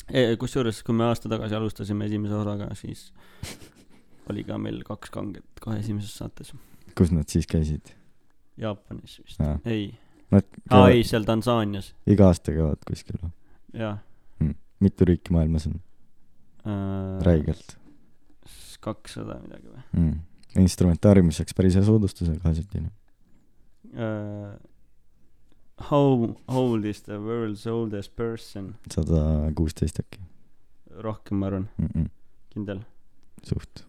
Speaker 2: e, . kusjuures , kui me aasta tagasi alustasime esimese osaga , siis oli ka meil kaks kanget kohe esimeses saates
Speaker 3: kus nad siis käisid ?
Speaker 2: Jaapanis vist
Speaker 3: Aa. ,
Speaker 2: ei
Speaker 3: Nad
Speaker 2: aa
Speaker 3: käivad
Speaker 2: ei , seal Tansaanias ,
Speaker 3: iga aasta käivad kuskil või ?
Speaker 2: jah
Speaker 3: mitu riiki maailmas on ?
Speaker 2: äh, .
Speaker 3: räigelt
Speaker 2: kakssada midagi või
Speaker 3: mm. . instrumentaariumis saaks päris hea soodustuse kaasati .
Speaker 2: äh, ? How old is the world's oldest person ?
Speaker 3: sada kuusteist äkki
Speaker 2: rohkem , ma arvan ,
Speaker 3: mm . -mm.
Speaker 2: kindel .
Speaker 3: suht .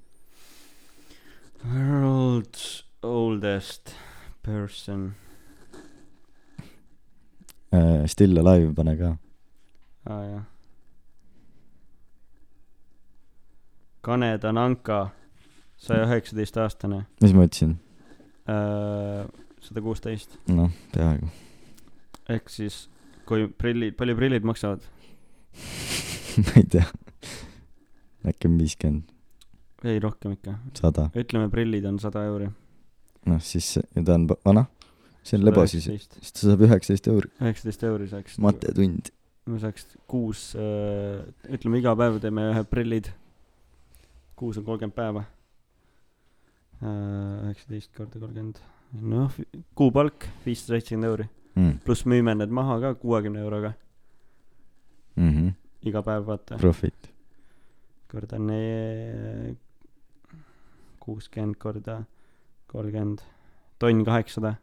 Speaker 2: World's oldest person
Speaker 3: Äh, Still Alive pane ka .
Speaker 2: ah, , jah . Kane Tananka saja üheksateist aastane ,
Speaker 3: mis ma ütlesin ?
Speaker 2: sada kuusteist ,
Speaker 3: noh , peaaegu . *laughs*
Speaker 2: ehk siis kui prillid , palju prillid maksavad ?
Speaker 3: ma ei tea . äkki on viiskümmend ,
Speaker 2: ei , rohkem ikka .
Speaker 3: sada ,
Speaker 2: ütleme , prillid on sada euri .
Speaker 3: noh siis see- ja ta on pa- vana , see on lebo siis , siis ta saab üheksateist euri ,
Speaker 2: üheksateist euri saaks ,
Speaker 3: matetund .
Speaker 2: ma saaks kuus , ütleme iga päev teeme ühe prillid . kuus on kolmkümmend päeva . üheksateist korda kolmkümmend , noh , kuupalk viissada seitsekümmend euri ,
Speaker 3: Mm
Speaker 2: pluss müüme need maha ka kuuekümne euroga
Speaker 3: -hmm.
Speaker 2: iga päev , vaata .
Speaker 3: Profit .
Speaker 2: korda ne- , kuuskümmend korda kolmkümmend , tonn kaheksasada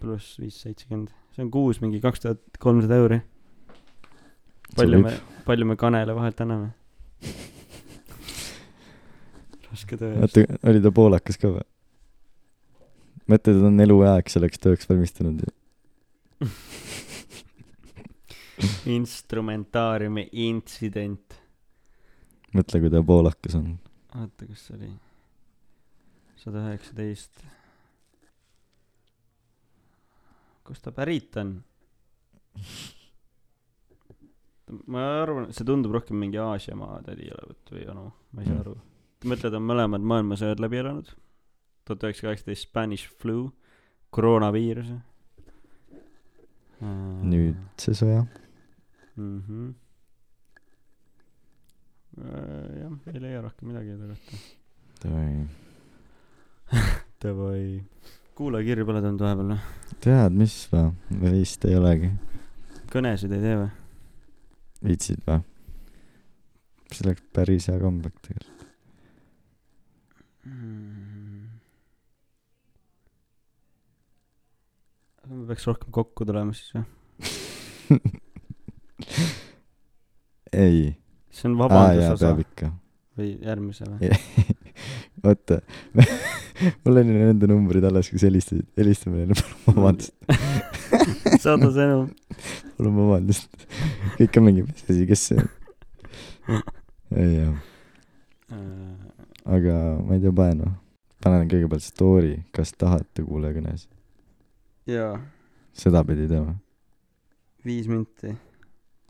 Speaker 2: pluss viis seitsekümmend , see on kuus mingi kaks tuhat kolmsada euri . palju me , palju me kanele vahelt anname ? raske töö .
Speaker 3: oota , oli ta poolakas ka või ? mõtle , ta on eluaeg selleks tööks *laughs* valmistunud ju .
Speaker 2: instrumentaariumi intsident .
Speaker 3: mõtle , kui ta poolakas on .
Speaker 2: oota , kas see oli sada üheksateist . kust ta pärit on ? ma arvan , see tundub rohkem mingi Aasia maa tädi olevat või onu , ma ei saa
Speaker 3: Mm.
Speaker 2: aru . mõtled , on mõlemad maailmasõjad läbi elanud . tuhat üheksasada kaheksateist Spanish flu , koroonaviiruse .
Speaker 3: nüüdse sõja .
Speaker 2: mhmh Äh, jah , ei leia rohkem midagi selle kohta . Davai . kuulajakirju pole tulnud vahepeal noh. või ?
Speaker 3: tead , mis või ? vist ei olegi .
Speaker 2: kõnesid ei tee või ?
Speaker 3: viitsid või ? see oleks päris hea comeback tegelikult .
Speaker 2: Mm. me peaks rohkem kokku tulema siis või ?
Speaker 3: ei .
Speaker 2: see on
Speaker 3: aa jaa ,
Speaker 2: vabandusosa
Speaker 3: peab ikka .
Speaker 2: või järgmise või ?
Speaker 3: *laughs* oota , mul on ju nende numbrid alles , kes helistasid , helistame neile , palun *laughs* vabandust ,
Speaker 2: *laughs* saada sõnum .
Speaker 3: palun vabandust . *laughs* kõik on mingi , mis asi , kes see on ?
Speaker 2: *laughs*
Speaker 3: ei jah .
Speaker 2: Äh,
Speaker 3: aga ma ei tea , panen või ? panen kõigepealt story , kas tahate kuulajakõnes ,
Speaker 2: jaa ,
Speaker 3: sedapidi teeme .
Speaker 2: viis minti .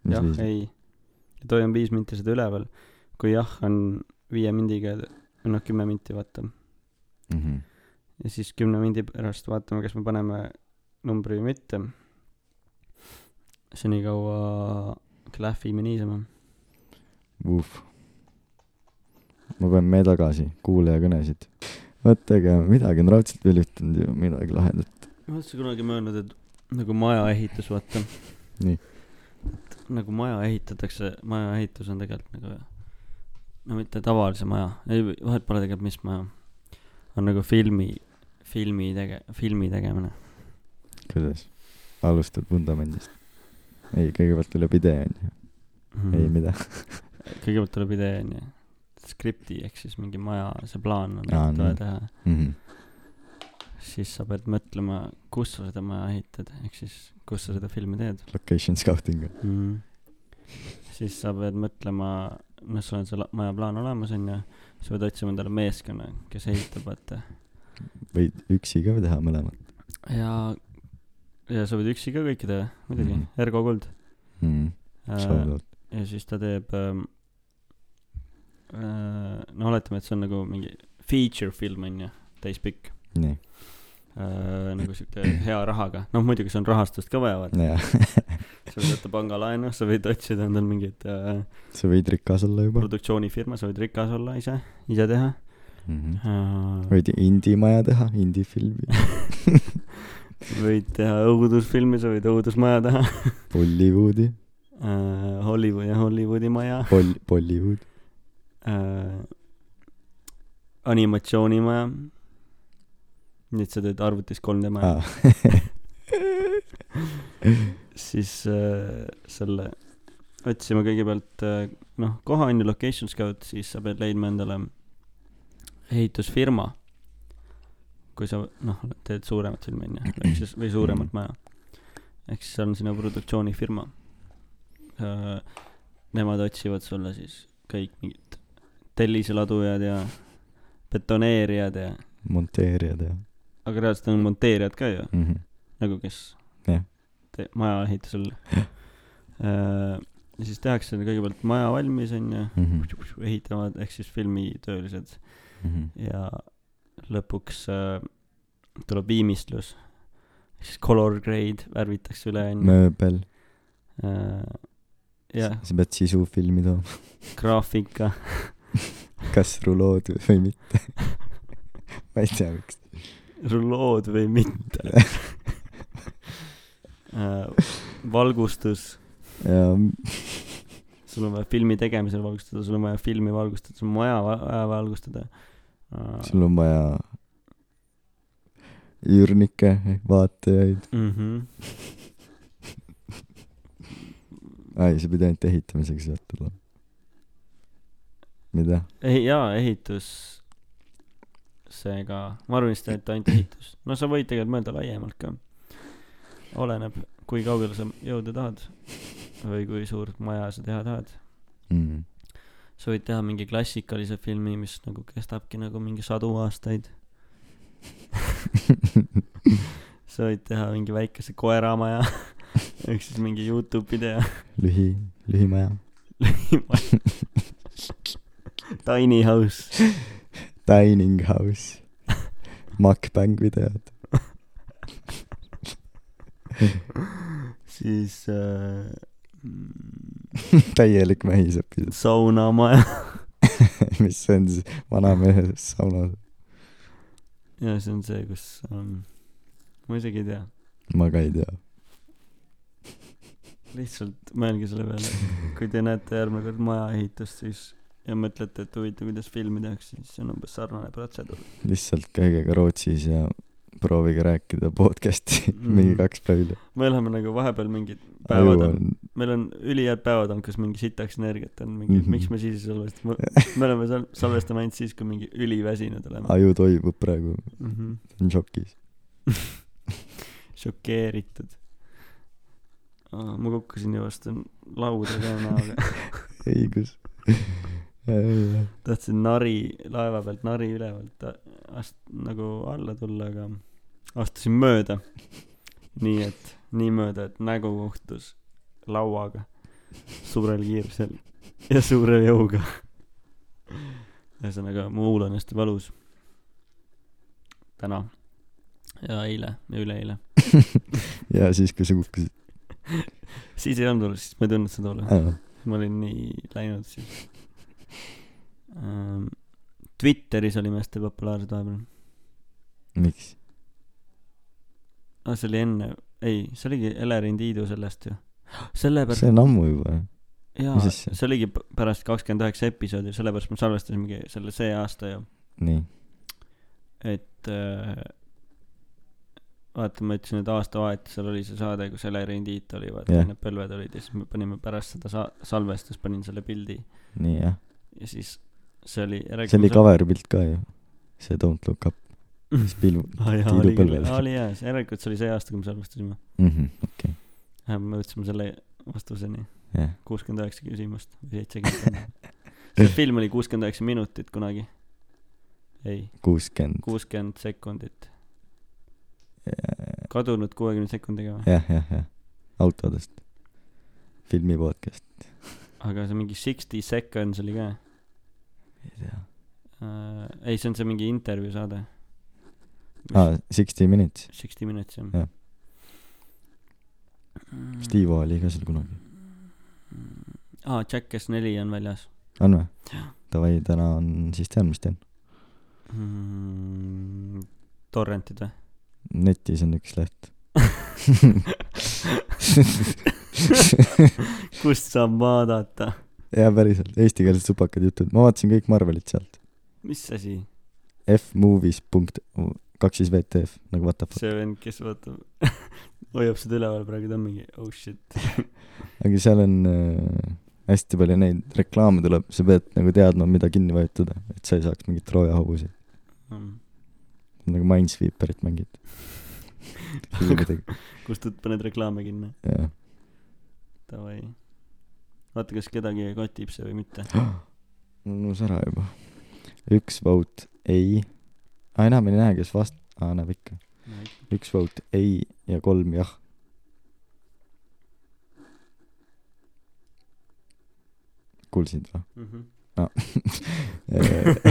Speaker 3: mis
Speaker 2: jah ,
Speaker 3: viis ?
Speaker 2: ei . too on viis minti seda üleval . kui jah on viie mindiga , noh kümme minti vaata
Speaker 3: Mhm.
Speaker 2: ja siis kümne mindi pärast vaatame , kas me paneme numbri või mitte . senikaua klähvime niisama .
Speaker 3: Vuh . ma panen meie tagasi , kuulajakõnesid . vaata , ega midagi on raudselt veel juhtunud ju , midagi lahedat .
Speaker 2: ma olen kunagi mõelnud , et nagu maja ehitus , vaata .
Speaker 3: Nii. .
Speaker 2: nagu maja ehitatakse , maja ehitus on tegelikult nagu , no mitte tavalise maja , ei vahet pole tegelikult , mis maja . on nagu filmi , filmi tege- , filmi tegemine .
Speaker 3: kuidas ? alustad vundamendist . ei , kõigepealt tuleb idee onju , ei .
Speaker 2: Mhm.
Speaker 3: midagi .
Speaker 2: Hmm. kõigepealt tuleb idee , onju . skripti ehk siis mingi maja , see plaan on
Speaker 3: Aa,
Speaker 2: vaja
Speaker 3: nii.
Speaker 2: teha siis sa pead mõtlema , kus sa seda maja ehitad , ehk siis kus sa seda filmi teed
Speaker 3: Location scouting .
Speaker 2: mm. . siis sa pead mõtlema , noh , sul on see la- maja plaan olemas , onju , sa pead otsima endale meeskonna , kes ehitab , vaata .
Speaker 3: võid üksi ka teha mõlemat
Speaker 2: ja , ja sa võid üksi ka kõike teha , muidugi
Speaker 3: Mhm.
Speaker 2: mm. , Ergo Kuld
Speaker 3: mm, .
Speaker 2: äh, . ja siis ta teeb ähm, , äh, no oletame , et see on nagu mingi feature film , onju , täispikk
Speaker 3: nii ,
Speaker 2: äh, , nagu sihuke hea rahaga , noh muidugi see on rahastust ka vaja , vaata .
Speaker 3: jaa .
Speaker 2: sa võid võtta pangalaenu , sa võid otsida endale mingit äh,
Speaker 3: sa võid rikas olla juba
Speaker 2: produktsioonifirma , sa võid rikas olla ise , ise teha
Speaker 3: mm . -hmm.
Speaker 2: äh, .
Speaker 3: võid indie maja teha , indie filmi ,
Speaker 2: võid teha õudusfilmi , sa võid õudusmaja teha
Speaker 3: Bollywoodi ,
Speaker 2: äh, . Hollywood ja Hollywoodi maja
Speaker 3: Bol- , Bollywood ,
Speaker 2: äh, . animatsioonimaja . nii et sa teed arvutis 3D maja
Speaker 3: aa ,
Speaker 2: ah. , siis äh, selle , otsime kõigepealt äh, noh , koha on ju location scout , siis sa pead leidma endale ehitusfirma . kui sa noh , teed suuremat filmi onju , ehk siis või suuremat maja . ehk siis on sinu produktsioonifirma . Äh, Nemad otsivad sulle siis kõik mingid telliseladujad ja betoneerijad ja ,
Speaker 3: monteerijad ja
Speaker 2: aga reaalselt on monteerijad ka ju ,
Speaker 3: mm . -hmm.
Speaker 2: nagu kes
Speaker 3: Jah.
Speaker 2: te- maja ehitusel äh, . ja siis tehakse kõigepealt maja valmis onju ,
Speaker 3: Mm -hmm.
Speaker 2: ehitavad ehk siis filmitöölised
Speaker 3: Mm -hmm.
Speaker 2: ja lõpuks äh, tuleb viimistlus . siis color grade värvitakse üle onju .
Speaker 3: mööbel ,
Speaker 2: jah ,
Speaker 3: sa pead sisu filmi tooma ,
Speaker 2: graafika ,
Speaker 3: kas rulood või mitte . ma ei tea , miks .
Speaker 2: rulood või mitte äh, . valgustus ,
Speaker 3: ja
Speaker 2: sul on vaja filmi tegemisel valgustada , sul on vaja filmi valgustada , sul on maja va- vaja valgustada äh, .
Speaker 3: sul on vaja üürnikke , vaatajaid ,
Speaker 2: Mm -hmm.
Speaker 3: ai , sa pidid ainult ehitamisega sealt tulema . mida ?
Speaker 2: ei jaa , ehitus , seega , ma arvan vist , et ainult ehitus . no sa võid tegelikult mõelda laiemalt ka . oleneb , kui kaugele sa jõuda tahad või kui suurt maja sa teha tahad .
Speaker 3: mm. .
Speaker 2: sa võid teha mingi klassikalise filmi , mis nagu kestabki nagu mingi sadu *laughs* aastaid . sa võid teha mingi väikese koeramaja *laughs* ehk siis mingi Youtube video .
Speaker 3: lühi , lühimaja .
Speaker 2: *laughs* Tiny house .
Speaker 3: Dining house . *laughs* Mukbang videod .
Speaker 2: siis äh, mm,
Speaker 3: *laughs* täielik mähisepiis ,
Speaker 2: saunamaja *laughs*
Speaker 3: mis on siis vanamehe saunas .
Speaker 2: ja see on see , kus um, ma isegi ei tea ,
Speaker 3: ma ka ei tea .
Speaker 2: lihtsalt mõelge selle peale , kui te näete järgmine kord maja ehitust , siis ja mõtlete , et huvitav , kuidas filmi tehakse , siis see on umbes sarnane protseduur .
Speaker 3: lihtsalt käige ka Rootsis ja proovige rääkida podcast'i *laughs*
Speaker 2: Mhm.
Speaker 3: mingi kaks päeva .
Speaker 2: me oleme nagu vahepeal mingid
Speaker 3: aju
Speaker 2: päevad on ,
Speaker 3: on ,
Speaker 2: meil on ülihead päevad on , kus mingi sitaks energiat on , mingi mm
Speaker 3: Mhm.
Speaker 2: -hmm. miks me siis ei salvesta , me oleme sal- , salvestame ainult siis , kui mingi üliväsinud oleme
Speaker 3: aju toibub praegu ,
Speaker 2: mm . -hmm.
Speaker 3: on šokis .
Speaker 2: šokeeritud . ma kukkusin ja vastan lauda ka näoga .
Speaker 3: õigus .
Speaker 2: tahtsin nari , laeva pealt nari ülevalt a- ast- , nagu alla tulla , aga astusin mööda . nii et , nii mööda , et nägu kohtus lauaga suurel kiirusel ja suure jõuga . ühesõnaga , mu huul on hästi valus . täna ja eile ja üleeile .
Speaker 3: *laughs* ja siis , kui sa kukkusid .
Speaker 2: siis ei olnud valus , siis ma ei tundnud seda valu . ma olin nii läinud siis . Twitteris olime hästi populaarsed vahepeal .
Speaker 3: miks ?
Speaker 2: aa , see oli enne , ei , see oligi Elering Tiidu sellest ju . sellepärast
Speaker 3: see , on ammu juba .
Speaker 2: jaa ,
Speaker 3: mis asja?
Speaker 2: see oligi p- pärast kakskümmend üheksa episoodi , sellepärast me salvestasimegi selle see aasta ju ,
Speaker 3: nii .
Speaker 2: et äh, vaata , ma ütlesin , et aastavahetusel oli see saade , kus Elering Tiit oli , vaata
Speaker 3: Jah.
Speaker 2: yeah. need põlved olid ja siis me panime pärast seda sa- , salvestust panin selle pildi
Speaker 3: nii jah .
Speaker 2: ja siis see oli .
Speaker 3: see oli . cover pilt ka ju . see Don't look up ,
Speaker 2: Mhm.
Speaker 3: mis pilv- .
Speaker 2: aa jaa ,
Speaker 3: Tiidu
Speaker 2: oli küll ,
Speaker 3: põlvel.
Speaker 2: oli jaa , see järelikult see oli see aasta , kui me salvestasime .
Speaker 3: Mhm. okei ,
Speaker 2: me jõudsime selle vastuseni ,
Speaker 3: jah .
Speaker 2: kuuskümmend üheksa küsimust või seitsekümmend .
Speaker 3: *laughs*
Speaker 2: see film oli kuuskümmend üheksa minutit kunagi . ei ,
Speaker 3: kuuskümmend .
Speaker 2: kuuskümmend sekundit , kadunud kuuekümne sekundiga või ?
Speaker 3: jah , jah , jah . autodest . filmi podcast .
Speaker 2: aga see mingi sixty seconds oli ka
Speaker 3: ei tea .
Speaker 2: uh, . ei , see on see mingi intervjuu saade .
Speaker 3: aa , Ah, Sixty Minutes .
Speaker 2: Sixty minutes jah Mm.
Speaker 3: Jah. .
Speaker 2: Mhm.
Speaker 3: Steve O oli ka seal kunagi .
Speaker 2: aa , Jackass neli on väljas
Speaker 3: on vä ? Davai , täna on , siis tean , mis teen .
Speaker 2: mm, . torrentid
Speaker 3: *laughs*
Speaker 2: või ?
Speaker 3: netis on üks leht .
Speaker 2: *laughs* kust saab vaadata ?
Speaker 3: jaa , päriselt , eestikeelsed supakad jutud , ma vaatasin kõik Marvelit sealt .
Speaker 2: mis asi ?
Speaker 3: Fmovies punkt kaks siis VTF , nagu what the fuck .
Speaker 2: see vend , kes vaatab , *laughs* hoiab seda üleval praegu , ta on mingi oh shit .
Speaker 3: aga seal on äh, hästi palju neid reklaame tuleb , sa pead nagu teadma , mida kinni vajutada , et sa ei saaks mingeid Trooja hobuseid ,
Speaker 2: Mm.
Speaker 3: nagu Minesweeperit mängid . filmidega ,
Speaker 2: kust ta- paned reklaame kinni ,
Speaker 3: jah .
Speaker 2: davai . vaata , kas kedagi kotib see või mitte .
Speaker 3: mul unus ära juba . üks vote ei . aa , enam ei näe , kes vast- , aa , näeb ikka . üks vote ei ja kolm jah . kuulsid või ?
Speaker 2: Mhm.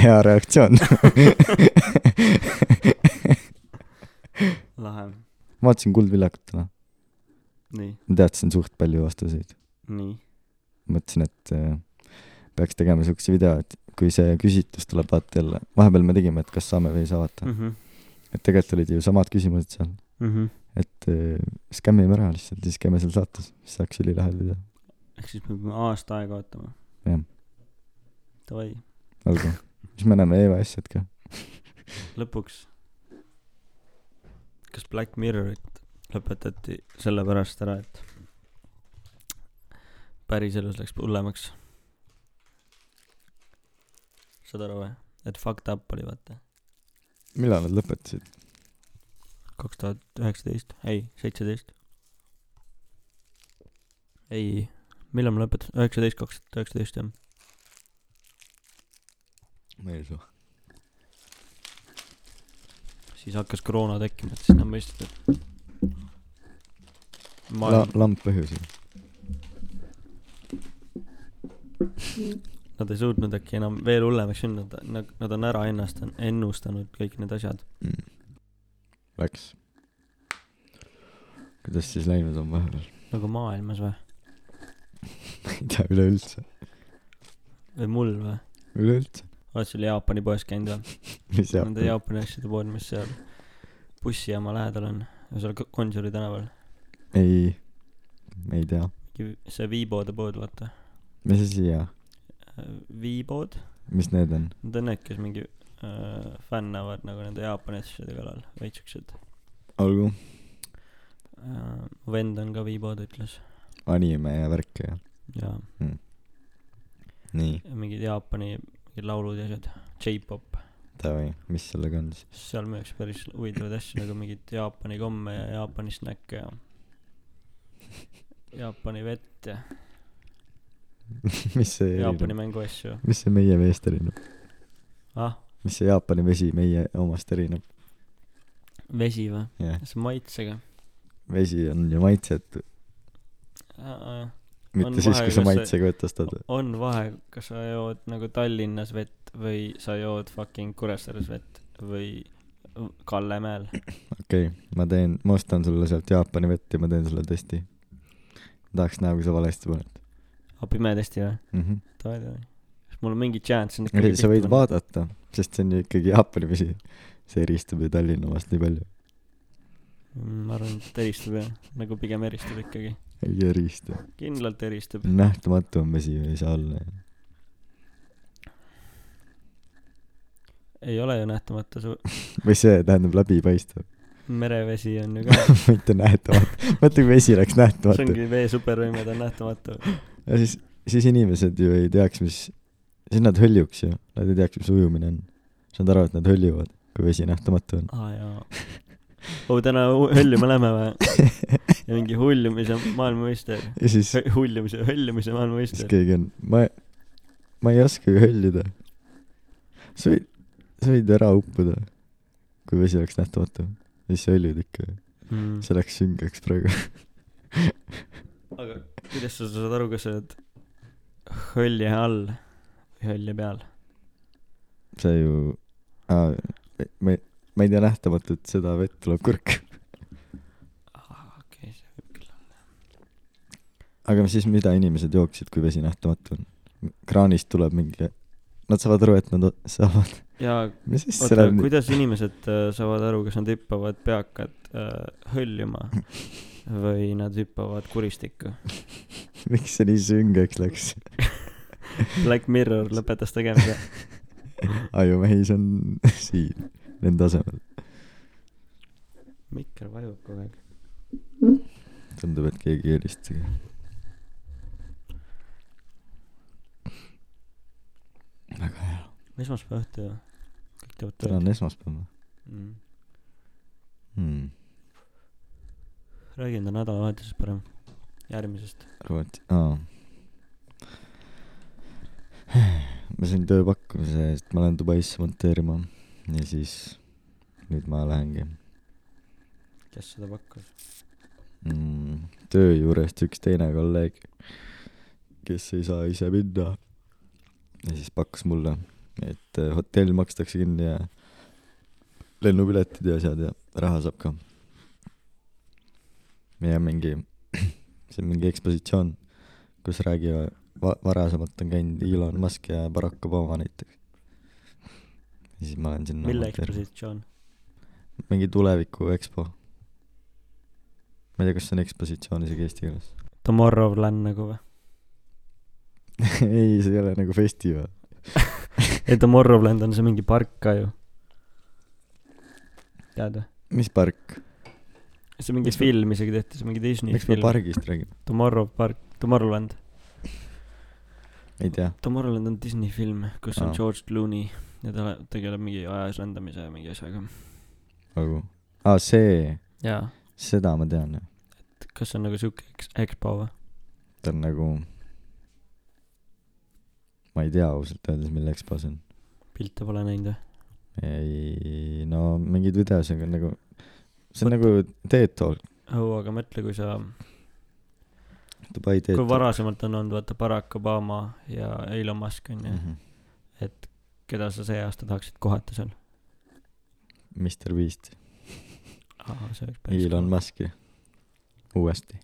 Speaker 3: hea reaktsioon .
Speaker 2: lahe ,
Speaker 3: vaatasin Kuldvillakut täna ,
Speaker 2: nii ,
Speaker 3: teadsin suht palju vastuseid .
Speaker 2: nii ,
Speaker 3: mõtlesin , et äh, peaks tegema siukse video , et kui see küsitlus tuleb vaata jälle , vahepeal me tegime , et kas saame või ei saa vaata .
Speaker 2: Mhm.
Speaker 3: et tegelikult olid ju samad küsimused seal , et äh, skämm ime ära lihtsalt , siis käime seal saates , siis saaks ülilahe video .
Speaker 2: ehk siis me peame aasta aega ootama .
Speaker 3: Jah. .
Speaker 2: Davai ,
Speaker 3: olgu , siis me näeme EVS-et ka .
Speaker 2: lõpuks . kas Black Mirrorit lõpetati sellepärast ära , et päriselus läks hullemaks ? saad aru või ? et fucked up oli vaata ,
Speaker 3: millal nad lõpetasid ?
Speaker 2: kaks tuhat üheksateist , ei , seitseteist . ei , millal ma lõpetasin , üheksateist , kaks tuhat üheksateist jah .
Speaker 3: ma ei usu .
Speaker 2: siis hakkas koroona tekkima , et siis nad mõistsid , et
Speaker 3: La-
Speaker 2: maailm ,
Speaker 3: lamp põhjusel .
Speaker 2: nad ei suutnud äkki enam veel hullemaks minna , nad , nad on ära ennastanud , ennustanud kõik need asjad .
Speaker 3: Mm. Läks . kuidas siis läinud on *laughs* vahepeal ?
Speaker 2: nagu maailmas või ,
Speaker 3: ei tea üleüldse ,
Speaker 2: või mul või ?
Speaker 3: üleüldse .
Speaker 2: oled seal Jaapani poes käinud või ?
Speaker 3: mis jah
Speaker 2: Nende ? Jaapani asjade pood , mis seal bussijaama lähedal on , seal Ko- Gonsiori tänaval .
Speaker 3: ei , ei tea .
Speaker 2: see Viibode pood , vaata .
Speaker 3: mis asi ja ,
Speaker 2: Viibod ,
Speaker 3: mis need on ?
Speaker 2: need on need , kes mingi äh, fännavad nagu nende Jaapani asjade kallal , veits siuksed
Speaker 3: olgu .
Speaker 2: äh, . mu vend on ka Viibod , ütles .
Speaker 3: anime ja värke ja .
Speaker 2: jaa
Speaker 3: nii ,
Speaker 2: Ja mingid Jaapani mingid laulud ja asjad , J-pop ,
Speaker 3: davai , mis sellega on siis ? *laughs*
Speaker 2: seal müüakse päris huvitavaid asju nagu mingit Jaapani komme ja Jaapani snäkke ja Jaapani vett ja
Speaker 3: mis see
Speaker 2: Jaapani
Speaker 3: erineb ?
Speaker 2: mänguasju .
Speaker 3: mis see meie veest erineb ?
Speaker 2: ah ,
Speaker 3: mis see Jaapani vesi meie omast erineb ?
Speaker 2: vesi või ?
Speaker 3: jah ,
Speaker 2: see on maitsega .
Speaker 3: vesi on ju maitsetu ,
Speaker 2: On
Speaker 3: mitte siis ,
Speaker 2: vahe,
Speaker 3: kui sa
Speaker 2: kas see-
Speaker 3: maitsega vett ostad .
Speaker 2: Ah, on vahe , kas sa jood nagu Tallinnas vett või sa jood fucking Kuressaares vett või Kallemäel .
Speaker 3: okei okay, , ma teen , ma ostan sulle sealt Jaapani vett ja ma teen sulle testi . tahaks näha , kui sa valesti paned
Speaker 2: aa , pime testi või ?
Speaker 3: mm . -hmm.
Speaker 2: Oh, davai , davai . kas mul on mingi chance ?
Speaker 3: ei , sa võid . vaadata , sest see on ju ikkagi Jaapani vesi . see eristub ju Tallinna omast nii palju .
Speaker 2: Mm, ma arvan , et eristub jah , nagu pigem eristub ikkagi .
Speaker 3: ei erista .
Speaker 2: kindlalt eristub .
Speaker 3: Mm. nähtamatu on vesi ju , ei saa olla ju .
Speaker 2: ei ole ju nähtamatu su- ,
Speaker 3: või see tähendab läbipaistev ,
Speaker 2: merevesi on ju
Speaker 3: *laughs*
Speaker 2: ka ,
Speaker 3: mitte nähtamatu . mõtle , kui vesi läks
Speaker 2: see
Speaker 3: nähtamatu
Speaker 2: ongi vee supervõimed on nähtamatu .
Speaker 3: ja siis , siis inimesed ju ei teaks , mis , siis nad hõljuks ju , nad ei teaks , mis ujumine on . Nad arvavad , et nad hõljuvad , kui vesi nähtamatu on .
Speaker 2: aa jaa . oo , täna hu- hõljuma lähme
Speaker 3: *laughs*
Speaker 2: või ? ja mingi huljumise maailmameister ,
Speaker 3: ja siis
Speaker 2: huljumise , hõljumise
Speaker 3: siis
Speaker 2: maailmameister .
Speaker 3: keegi on , ma , ma ei oska ju hõljuda . sa võid , sa võid ära uppuda , kui vesi oleks nähtamatu . siis sa hõljud ikka ,
Speaker 2: Mm.
Speaker 3: see läks süngeks praegu . *laughs*
Speaker 2: aga kuidas sa saad aru , kas sa oled hõlje all või hõlje peal ?
Speaker 3: see ju , ma , ma ei tea nähtamatut , seda vett tuleb kurk .
Speaker 2: okei , see võib küll olla .
Speaker 3: aga siis mida inimesed jooksid , kui vesi nähtamatu on ? kraanist tuleb mingi , nad saavad aru , et nad o- saavad ,
Speaker 2: jaa ,
Speaker 3: mis siis
Speaker 2: oota
Speaker 3: seal , on ?
Speaker 2: kuidas inimesed äh, saavad aru , kas nad hüppavad peakad äh, hõljuma või nad hüppavad kuristikku ?
Speaker 3: miks see nii süngeks läks ?
Speaker 2: Black Mirror lõpetas tegemise .
Speaker 3: ajumehis on *laughs* siin , nende asemel .
Speaker 2: mikker vajub kogu aeg .
Speaker 3: tundub , et keegi ei helista . väga hea .
Speaker 2: esmaspäeva õhtu ju . kõik teevad
Speaker 3: täna
Speaker 2: tööd
Speaker 3: on . esmaspäev või
Speaker 2: Mm.
Speaker 3: hmm. ?
Speaker 2: räägi enda nädalavahetusest parem . järgmisest .
Speaker 3: Rootsi , aa . ma sain tööpakkumise , et ma lähen Dubaisse monteerima ja siis nüüd ma lähengi
Speaker 2: kes seda pakkus ?
Speaker 3: mm, . töö juurest üks teine kolleeg , kes ei saa ise minna . ja siis pakkus mulle , et eh, hotell makstakse kinni ja lennupiletid ja asjad ja raha saab ka . ja mingi , *clears throat* see on mingi ekspositsioon , kus räägivad , va- , varasemalt on käinud Elon Musk ja Barack Obama näiteks . ja siis ma lähen sinna .
Speaker 2: mille ? ekspositsioon ?
Speaker 3: mingi tuleviku EXPO . ma ei tea , kas see on ekspositsioon isegi eesti keeles .
Speaker 2: Tomorrowland nagu või ?
Speaker 3: *laughs* ei , see ei ole nagu festival .
Speaker 2: ei , Tomorrowland on see mingi park ka ju . tead või ?
Speaker 3: mis park ?
Speaker 2: see mingi
Speaker 3: Miks me-
Speaker 2: film isegi tehti , see mingi Disney
Speaker 3: miks me
Speaker 2: film .
Speaker 3: pargist räägime ?
Speaker 2: Tomorrow park , Tomorrowland .
Speaker 3: ei tea .
Speaker 2: Tomorrowland on Disney film , kus on
Speaker 3: Aa.
Speaker 2: George Clooney ja ta ole- tegeleb mingi ajas lendamise ja mingi asjaga .
Speaker 3: nagu , aa see ,
Speaker 2: jaa ,
Speaker 3: seda ma tean ju .
Speaker 2: kas see on nagu siuke eks- , EXPO või ?
Speaker 3: ta on nagu , ma ei tea ausalt öeldes , mille EXPO see on .
Speaker 2: pilte pole näinud või ?
Speaker 3: ei , no mingeid videosid on nagu , see on nagu TED Talk ,
Speaker 2: oo , aga mõtle , kui sa ,
Speaker 3: Dubai TED
Speaker 2: kui
Speaker 3: Talk .
Speaker 2: varasemalt on olnud vaata Barack Obama ja Elon Musk onju ,
Speaker 3: Mhm.
Speaker 2: et keda sa see aasta tahaksid kohata seal ?
Speaker 3: Mr Beast ,
Speaker 2: ahah , see oleks päris
Speaker 3: Elon . Musk'i , uuesti .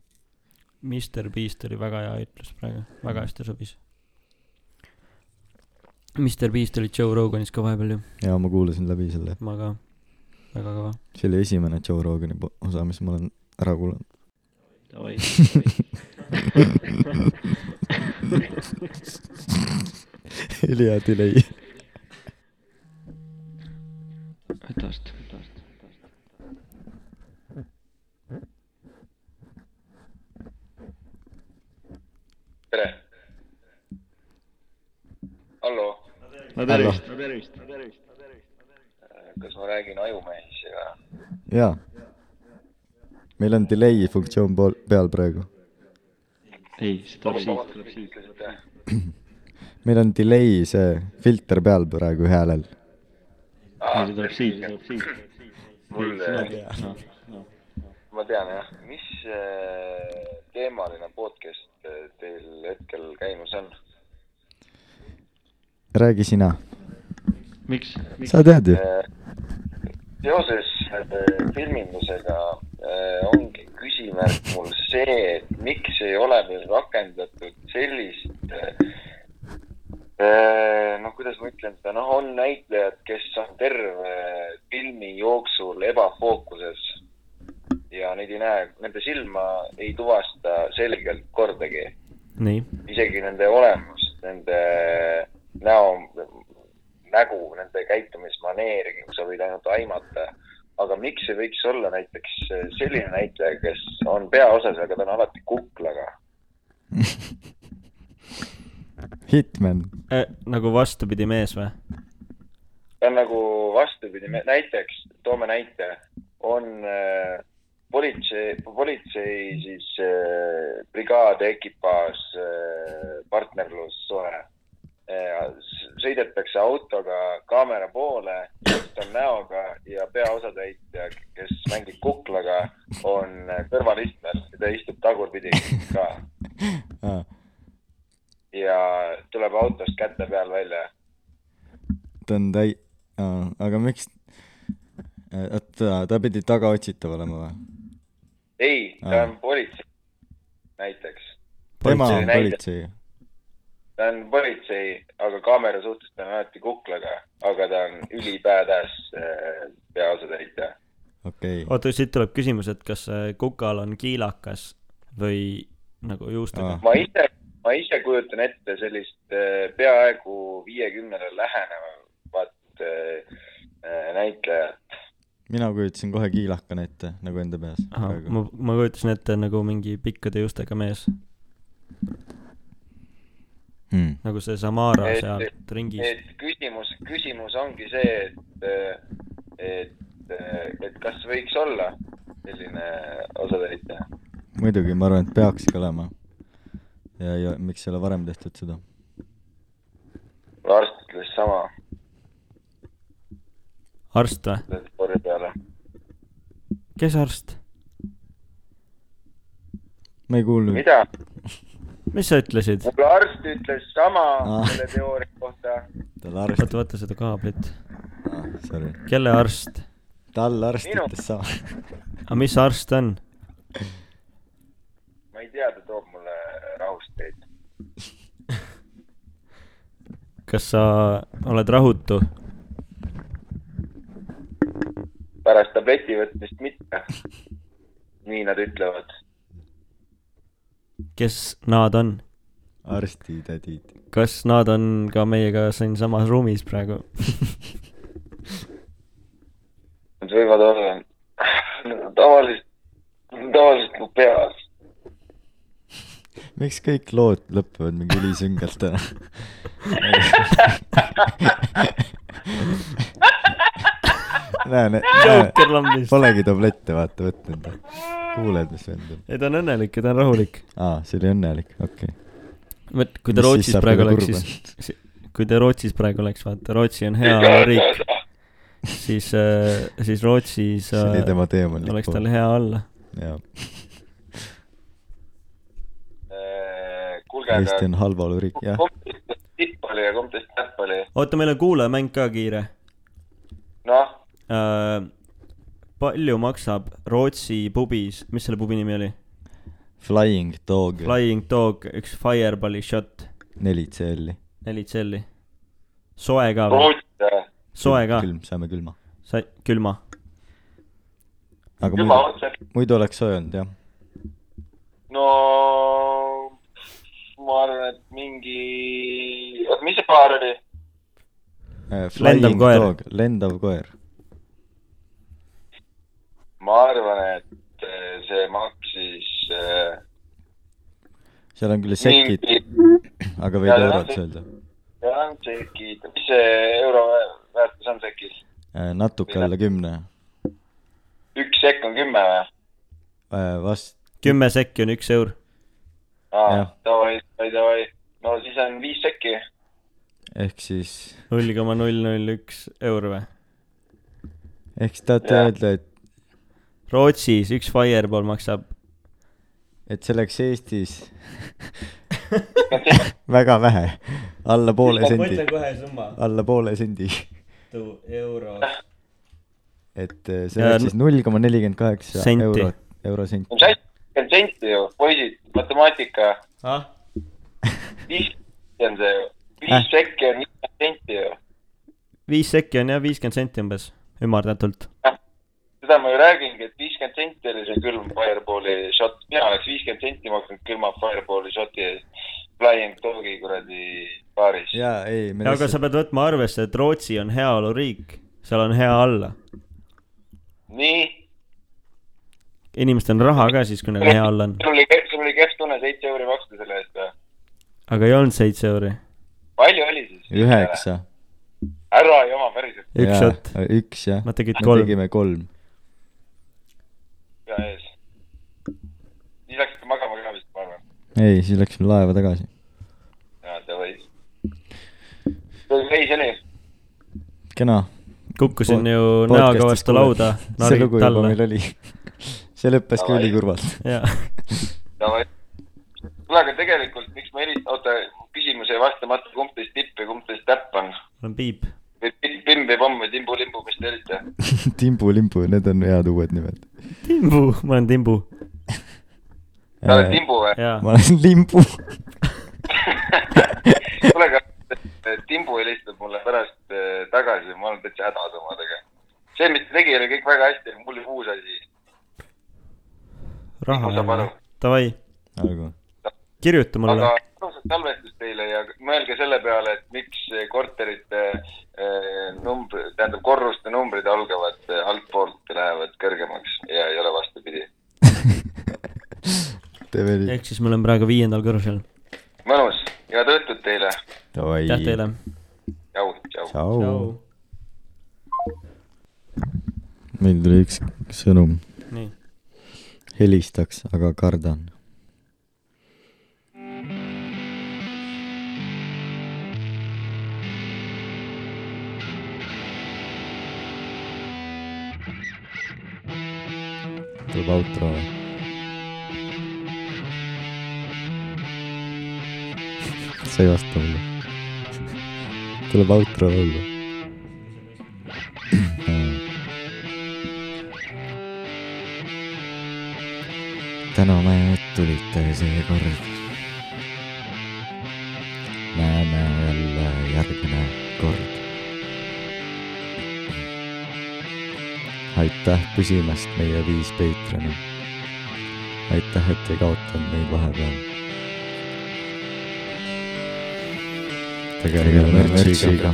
Speaker 2: Mr Beast oli väga hea ütlus praegu , väga hästi sobis . Mr Beast oli Joe Roganis ka vahepeal ju ,
Speaker 3: ja ma kuulasin läbi selle ,
Speaker 2: ma ka , väga kõva .
Speaker 3: see oli esimene Joe Rogani po- osa , mis ma olen ära kuulanud . *laughs* ülihea delay .
Speaker 4: tere . hallo ,
Speaker 3: hallo ,
Speaker 4: Äh, kas ma räägin ajumehega ?
Speaker 3: jaa . meil on delay funktsioon pool , peal praegu .
Speaker 4: vabandust , mis ütlesite ?
Speaker 3: meil on delay see filter peal praegu häälel .
Speaker 4: mul , ma tean jah , mis äh, teemaline podcast äh, teil hetkel käimas on ?
Speaker 3: räägi sina . miks ? sa tead ju ,
Speaker 4: Äh, seoses äh, filmindusega äh, ongi küsimärk mul see , et miks ei ole veel rakendatud sellist äh, noh , kuidas ma ütlen seda , noh , on näitlejad , kes on terve filmi jooksul ebafookuses ja neid ei näe , nende silma ei tuvasta selgelt kordagi ,
Speaker 2: nii ,
Speaker 4: isegi nende olemust , nende näo , nägu , nende käitumismaneeri , sa võid ainult aimata . aga miks ei võiks olla näiteks selline näitleja , kes on peaosas , aga ta on alati kuklaga ?
Speaker 3: *laughs* Hitman .
Speaker 2: nagu vastupidi mees või ?
Speaker 4: ta on nagu vastupidi , näiteks toome näite , on äh, politsei , politsei siis äh, brigaade ekipaaž äh, , partnerlussuhe äh, . sõidetakse autoga kaamera poole , ta on näoga ja peaosatäitja , kes mängib kuklaga , on äh, kõrvalistmel ja ta istub tagurpidi ka ja tuleb autost käte peal välja
Speaker 3: ta on täi- , aga miks , oota , ta pidi tagaotsitav olema või ?
Speaker 4: ei , ta
Speaker 3: Aa.
Speaker 4: on politsei , näiteks .
Speaker 3: tema on
Speaker 4: Politsei-
Speaker 3: politsei .
Speaker 4: ta on politsei , aga kaamera suhtes ta on alati kuklaga , aga ta on ülipäädas äh, peaosatäitja .
Speaker 3: okei okay. ,
Speaker 2: oota , siit tuleb küsimus , et kas äh, kukal on kiilakas või nagu juustega
Speaker 3: Aa. ?
Speaker 4: ma ise , ma ise kujutan ette sellist äh, peaaegu viiekümnele lähenevat äh, äh, näitlejat .
Speaker 3: mina kujutasin kohe kiilakana ette nagu enda peas
Speaker 2: ahah ,
Speaker 3: praegu .
Speaker 2: ma , ma kujutasin ette nagu mingi pikkade juustega mees ,
Speaker 3: Hmm.
Speaker 2: nagu see Samara sealt ringist .
Speaker 4: et küsimus , küsimus ongi see , et , et , et kas võiks olla selline äh, osatäitja ?
Speaker 3: muidugi , ma arvan , et peakski olema . ja , ja miks ei ole varem tehtud seda ?
Speaker 4: varsti sama
Speaker 2: arst või ?
Speaker 4: selle spordi peale .
Speaker 2: kes arst ?
Speaker 3: ma ei kuulnud .
Speaker 4: mida ?
Speaker 2: mis sa ütlesid ?
Speaker 4: mulle arst ütles sama
Speaker 3: Ah.
Speaker 4: selle teooria kohta .
Speaker 3: tal arst ,
Speaker 2: oota , vaata seda kaablit .
Speaker 3: sorry ,
Speaker 2: kelle arst ?
Speaker 3: tal arst
Speaker 4: Minu.
Speaker 3: ütles sama .
Speaker 2: aga mis arst on ?
Speaker 4: ma ei tea , ta toob mulle rahusteid .
Speaker 2: kas sa oled rahutu ?
Speaker 4: pärast tableti võtmist mitte . nii nad ütlevad .
Speaker 2: kes nad on ?
Speaker 3: arstitädid .
Speaker 2: kas nad on ka meiega siin samas ruumis praegu ?
Speaker 4: Nad võivad olla , nad on tavaliselt , tavaliselt mu peas .
Speaker 3: miks kõik lood lõpevad mingi ülisüngalt ära ? näe , näe ,
Speaker 2: Joker lambist .
Speaker 3: polegi tablette vaata võtnud . kuuled , mis vend on ?
Speaker 2: ei , ta on õnnelik ja ta on rahulik .
Speaker 3: aa , see oli õnnelik , okei okay. .
Speaker 2: vot , kui ta Rootsis praegu
Speaker 3: nagu
Speaker 2: oleks , siis ,.
Speaker 3: eh?
Speaker 2: *laughs* kui ta Rootsis praegu oleks , vaata , Rootsi on hea riik , siis , siis Rootsis
Speaker 3: see oli
Speaker 2: äh,
Speaker 3: tema teemalik
Speaker 2: oleks tal . hea olla .
Speaker 3: jaa ,
Speaker 4: Äh, kuulge ,
Speaker 3: Eesti
Speaker 4: aga
Speaker 3: on halb oluriik , jah .
Speaker 4: kumb teist tippalli ja kumb teist näppalli ?
Speaker 2: oota , meil on kuulajamäng ka kiire
Speaker 4: noh ,
Speaker 2: äh, . palju maksab Rootsi pubis , mis selle pubi nimi oli ?
Speaker 3: Flying Dog ,
Speaker 2: Flying Dog , üks Fireballi shot ,
Speaker 3: neli tselli .
Speaker 2: neli tselli . soe ka või ?
Speaker 4: Rootsi ,
Speaker 2: soe ka ,
Speaker 3: külm , saame külma .
Speaker 2: sai , külma .
Speaker 3: aga
Speaker 4: juba
Speaker 3: muidu ,
Speaker 4: otse ,
Speaker 3: muidu oleks soe olnud , jah .
Speaker 4: no ma arvan , et mingi , oot , mis see paar oli ?
Speaker 2: Lendav
Speaker 3: Äh, Flying
Speaker 2: koer.
Speaker 3: Dog , lendav koer .
Speaker 4: ma arvan , et eh, see maksis äh,
Speaker 3: seal on küll sekid ,
Speaker 4: mingi ,
Speaker 3: aga võib
Speaker 4: Jaa, jaa.
Speaker 3: eurodes öelda .
Speaker 4: jah , sekid , mis see euro vä- väärtus on sekis ?
Speaker 3: Äh, natuke alla kümne .
Speaker 4: üks sekk on kümme või ?
Speaker 3: Äh, vast ,
Speaker 2: kümme sekki on üks eur .
Speaker 4: aa
Speaker 3: Jah. ,
Speaker 4: Ah, davai , davai , davai , no siis on viis sekki ,
Speaker 3: ehk siis ,
Speaker 2: null koma null null üks eur või ?
Speaker 3: ehk siis tahate
Speaker 4: Jah.
Speaker 3: öelda , et ,
Speaker 2: Rootsis üks Fireball maksab
Speaker 3: et see läks
Speaker 2: *laughs*
Speaker 3: Eestis väga vähe , alla poole
Speaker 2: ma
Speaker 3: sendi
Speaker 2: mõtlen , kohe summa .
Speaker 3: alla poole sendi .
Speaker 2: mitu euro .
Speaker 3: et eh, see
Speaker 2: Ja
Speaker 3: oleks siis null koma nelikümmend kaheksa
Speaker 2: Senti.
Speaker 3: eurot , eurosenti .
Speaker 4: on seitsekümmend senti ju , poisid , matemaatika ,
Speaker 2: ah ,
Speaker 4: viis sekki
Speaker 3: Äh.
Speaker 4: on see ju , viis sekki on viiskümmend senti ju ,
Speaker 2: viis sekki on jah , viiskümmend senti umbes , ümardatult .
Speaker 4: seda ma ju räägingi , et viiskümmend senti oli see külm Fireballi shot , mina oleks viiskümmend senti maksnud külma Fireballi shot'i eest Flying Dogi kuradi baaris .
Speaker 3: jaa , ei , me
Speaker 2: ja aga sa
Speaker 3: lihtsalt ,
Speaker 2: pead võtma arvesse , et Rootsi on heaoluriik , seal on hea olla .
Speaker 4: nii ,
Speaker 2: inimestel on raha ka siis , kui neil hea olla on ,
Speaker 4: sul oli , sul oli kehv tunne seitse euri maksta selle eest või ?
Speaker 2: aga ei olnud seitse euri ,
Speaker 4: palju oli siis ?
Speaker 3: üheksa .
Speaker 4: ära jama päriselt
Speaker 2: Üks shot. .
Speaker 3: üks jah .
Speaker 2: nad tegid
Speaker 3: me
Speaker 2: kolm .
Speaker 3: tegime kolm .
Speaker 4: pea ees . siis läksite magama ka vist , ma arvan .
Speaker 3: ei , siis läksime laeva tagasi .
Speaker 4: jaa , davai . reis oli ,
Speaker 3: kena .
Speaker 2: kukkusin ju näoga vastu lauda ,
Speaker 3: *laughs* see
Speaker 2: nargid
Speaker 3: lugu juba meil
Speaker 2: talle .
Speaker 3: oli . see lõppes ka
Speaker 4: Ai.
Speaker 3: ülikurvalt . *laughs*
Speaker 2: jaa ,
Speaker 4: davai . kuule , aga tegelikult , miks ma helistan , oota , küsimus jäi vastamata , kumb teist tipp ja kumb teist täpp on ?
Speaker 2: mul on piip .
Speaker 4: või pim- pimm või pomm või timbu-limbu , mis te olite ?
Speaker 3: timbu-limbu , need on head uued nimed .
Speaker 2: Timbu , ma olen Timbu ,
Speaker 4: sa oled timbu või ?
Speaker 2: jaa .
Speaker 3: Äh, ma olen *laughs* limbu .
Speaker 4: kuule , aga eh, Timbu helistab mulle pärast eh, tagasi , ma olen täitsa hädas omadega . see , mis ta tegi , oli kõik väga hästi , aga mul oli uus asi .
Speaker 2: raha
Speaker 4: Timbu saab
Speaker 2: on
Speaker 4: aru. ,
Speaker 2: davai ,
Speaker 3: olgu .
Speaker 2: kirjuta mulle
Speaker 4: aga . ilusat salvestust teile ja mõelge selle peale , et miks korterite eh, numbr- , tähendab korruste numbrid algavad eh, altpoolt , lähevad kõrgemaks ja ei ole vastupidi .
Speaker 3: teeme nii .
Speaker 2: ehk siis me oleme praegu viiendal korrusel .
Speaker 4: mõnus , head õhtut teile .
Speaker 2: aitäh teile .
Speaker 4: tšau , tšau .
Speaker 3: tšau . meil tuli üks sõnum .
Speaker 2: nii ,
Speaker 3: helistaks , aga kardan . tuleb outro või ? sa ei vasta mulle . tuleb outro laulu . täname , et tulite seekord . näeme jälle järgmine kord . aitäh püsimast , meie viis Patreoni . aitäh , et ei kaotanud meid vahepeal . tegeleme
Speaker 1: Tegeleme
Speaker 3: mürtsiga .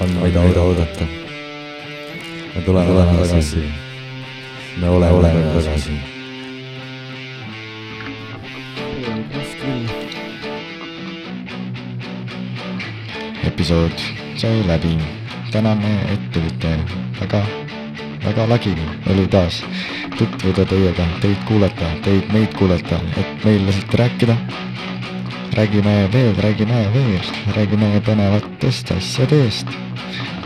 Speaker 3: on , mida oda- oodata . me tuleme
Speaker 1: tuleme
Speaker 3: tagasi . me oleme
Speaker 1: oleme
Speaker 3: tagasi
Speaker 1: tagasi. . episood sai läbi . täname , et tulite , väga , väga lagi oli taas tutvuda teiega , teid kuulata , teid meid kuulata , et meil lasite rääkida . räägime veel , räägime veel , räägime põnevatest asjadest .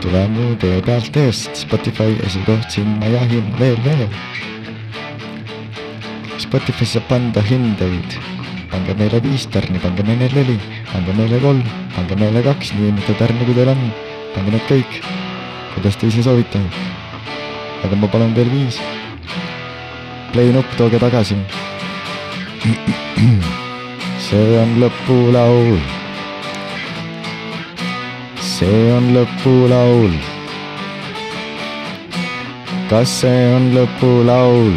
Speaker 1: tule mu tee pealt eest , Spotify esikoht , sinna jahin veel , veel . Spotify saab anda hindeid , pange meile viis tärni , pange meile neli , pange meile kolm , pange meile kaks , nii mitu tärni , kui teil on , pange need kõik , kuidas te ise soovite . aga ma palun teil viis . play nupp tooge tagasi . *clears throat* see on lõpulaul . see on lõpulaul . kas see on lõpulaul ?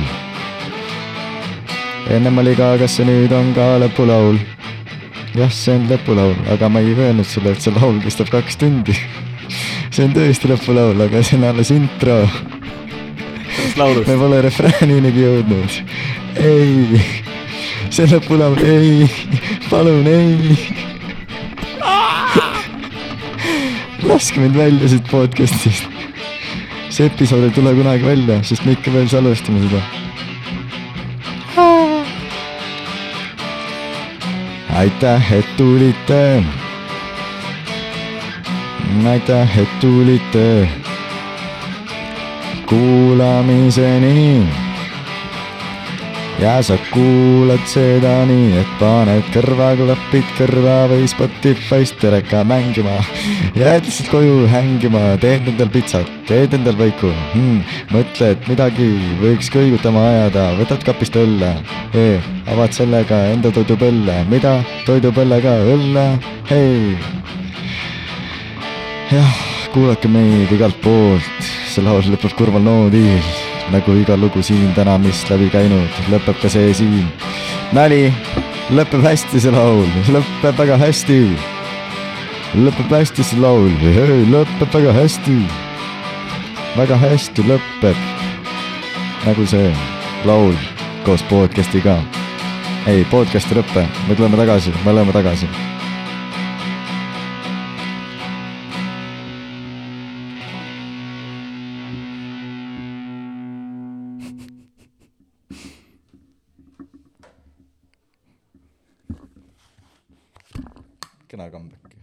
Speaker 1: ennem oli ka , kas see nüüd on ka lõpulaul ? jah , see on lõpulaul , aga ma ei öelnud sulle , et see laul kestab kaks tundi . *laughs* see on tõesti lõpulaul , aga see on alles intro
Speaker 2: laulust
Speaker 1: me . pole refrääninigi jõudnud . ei , see lõpulaul , ei , palun ei . *laughs* laske mind välja siit podcast'ist . see episood ei tule kunagi välja , sest me ikka veel salvestame seda . aitäh , et tulite . aitäh , et tulite kuulamiseni . ja sa kuulad seda nii , et paned kõrvaklapid kõrva või Spotify'st teleka mängima . jääd lihtsalt koju hängima , teed endal pitsat , teed endal võiku hmm, . mõtled midagi võiks kõigutama ajada , võtad kapist õlle e, . avad sellega enda toidupõlle , mida toidupõllega õlle , hei jah , kuulake meid igalt poolt , see laul lõpeb kurval noodil , nagu iga lugu siin täna , mis läbi käinud , lõpeb ka see siin . nali , lõpeb hästi see laul , lõpeb väga hästi . lõpeb hästi see laul , lõpeb väga hästi . väga hästi lõpeb , nagu see laul koos podcast'iga . ei , podcast ei lõpe , me tuleme tagasi , me oleme tagasi kena comeback .